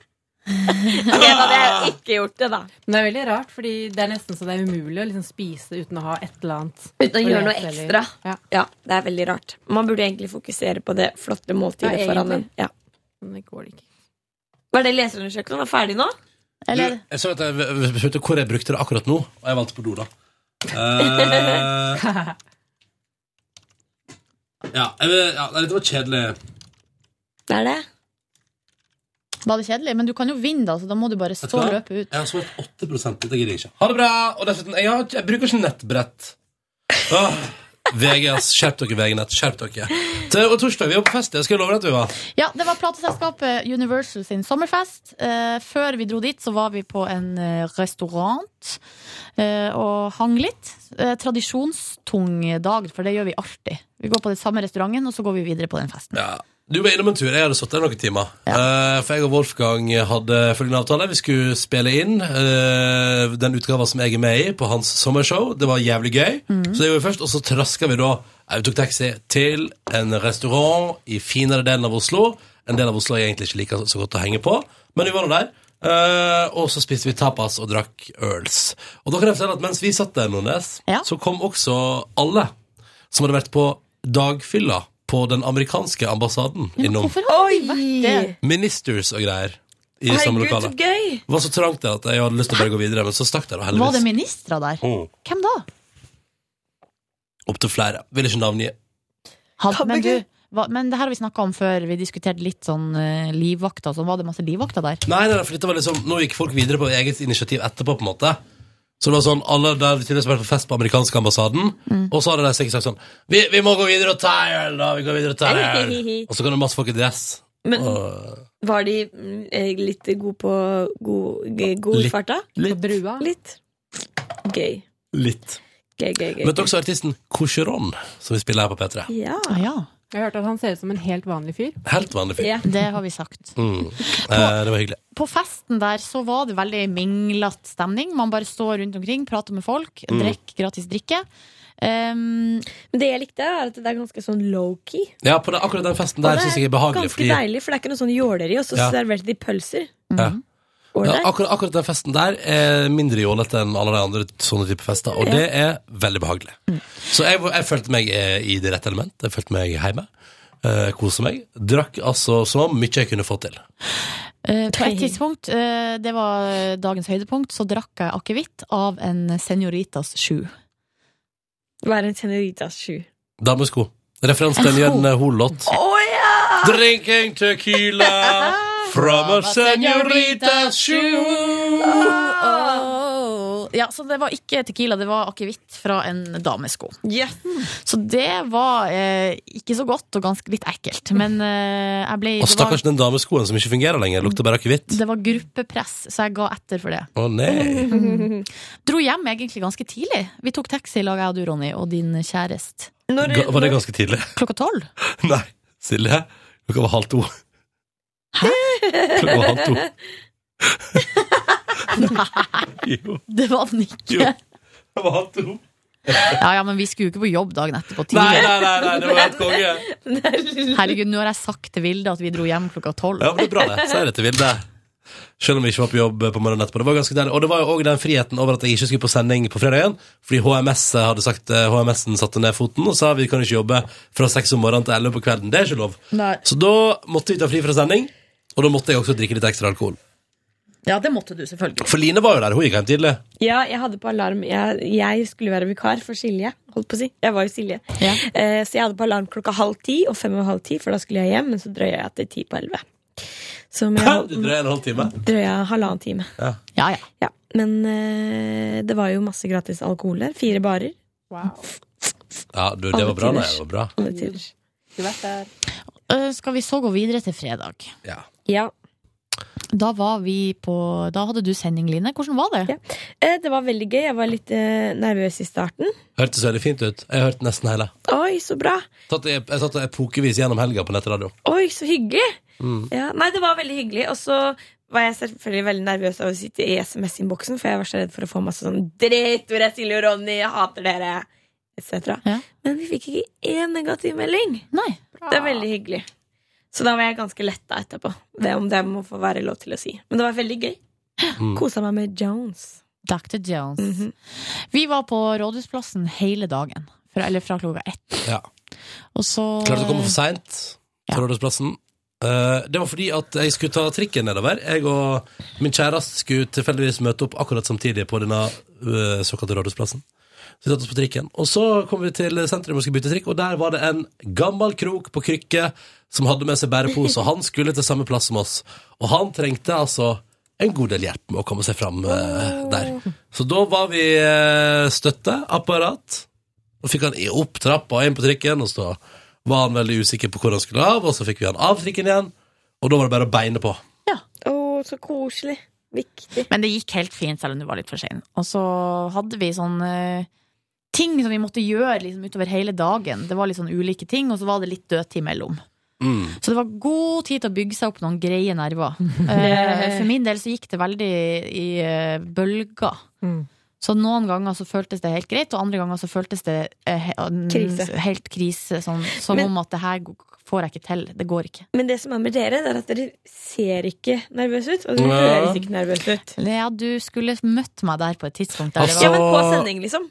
Ok, da hadde jeg ikke gjort det, da. Men det er veldig rart, fordi det er nesten så det er umulig å liksom spise uten å ha et eller annet Uten å gjøre noe lese, eller- ekstra. Ja. Det er veldig rart. Man burde egentlig fokusere på det flotte måltidet Ja, foran en. egentlig. Ja. Men det går ikke. Var det leserundersøkelsen? Var ferdig nå? Du, jeg så at jeg v- v- spurte hvor jeg brukte det akkurat nå, og jeg valgte på do, da. Eh, ja, jeg, vil- ja, nei, dette var kjedelig. Det er det. Var det kjedelig? Men du kan jo vinne, da, så da må du bare Vet stå du hva? og løpe ut. Jeg har svart 8 Dette gidder jeg ikke. Ha det bra! Og dessuten, jeg, har, ikke- jeg bruker ikke nettbrett. Åh, VG, ass. Skjerp dere, VG-nett. Skjerp dere. Til, og torsdag, vi var på fest. Jeg skulle love deg at vi var. Ja, Det var plateselskapet Universal sin sommerfest. Eh, før vi dro dit, så var vi på en eh, restaurant eh, og hang litt. Eh, tradisjonstung dag, for det gjør vi alltid. Vi går på den samme restauranten, og så går vi videre på den festen. Ja. Du var innom en tur. Jeg hadde sittet der noen timer. Eh, for jeg og Wolfgang hadde følgende avtale. Vi skulle spille inn eh, den utgava som jeg er med i, på hans sommershow. Det var jævlig gøy. Mhm. Så det gjorde vi først, og så traska vi da Jeg tok taxi til en restaurant i finere delen av Oslo. En del av Oslo jeg egentlig ikke liker så godt å henge på, men vi var nå der. Eh, og så spiste vi tapas og drakk øls. Og da kan jeg fortelle at mens vi satt der, Nordnes, så kom også alle som hadde vært på dagfylla på den amerikanske ambassaden innom. Hvorfor har vi vært det? Ministers og greier i samme Herregud, lokale. så gøy! Det var så trangt der at jeg hadde lyst til å bare gå videre, men så stakk der, og Var det heldigvis. ministre der? Mm. Hvem da? Opp til flere. Vil ikke navngi. Had, men, du, hva, men det her har vi snakka om før. Vi diskuterte litt sånn eh, livvakter. Så var det masse livvakter der? Nei, nei, nei, for dette var liksom Nå gikk folk videre på eget initiativ etterpå, på en måte. Så det var sånn, alle der tydeligvis vært på fest på amerikanske ambassaden, Mm. og så hadde de sikkert sagt sånn vi, vi må gå videre og ta øl, da! Vi går videre og tar øl! Og så kan det masse folk i dress. Men- og, Var de mm, eh, litt gode på god, g- god Litt. farta? Litt. Brua? Litt. Gøy. litt. Gøy, gøy, gøy. Møtte også artisten Cocheron, som vi spiller her på P3. Ja. Ah, ja. Jeg har hørt at han ser ut som en helt vanlig fyr. Helt vanlig fyr. Det har vi sagt. Mm. Eh, det var hyggelig. På festen der så var det veldig minglet stemning. Man bare står rundt omkring, prater med folk, Mm. drikk gratis drikke. Ehm, Men det jeg likte, er at det er ganske sånn low-key. Ja, på den, akkurat den festen der Og det syns jeg er behagelig. Ganske Fordi, deilig, Mm-hmm. for det er ikke noe sånn jåleri, og så Ja. serverte de pølser. ja. Ja, Ålreit. akkurat, akkurat den festen der er mindre jålete enn alle de andre sånne type fester, og Ja. Mm. det er veldig behagelig. Så jeg, jeg følte meg eh, i det rette element. Jeg følte meg hjemme. Uh, Kosa meg. Drakk altså så mye jeg kunne få til. Eh, på et tidspunkt, eh, det var dagens høydepunkt, så drakk jeg akevitt av en Senoritas 7. Hva er en Senoritas 7? Damesko. Referanse til en Jørn Hollåt. Drinking tequila from a senorita Ah! Ja, så det var ikke tequila, det var akevitt fra en damesko. Så det var eh, ikke så godt og ganske litt ekkelt. Men eh, jeg ble Og det var, stakkars den dameskoen som ikke fungerer lenger. Lukter bare akevitt. det var gruppepress, så jeg ga etter for det. Å nei. Mm. Dro hjem egentlig ganske tidlig. Vi tok taxi i lag, jeg og du, Ronny, og din kjæreste. Ga, var det ganske tidlig? Klokka tolv? Nei. Silje, klokka var halv to. Klokka var halv to. Jo. Det var den ikke. Jo. Det var halv to. Ja, ja, men vi skulle jo ikke på jobb dagen etterpå. Nei, nei, nei, nei, det var helt konge. Herregud, nå har jeg sagt til Vilde at vi dro hjem klokka tolv. Ja, men det er bra det. Sier det til Vilde. Selv om vi ikke var på jobb eh, på morgenen etterpå. Det var ganske deilig. Og det var jo òg den friheten over at jeg ikke skulle på sending på fredagen, fordi HMS hadde sagt eh, HMS-en satte ned foten og sa vi kan ikke jobbe fra seks om morgenen til elleve på kvelden. Det er ikke lov. Nei. Så da måtte vi ta fri fra sending, og da måtte jeg også drikke litt ekstra alkohol. Ja, det måtte du selvfølgelig. For Line var jo der, hun gikk hjem tidlig. Ja, jeg hadde på alarm. Jeg, jeg skulle være vikar for Silje. Holdt på å si. Jeg var jo Silje. Eh, så jeg hadde på alarm klokka halv ti og fem og halv ti, for da skulle jeg hjem. Men så drøya jeg til ti på elleve. Så om jeg Du holdt, drøy en halv time. drøya halvannen time. Ja. Ja, ja. men eh, det var jo masse gratis alkohol der. Fire barer. Ja, du, det var bra. Nei, det var bra. Alle tider. Eh, Skal vi så gå videre til fredag? Ja. Da var vi på Da hadde du sending, Line. Hvordan var det? Eh, det var veldig gøy. Jeg var litt eh, nervøs i starten. Hørtes veldig fint ut. Jeg hørte nesten hele. Oi, så bra. Tatt, jeg, jeg satt epokevis gjennom helga på nettradio. Oi, så hyggelig. Mm. Ja, nei, det var veldig hyggelig. Og så var jeg selvfølgelig veldig nervøs av å sitte i SMS-innboksen, for jeg var så redd for å få masse sånn Dritt, hvor er Silje og Ronny? Jeg hater dere! Etc. Men vi fikk ikke én negativ melding. Nei. Det er veldig hyggelig. Så da var jeg ganske letta etterpå. Det om det må få være lov til å si. Men det var veldig gøy. Mm. Kosa meg med Jones. Mhm. Dr. Jones. Vi var på Rådhusplassen hele dagen. Fra, eller fra klokka ett. Ja. Og så Klarte å komme for seint til Rådhusplassen. Eh, det var fordi at jeg skulle ta trikken nedover. Jeg og min kjæreste skulle tilfeldigvis møte opp akkurat samtidig på denne eh, såkalte Rådhusplassen. Så vi satte oss på trikken. Og så kom vi til sentrum og skulle bytte trikk, og der var det en gammel krok på krykke som hadde med seg bærepose, og han skulle til samme plass som oss. Og han trengte altså en god del hjelp med å komme seg fram eh, der. Så da var vi eh, støtte, apparat, og fikk han i- opp trappa og inn på trikken, og så var han veldig usikker på hvor han skulle av, og så fikk vi han av trikken igjen, og da var det bare å beine på. Å, så koselig. Viktig. Men det gikk helt fint, selv om du var litt for sein. Og så hadde vi sånn eh, ting som vi måtte gjøre liksom, utover hele dagen. Det var litt sånn ulike ting, og så var det litt dødtid imellom. Så det var god tid til å bygge seg opp noen greie nerver. Eh, For min del så gikk det veldig i eh, bølger. Mm. Så noen ganger så føltes det helt greit, og andre ganger så føltes det eh, he- Krise. helt krise. Sånn, som Men- om at det her g- får jeg ikke til. Det går ikke. Men det som er med dere, det er at dere ser ikke nervøse ut. Og dere Ja. høres ikke nervøse ut. Ja, du skulle møtt meg der på et tidspunkt. Der det Altså- var- Ja, men på sending, liksom.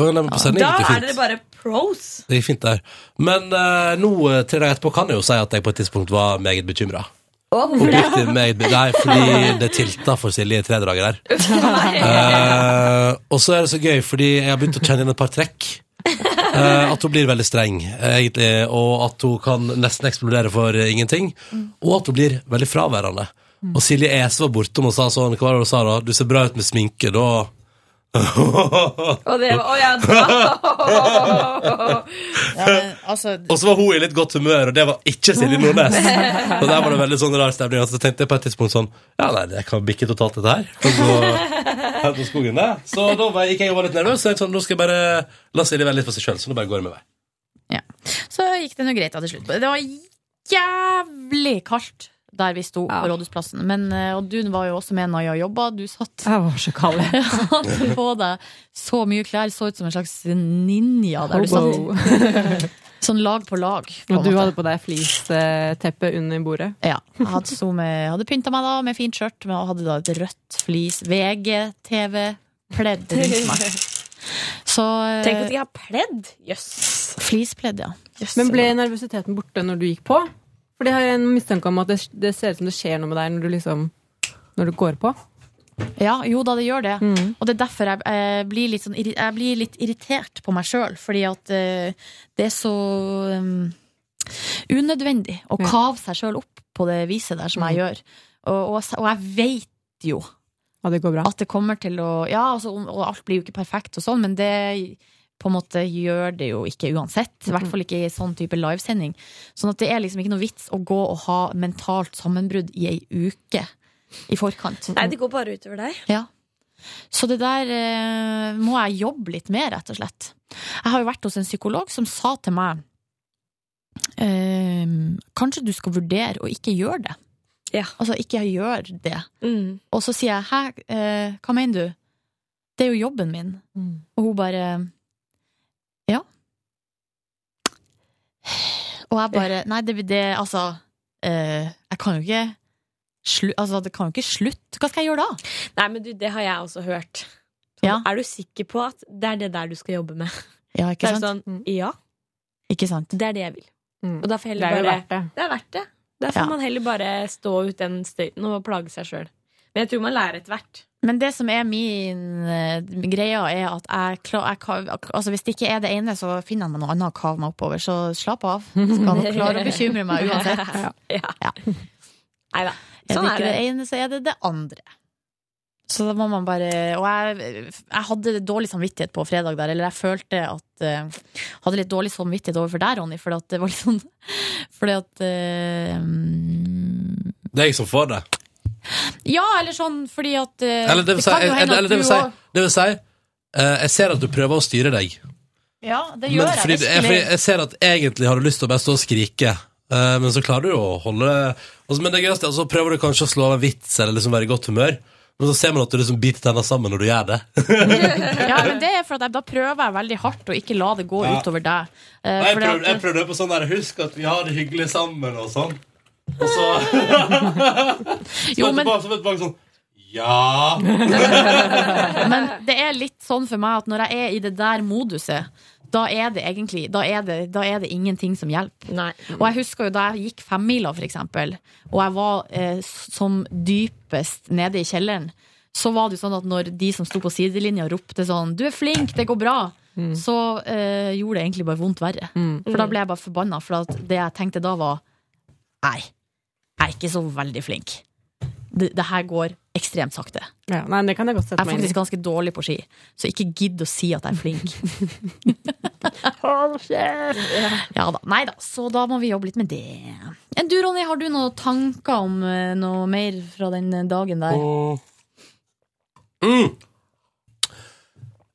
Og nei, men på sending Da gikk det er fint. dere bare pros. Det gikk fint der. Men eh, nå, eh, tre dager etterpå, kan jeg jo si at jeg på et tidspunkt var meget bekymra. Oppriktig meget be- Nei, fordi det tilta for Silje i tre dager der. Eh, og så er det så gøy, fordi jeg har begynt å kjenne igjen et par trekk. Eh, at hun blir veldig streng, eh, egentlig, og at hun kan nesten eksplodere for eh, ingenting. Og at hun blir veldig fraværende. Og Silje Ese var bortom og sa sånn Hva var det hun sa da? Du ser bra ut med sminke, da Og det var Å ja, da! altså- Og så var hun i litt godt humør, og det var ikke Silje Nordnes. Og der var det veldig sånn rar stemning. Og så tenkte jeg på et tidspunkt sånn Ja, nei, det kan bikke totalt, dette her. Og så helt på skogen, det. Så da var- gikk jeg og var litt nervøs. Så jeg tenkte sånn, nå skal jeg bare la Silje være litt for seg sjøl, så nå bare går jeg med vei. Så gikk det nå greit da til slutt. Det var jævlig kaldt der vi sto på Rådhusplassen. Men, eh, og du var jo også med når jeg jobba. Du satt Jeg var så kald. Jeg hadde på deg så mye klær, så ut som en slags ninja der Oh, du Hobo. satt. Sånn lag på lag. på en Og du måte. hadde på deg flisteppe under bordet. Ja. Jeg hadde, så med, jeg hadde pynta meg da med fint skjørt, men jeg hadde da et rødt flis. VG-TV-pledd rundt meg. Så eh, Tenk at jeg har pledd! Jøss. Flispledd, ja. Men ble nervøsiteten borte når du gikk på? For det har jeg en mistanke om at det, det ser ut som det skjer noe med deg når du liksom Når du går på. Ja, jo da, det gjør det. Mm. Og det er derfor jeg, eh, blir, litt sånn, irri- jeg blir litt irritert på meg sjøl. Fordi at eh, det er så um, unødvendig å kave seg sjøl opp på det viset der som Mm. jeg gjør. Og, og, og jeg veit jo at det kommer til å Ja, altså, om- og alt blir jo ikke perfekt og sånn, men det på en måte gjør det jo ikke uansett. I hvert fall ikke i sånn type livesending. Sånn at det er liksom ikke noe vits å gå og ha mentalt sammenbrudd i ei uke i forkant. Nei, det går bare utover deg. Ja. Så det der eh, må jeg jobbe litt med, rett og slett. Jeg har jo vært hos en psykolog som sa til meg eh, Kanskje du skal vurdere å ikke gjøre det. Altså ikke gjøre det. Og så sier jeg hæ, eh, hva mener du? Det er jo jobben min. Og hun bare ja. Og jeg bare Nei, det, det altså eh, Jeg kan jo ikke slu, Altså, det kan jo ikke slutte. Hva skal jeg gjøre da? Nei, men du, det har jeg også hørt. Sånn, Er du sikker på at det er det der du skal jobbe med? Ja, ikke det er sant? Mm. sånn, ja, Ikke sant? det er det jeg vil. Og da får jeg Mm. Det er heller jo bare verdt det. Det er verdt det. Da får Ja. man heller bare stå ut den støyten og plage seg sjøl. Men jeg tror man lærer etter hvert. Men det som er min eh, greia, er at jeg, klar, jeg kan- altså Hvis det ikke er det ene, så finner jeg meg noe annet å kave meg oppover. Så slapp av. Skal nok klare å bekymre meg uansett. Ja. Neida. Er Sånn det ikke er det. det. ene, så er det det andre. Så da må man bare Og jeg, jeg hadde dårlig samvittighet på fredag der, eller jeg følte at eh, Hadde litt dårlig samvittighet overfor deg, Ronny, fordi at det var litt sånn Fordi at eh, mm, Det er jeg som får det. Ja, eller sånn fordi at eh, Eller det vil si, kan jo eller, hende at eller, det, vil du si også- det vil si eh, Jeg ser at du prøver å styre deg. Ja, det Men gjør fordi, jeg jeg, fordi virkelig. jeg ser at egentlig har du lyst til å bare stå og skrike, eh, men så klarer du jo å holde altså, Men det gøyeste er at så prøver du kanskje å slå av en vits eller liksom være i godt humør, men så ser man at du liksom biter tenna sammen når du gjør det. Ja, men det er for at jeg, da prøver jeg veldig hardt å ikke la det gå Ja. utover deg. Eh, Jeg fordi at- prøvde, jeg prøvde på sånn der Husk at vi har det hyggelig sammen og sånn. Og så Så Jo, men- etterpå så vet du bare sånn Ja. Men det er litt sånn for meg at når jeg er i det der moduset, da er det egentlig da er det, da er det ingenting som hjelper. Og jeg husker jo da jeg gikk femmila, for eksempel, og jeg var eh, s- som dypest nede i kjelleren, så var det jo sånn at når de som sto på sidelinja ropte sånn 'Du er flink, det går bra', så eh, gjorde det egentlig bare vondt verre. For da ble jeg bare forbanna, for at det jeg tenkte da, var Nei, jeg er ikke så veldig flink. Det, det her går ekstremt sakte. Ja, nei, det kan jeg godt Jeg sette er meg inn i. faktisk ganske dårlig på ski, så ikke gidd å si at jeg er flink. Ja da, Nei da, så da må vi jobbe litt med det. Enn Du, Ronny, har du noen tanker om eh, noe mer fra den dagen der? Mm.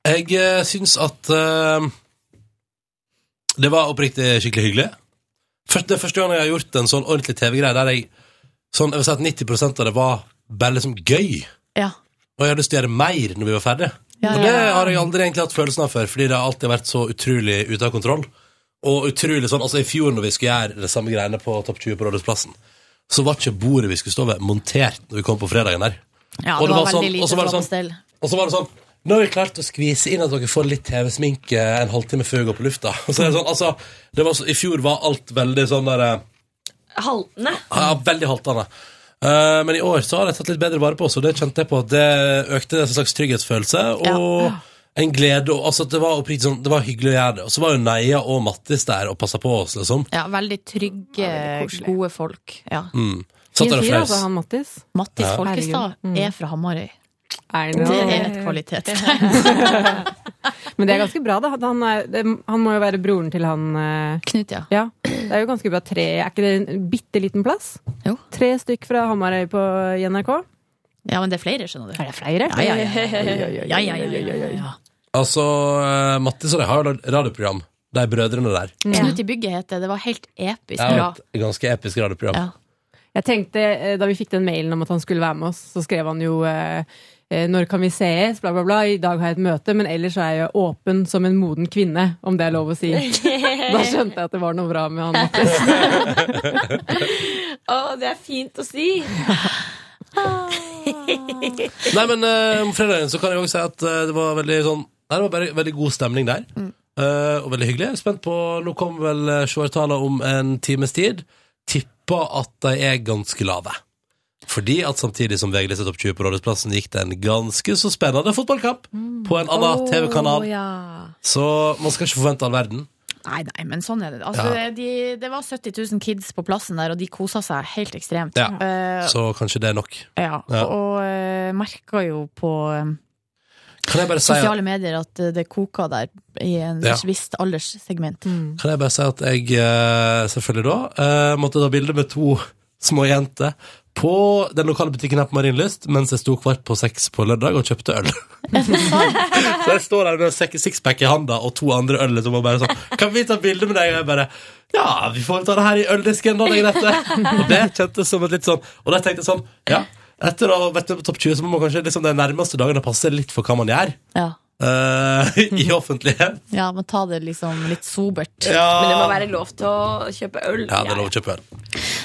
Jeg eh, syns at eh, det var oppriktig skikkelig hyggelig. Først, det er første gang jeg har gjort en sånn ordentlig TV-greie der jeg, sånn, jeg vil si at 90 av det var bare liksom gøy. Ja. Og jeg hadde lyst til å gjøre mer når vi var ferdige. Ja, og ja, det ja. har jeg aldri egentlig hatt følelsen av før, fordi det har alltid vært så utrolig ute av kontroll. Og utrolig sånn, altså I fjor når vi skulle gjøre det samme greiene på Topp 20 på Rådhusplassen, så var ikke bordet vi skulle stå ved, montert når vi kom på fredagen der. Ja, Og det, var det var veldig sånn- lite og så som var var det på sånn- stell. Og så var det sånn Nå har vi klart å skvise inn at dere får litt TV-sminke en halvtime før vi går på lufta. Og så er det sånn, altså, det var så, I fjor var alt veldig sånn der eh, Haltende. ja, Veldig haltende. Eh, men i år så har jeg tatt litt bedre vare på oss, og det kjente jeg på. at Det økte en slags trygghetsfølelse og en glede. Og, altså, det, var oppriktig sånn, det var hyggelig å gjøre det. Og så var jo Neia og Mattis der og passa på oss, liksom. Ja, veldig trygge, gode folk. Ja. Mm. Satt der og fyr, altså, flaus. han Mattis. Mattis Ja. Folkestad Herregud. Mm. er fra Hamarøy. I know. Det er et kvalitetstegn. Men det er ganske bra, da. Han, er, det, han må jo være broren til han eh, Knut, ja. Det er jo ganske bra tre Er ikke det en bitte liten plass? Tre stykk fra Hamarøy på i NRK. Ja, men det er flere, skjønner du. Er det flere? Ja, ja, ja. ja, ja, ja, ja, ja, ja, ja. Altså, eh, Mattis og de har jo lagd radioprogram de brødrene der. Knut i bygget het det. Det var helt episk Ja, bra. et ganske episk radioprogram. Jeg tenkte, eh, Da vi fikk den mailen om at han skulle være med oss, så skrev han jo eh, eh, 'Når kan vi sees?' bla, bla, bla. 'I dag har jeg et møte, men ellers er jeg åpen som en moden kvinne', om det er lov å si. Da skjønte jeg at det var noe bra med han Mattis. Å, det er fint å si! Ah. Nei, men eh, om fredagen så kan jeg også si at eh, det var veldig sånn Nei, det var bare veldig god stemning der. Mm. Eh, og veldig hyggelig. Jeg er spent på Nå kommer vel eh, seertallene om en times tid. Tipper at de er ganske lave. Fordi at samtidig som VG listet opp 20 på Rådhusplassen, gikk det en ganske så spennende fotballkamp på en annen Mm. Åh, TV-kanal. ja. Så man skal ikke forvente all verden. Nei, nei, men sånn er det. Altså, Ja. de, det var 70 000 kids på plassen der, og de kosa seg helt ekstremt. Ja. Eh, Så kanskje det er nok. ja. Ja. Og uh, merka jo på eh, Kan jeg bare si at sosiale medier at eh, det koka der i en Ja. visst alderssegment. Kan jeg bare si at jeg eh, selvfølgelig da eh, måtte ta bilde med to små jenter på den lokale butikken her på Marienlyst mens jeg sto kvart på seks på lørdag og kjøpte øl. så jeg står der med en sek- sixpack i handa og to andre øl liksom, og bare sånn Kan vi ta bilde med deg? Og jeg bare Ja, vi får vel ta det her i øldisken da, det er greit det. Og det kjentes som et litt sånn Og da tenkte jeg sånn Ja, etter å ha vært med på Topp 20, så må man kanskje liksom de nærmeste dagene passe litt for hva man gjør. Ja. eh, I offentlighet. Ja, men ta det liksom litt sobert. Ja. Men det må være lov til å kjøpe øl. Ja, det er lov å kjøpe øl.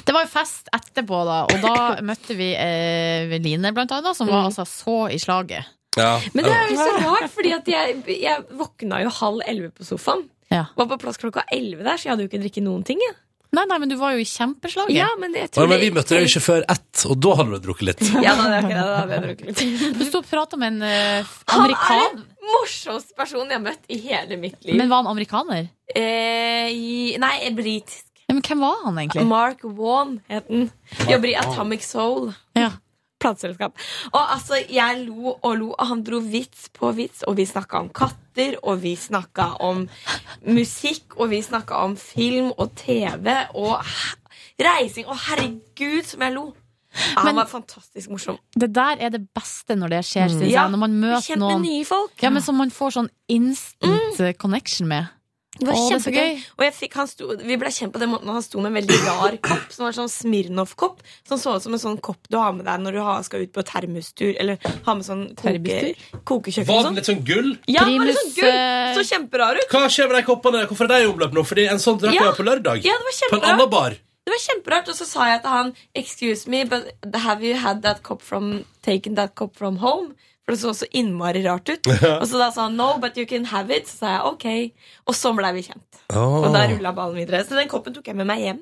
Det var jo fest etterpå, da, og da møtte vi eh, Line, blant annet, som var altså så i slaget. Ja. Men det er jo så rart, fordi at jeg, jeg våkna jo halv elleve på sofaen. Var på plass klokka elleve der, så jeg hadde jo ikke drikket noen ting. Jeg. Nei, nei, men du var jo i kjempeslaget. Ja, men jeg Ja, tror men vi det- møtte deg jo ikke før ett, og da hadde du drukket litt. Ja, da, hadde jeg ikke det, da hadde jeg drukket litt. Du sto og prata med en eh, Han er amerikaner. den morsomste personen jeg har møtt i hele mitt liv. Men var han amerikaner? Eh, i, nei, britisk. Ja, men hvem var han egentlig? Mark Wan het den. Jobber i Atomic Soul. Ja. Plateselskap. Og altså, jeg lo og lo, og han dro vits på vits, og vi snakka om katter, og vi snakka om musikk, og vi snakka om film og TV og he- reising. Og herregud, som jeg lo! Ja, han var fantastisk morsom. Det der er det beste når det Mm. skjer, synes Ja, jeg. Når man bli møter kjent med noen nye folk. Mm. Ja, men Som man får sånn instant eh, connection med. Det var Å, er så kjempegøy. Og jeg fikk, han sto, vi ble kjent på den måten at han sto med en veldig rar kopp, som var sånn Smirnov-kopp, som så ut som en sånn kopp du har med deg når du har, skal ut på termostur, eller har med sånn koke, kokekjøkken og Var sånn. den litt sånn gull? Ja, den var litt sånn gull! eh, Så kjemperar ut. Hva skjer med de koppene? Hvorfor er de i omløp nå? Fordi en sånn drakk jeg Ja. på lørdag. Ja, det var på en kjemperart. annen bar. Det var kjemperart, og så sa jeg til han Excuse me, but have you had that cup from taken that cup from home? For det så så innmari rart ut. Ja. Og så da sa han no, but you can have it. Så sa jeg ok. Og så ble vi kjent. Åh. Og da rulla ballen videre. Så den koppen tok jeg med meg hjem.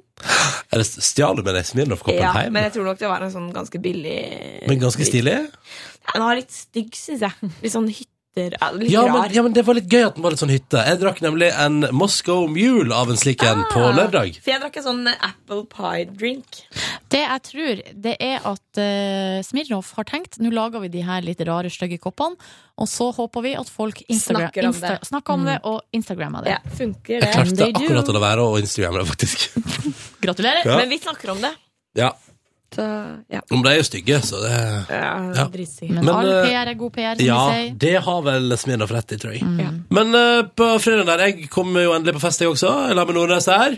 Eller stjal du med deg Smirnov-koppen Ja, men hjem? Men, jeg tror nok det var en sånn ganske billig ganske stilig? Den var litt stygg, syns jeg. Litt sånn hytter ja, Litt Ja men, rar. ja, men det var litt gøy at den var litt sånn hytte. Jeg drakk nemlig en Moscow Mule av en slik Ah. en på lørdag. For jeg drakk en sånn apple pie-drink. Det jeg tror, det er at uh, Smirnov har tenkt Nå lager vi de her litt rare, stygge koppene, og så håper vi at folk Instagra- Snakker om Insta det. snakker om Mm. det og Instagrammer det. Ja, funker Jeg det? klarte akkurat å la være å instagramme det, faktisk. Gratulerer. Ja. Men vi snakker om det. Ja. Så, ja. Men de er jo stygge, så det Ja. Men, Men, all eh, PR er god PR, som Ja, vi sier. det har vel Smirnov rett i, tror jeg. Mm. Men eh, på fredagen der, jeg kom jo endelig på fest jeg også, jeg la meg Nordnes her.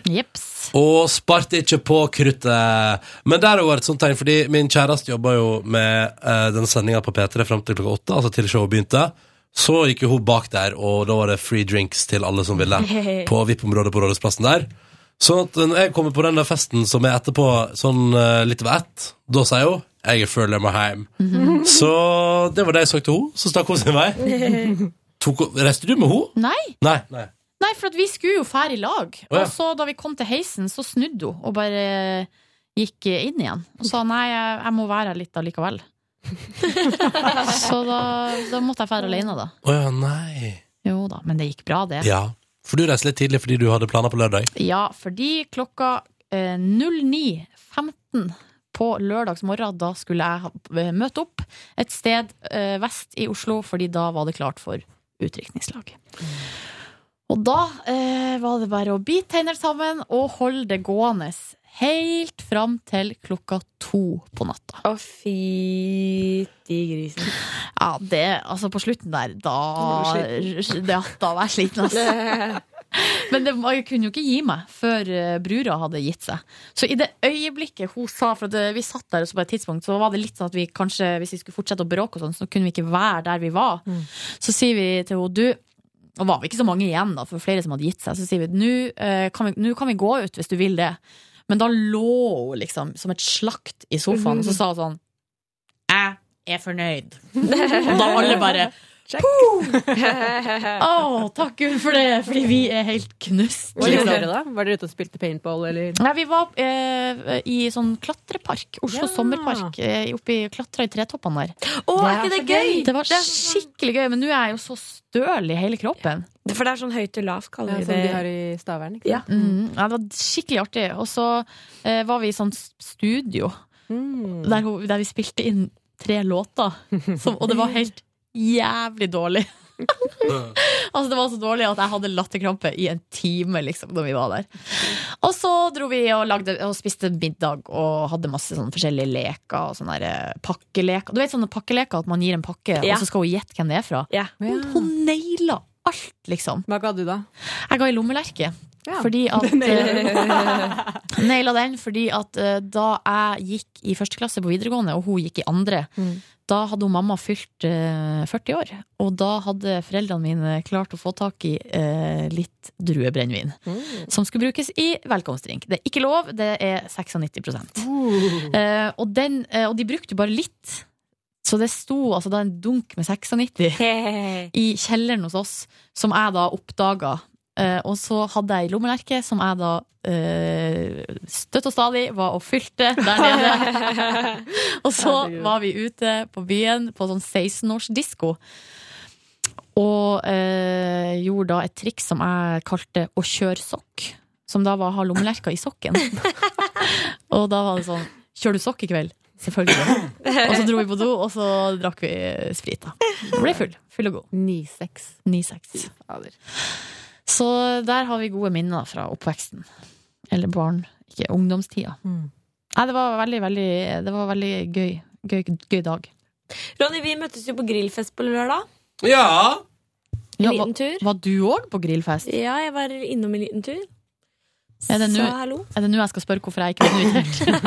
Og sparte ikke på kruttet. Men der var et sånt tegn, fordi min kjæreste jobba jo med eh, den sendinga på P3 fram til klokka åtte, altså til showet begynte. Så gikk jo hun bak der, og da var det free drinks til alle som ville på VIP-området på Rådhusplassen der. Sånn at når jeg kommer på den der festen som er etterpå, sånn eh, litt over ett, da sier hun 'jeg føler meg hjem'. Mhm. Så det var det jeg sa til henne. Så stakk hun sin vei. Tok, hun- reiste du med henne? Nei, Nei. Nei. nei, for at vi skulle jo fære i lag. Å, ja. Og så da vi kom til heisen, så snudde hun og bare gikk inn igjen. Og sa nei, jeg, jeg må være her litt allikevel. så da, da måtte jeg fære alene, da. Å ja, nei. Jo da, men det gikk bra, det. Ja. For du reiste litt tidlig fordi du hadde planer på lørdag? Ja, fordi klokka eh, 09.15 på lørdagsmorgen, da skulle jeg ha- eh, møte opp et sted eh, vest i Oslo, fordi da var det klart for utdrikningslag. Og da eh, var det bare å bite tenner sammen og holde det gående helt fram til klokka to på natta. Å, fytti grisen. Ja, det, altså på slutten der, da, Da var du ja, da var jeg sliten, altså. Men det var, jeg kunne jo ikke gi meg før eh, brura hadde gitt seg. Så i det øyeblikket hun sa For at eh, vi satt der, og så på et tidspunkt så var det litt sånn at vi kanskje, hvis vi skulle fortsette å bråke, og sånn, så kunne vi ikke være der vi var. Mm. Så sier vi til henne, du og var vi ikke så mange igjen, da, for flere som hadde gitt seg. Så sier vi nå eh, kan, vi- nå kan vi gå ut hvis du vil det. Men da lå hun liksom som et slakt i sofaen, Mhm. og så sa hun sånn Jeg er fornøyd. og da alle bare Å, takk Gud for det, fordi vi er helt knust. Hva gjorde liksom. dere da? Var dere ute og spilte paintball, eller? Nei, vi var eh, i sånn klatrepark. Oslo sommerpark. Eh, oppi klatra i tretoppene der. Å, er ikke det gøy? Det var skikkelig gøy, men nå er jeg jo så støl i hele kroppen. For det er sånn høyt og lavt, kaller Ja, vi som det. de har i Stavern, ikke Ja. sant? Mm, ja, det var skikkelig artig. Og så eh, var vi i sånn s- studio der, hun- der vi spilte inn tre låter, som, og det var helt jævlig dårlig. altså Det var så dårlig at jeg hadde latterkrampe i en time liksom da vi var der. Og så dro vi og, lagde, og spiste middag og hadde masse sånne forskjellige leker. Og sånne der, eh, pakkeleker Du vet sånne pakkeleker at man gir en pakke, Ja. og så skal hun gjette hvem det er fra? Hun, hun naila alt, liksom. Hva ga du da? Jeg ga i lommelerke. Fordi at Naila den fordi at eh, da jeg gikk i første klasse på videregående, og hun gikk i andre, Mm. da hadde hun mamma fylt eh, 40 år. Og da hadde foreldrene mine klart å få tak i eh, litt druebrennevin. Mm. Som skulle brukes i velkomstdrink. Det er ikke lov, det er 96 Eh, og, den, eh, og de brukte bare litt. Så det sto altså da en dunk med 96 i kjelleren hos oss, som jeg da oppdaga. Eh, og så hadde jeg ei lommelerke som jeg da eh, støtt og stadig var og fylte der nede. og så var vi ute på byen på sånn 16-årsdisko. Og eh, gjorde da et triks som jeg kalte å kjøre sokk. Som da var å ha lommelerka i sokken. og da var det sånn Kjører du sokk i kveld? Selvfølgelig. Og så dro vi på do, og så drakk vi sprit. da Og Ble full. Full og god. 9-6. 9-6. Så der har vi gode minner fra oppveksten. Eller barn. Ikke ungdomstida. Mm. Nei, det var veldig, veldig, det var veldig gøy. Gøy, gøy dag. Ronny, vi møttes jo på grillfest på lørdag. Ja! Ja, liten var, var du òg på grillfest? Ja, jeg var innom en liten tur. Er det nå Sa hallo. er det nå jeg skal spørre hvorfor jeg ikke ble invitert?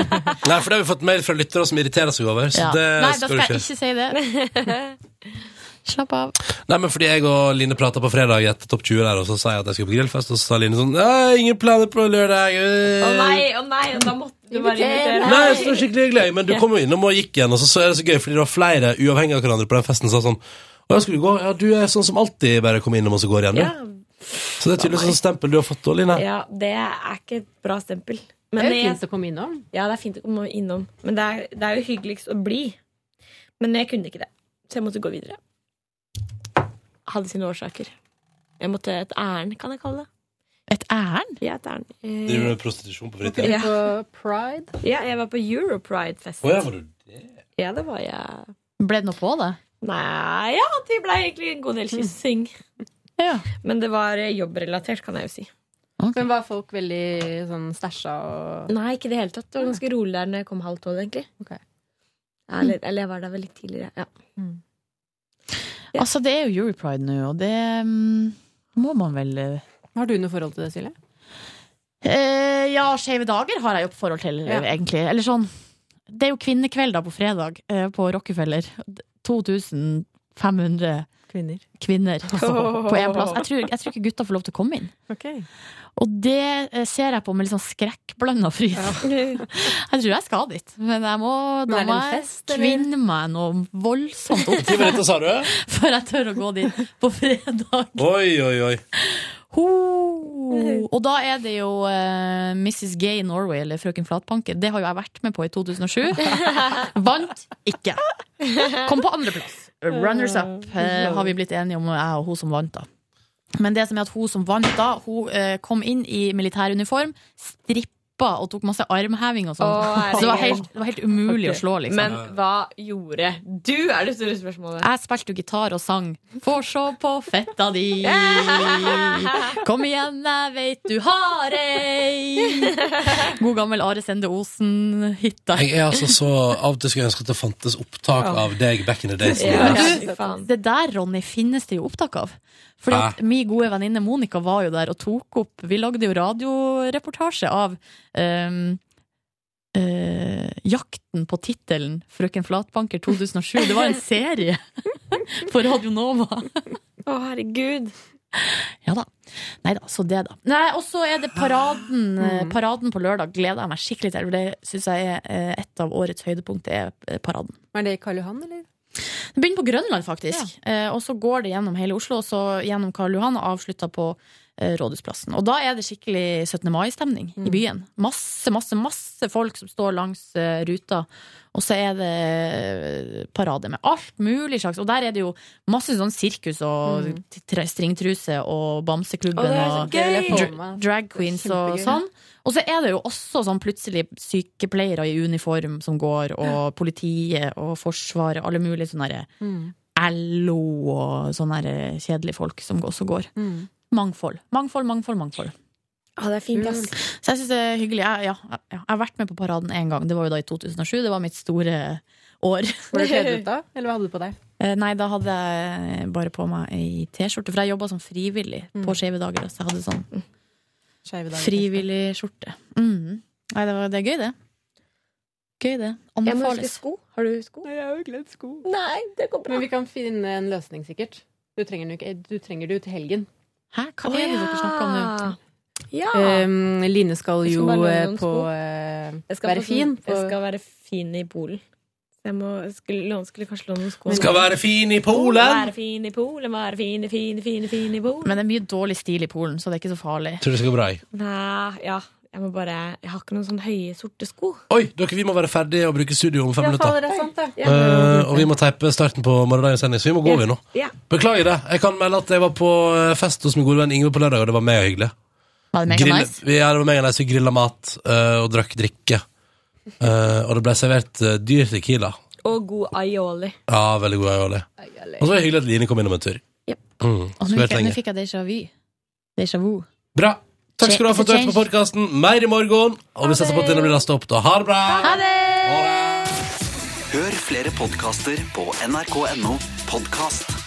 Nei, for det har vi fått mail fra lyttere som irriterer seg over. Så Ja. det Nei, da skal, skal du jeg ikke. ikke si det. Slapp av. Nei, men fordi jeg og Line prata på fredag etter Topp 20 der, og så sa jeg at jeg skulle på grillfest, og så sa Line sånn Nei, ingen planer på lørdag. Å øh». nei, å nei, og da måtte du bare invitere. Nei, så det var skikkelig hyggelig, men du kom jo innom og gikk igjen, og så, så er det så gøy, fordi det var flere uavhengig av hverandre på den festen, sa sånn Å, skal du gå? Ja, du er sånn som alltid bare kommer innom og så går igjen, du. Ja. Så det er tydeligvis sånn stempel du har fått da, Line. Ja, det er ikke et bra stempel. Det er jo jeg- fint å komme innom. Ja, det er fint å komme innom. Men det er, det er jo hyggeligst å bli. Men jeg kunne ikke det, så jeg måtte gå videre. Hadde sine årsaker. Jeg måtte et ærend, kan jeg kalle det. Et ærend? Ja, et ærend. Eh, Driver du med prostitusjon på Var fritida? dere på Pride? ja, jeg var på Europride-festen. Å ja, var du Ja, det var jeg. Ble det noe på det? Nei, Eh, ja, det ble egentlig en god del kyssing. Men det var eh, jobbrelatert, kan jeg jo si. Men var folk veldig sånn stæsja og Nei, ikke i det hele tatt. Det var ganske rolig der når jeg kom halv tolv, egentlig. Ja, Eller, eller jeg var der veldig tidligere. Ja. Altså, det er jo Europride nå, og det mm, må man vel eh, Har du noe forhold til det, Silje? Eh, ja, Skeive dager har jeg jo forhold til, Ja. egentlig. Eller sånn Det er jo kvinnekveld da på fredag eh, på Rockefeller. 2500 Kvinner. kvinner altså, på én plass. Jeg tror, jeg tror ikke gutta får lov til å komme inn. Og det eh, ser jeg på med litt sånn skrekkblanda fryd. jeg tror jeg skal dit, men jeg må Men da er det må en jeg fest, eller? kvinne meg noe voldsomt opp Ti minutter, sa du? før jeg tør å gå dit på fredag. Oi, oi, oi. Mhm. Oh, og da er det jo eh, Mrs. Gay Norway, eller Frøken Flatpanke. Det har jo jeg vært med på i 2007. Vant ikke. Kom på andreplass. Runners up Mm. eh, har vi blitt enige om, jeg og hun som vant, da. Men det som er at hun som vant da, hun eh, kom inn i militæruniform, strippa og tok masse armheving og sånn. Å, herregud. Så det var helt, det var helt umulig å slå, liksom. Men hva gjorde du, er det store spørsmålet. Jeg spilte jo gitar og sang Få se på fetta di Kom igjen, jeg veit du har ei God gammel Are Sende Osen-hit der. Jeg er altså så Av og til skulle jeg ønske at det fantes opptak av deg back in the days. Men du, Det der, Ronny, finnes det jo opptak av Fordi at min gode venninne Monica var jo der og tok opp Vi lagde jo radioreportasje av ehm, eh, Jakten på tittelen 'Frøken Flatbanker 2007'. Det var en serie på Radio Nova. Å, herregud. Ja da. Nei da, så det, da. Nei, Og så er det paraden, eh, paraden på lørdag. Gleder jeg meg skikkelig til. for Det syns jeg er eh, et av årets høydepunkt. Det er eh, paraden. Er det i Karl Johan, eller? Det begynner på Grønland, faktisk. Eh, og så går det gjennom hele Oslo, og så gjennom Karl Johan, og avslutta på eh, Rådhusplassen. Og da er det skikkelig 17. mai-stemning Mm. i byen. Masse, masse, masse folk som står langs eh, ruta. Og så er det eh, parade med alt mulig slags. Og der er det jo masse sånn sirkus og Mm. t- tre- stringtruse og Å, det Bamseklubben er så og gøy! dra- drag queens og Kjempegøy. sånn. Og så er det jo også sånn plutselig sykepleiere i uniform som går, og politiet og Forsvaret, alle mulige sånne der Mm. LO og sånne der kjedelige folk som også går. Mangfold. Mangfold, mangfold, mangfold. Å, Mm. det er fint, ass. Så jeg syns det er hyggelig. Jeg, ja, ja, jeg har vært med på paraden én gang. Det var jo da i 2007. Det var mitt store år. Var du kledd ut da? Eller hva hadde du på deg? Eh, Nei, da hadde jeg bare på meg ei T-skjorte, for jeg jobba som frivillig på Skeive dager. Så jeg hadde sånn Skeive dager. frivillig skjorte. Mm. Nei, det, var, det er gøy, det. Gøy, det. Jeg må huske Anbefales. sko. Har du sko? Nei, jeg har jo glemt sko. Nei, det går bra. Men vi kan finne en løsning, sikkert. Du trenger den jo ikke. Du trenger det jo til helgen. Hæ, hva er det dere snakker om nå? Ja. Um, Line skal Jeg skal jo bare låne eh, noen på sko. eh, Jeg skal være på sånn- fin. På, Jeg skal være fin i Polen. Så Jeg må, jeg skulle, låne, skulle kanskje låne noen sko. Skal være fin i Polen! Være fin i Polen, være fin, fin, fin, fin i Polen. Men det er mye dårlig stil i Polen, så det er ikke så farlig. Tror det skal gå bra. jeg. Nei, ja. Jeg må bare Jeg har ikke noen sånne høye, sorte sko. Oi, dere, vi må være ferdige og bruke studio om fem minutter. er sant, det. Eh, og vi må teipe starten på morgendagens sending, så vi må gå, vi nå. Ja. Beklager det. Jeg kan melde at jeg var på eh, fest hos min gode venn Ingve på lørdag, og det var megahyggelig. Var det mega Grill- nice? Vi, ja, det var mega nice. Vi grilla mat eh, og drakk drikke. Eh, og det ble servert eh, dyr tequila. Og god aioli. Ja, veldig god aioli. Og så var det hyggelig at Line kom innom en tur. Mm, Og nå skulle vært fikk- nå lenge. fikk jeg déjà vu. Déjà vu. Bra. Takk skal du ha for at du hørte på podkasten. Mer i morgen. Og vi satser på at denne blir lasta opp, da. Ha det bra! Ha det! Hør flere podkaster på nrk.no podkast.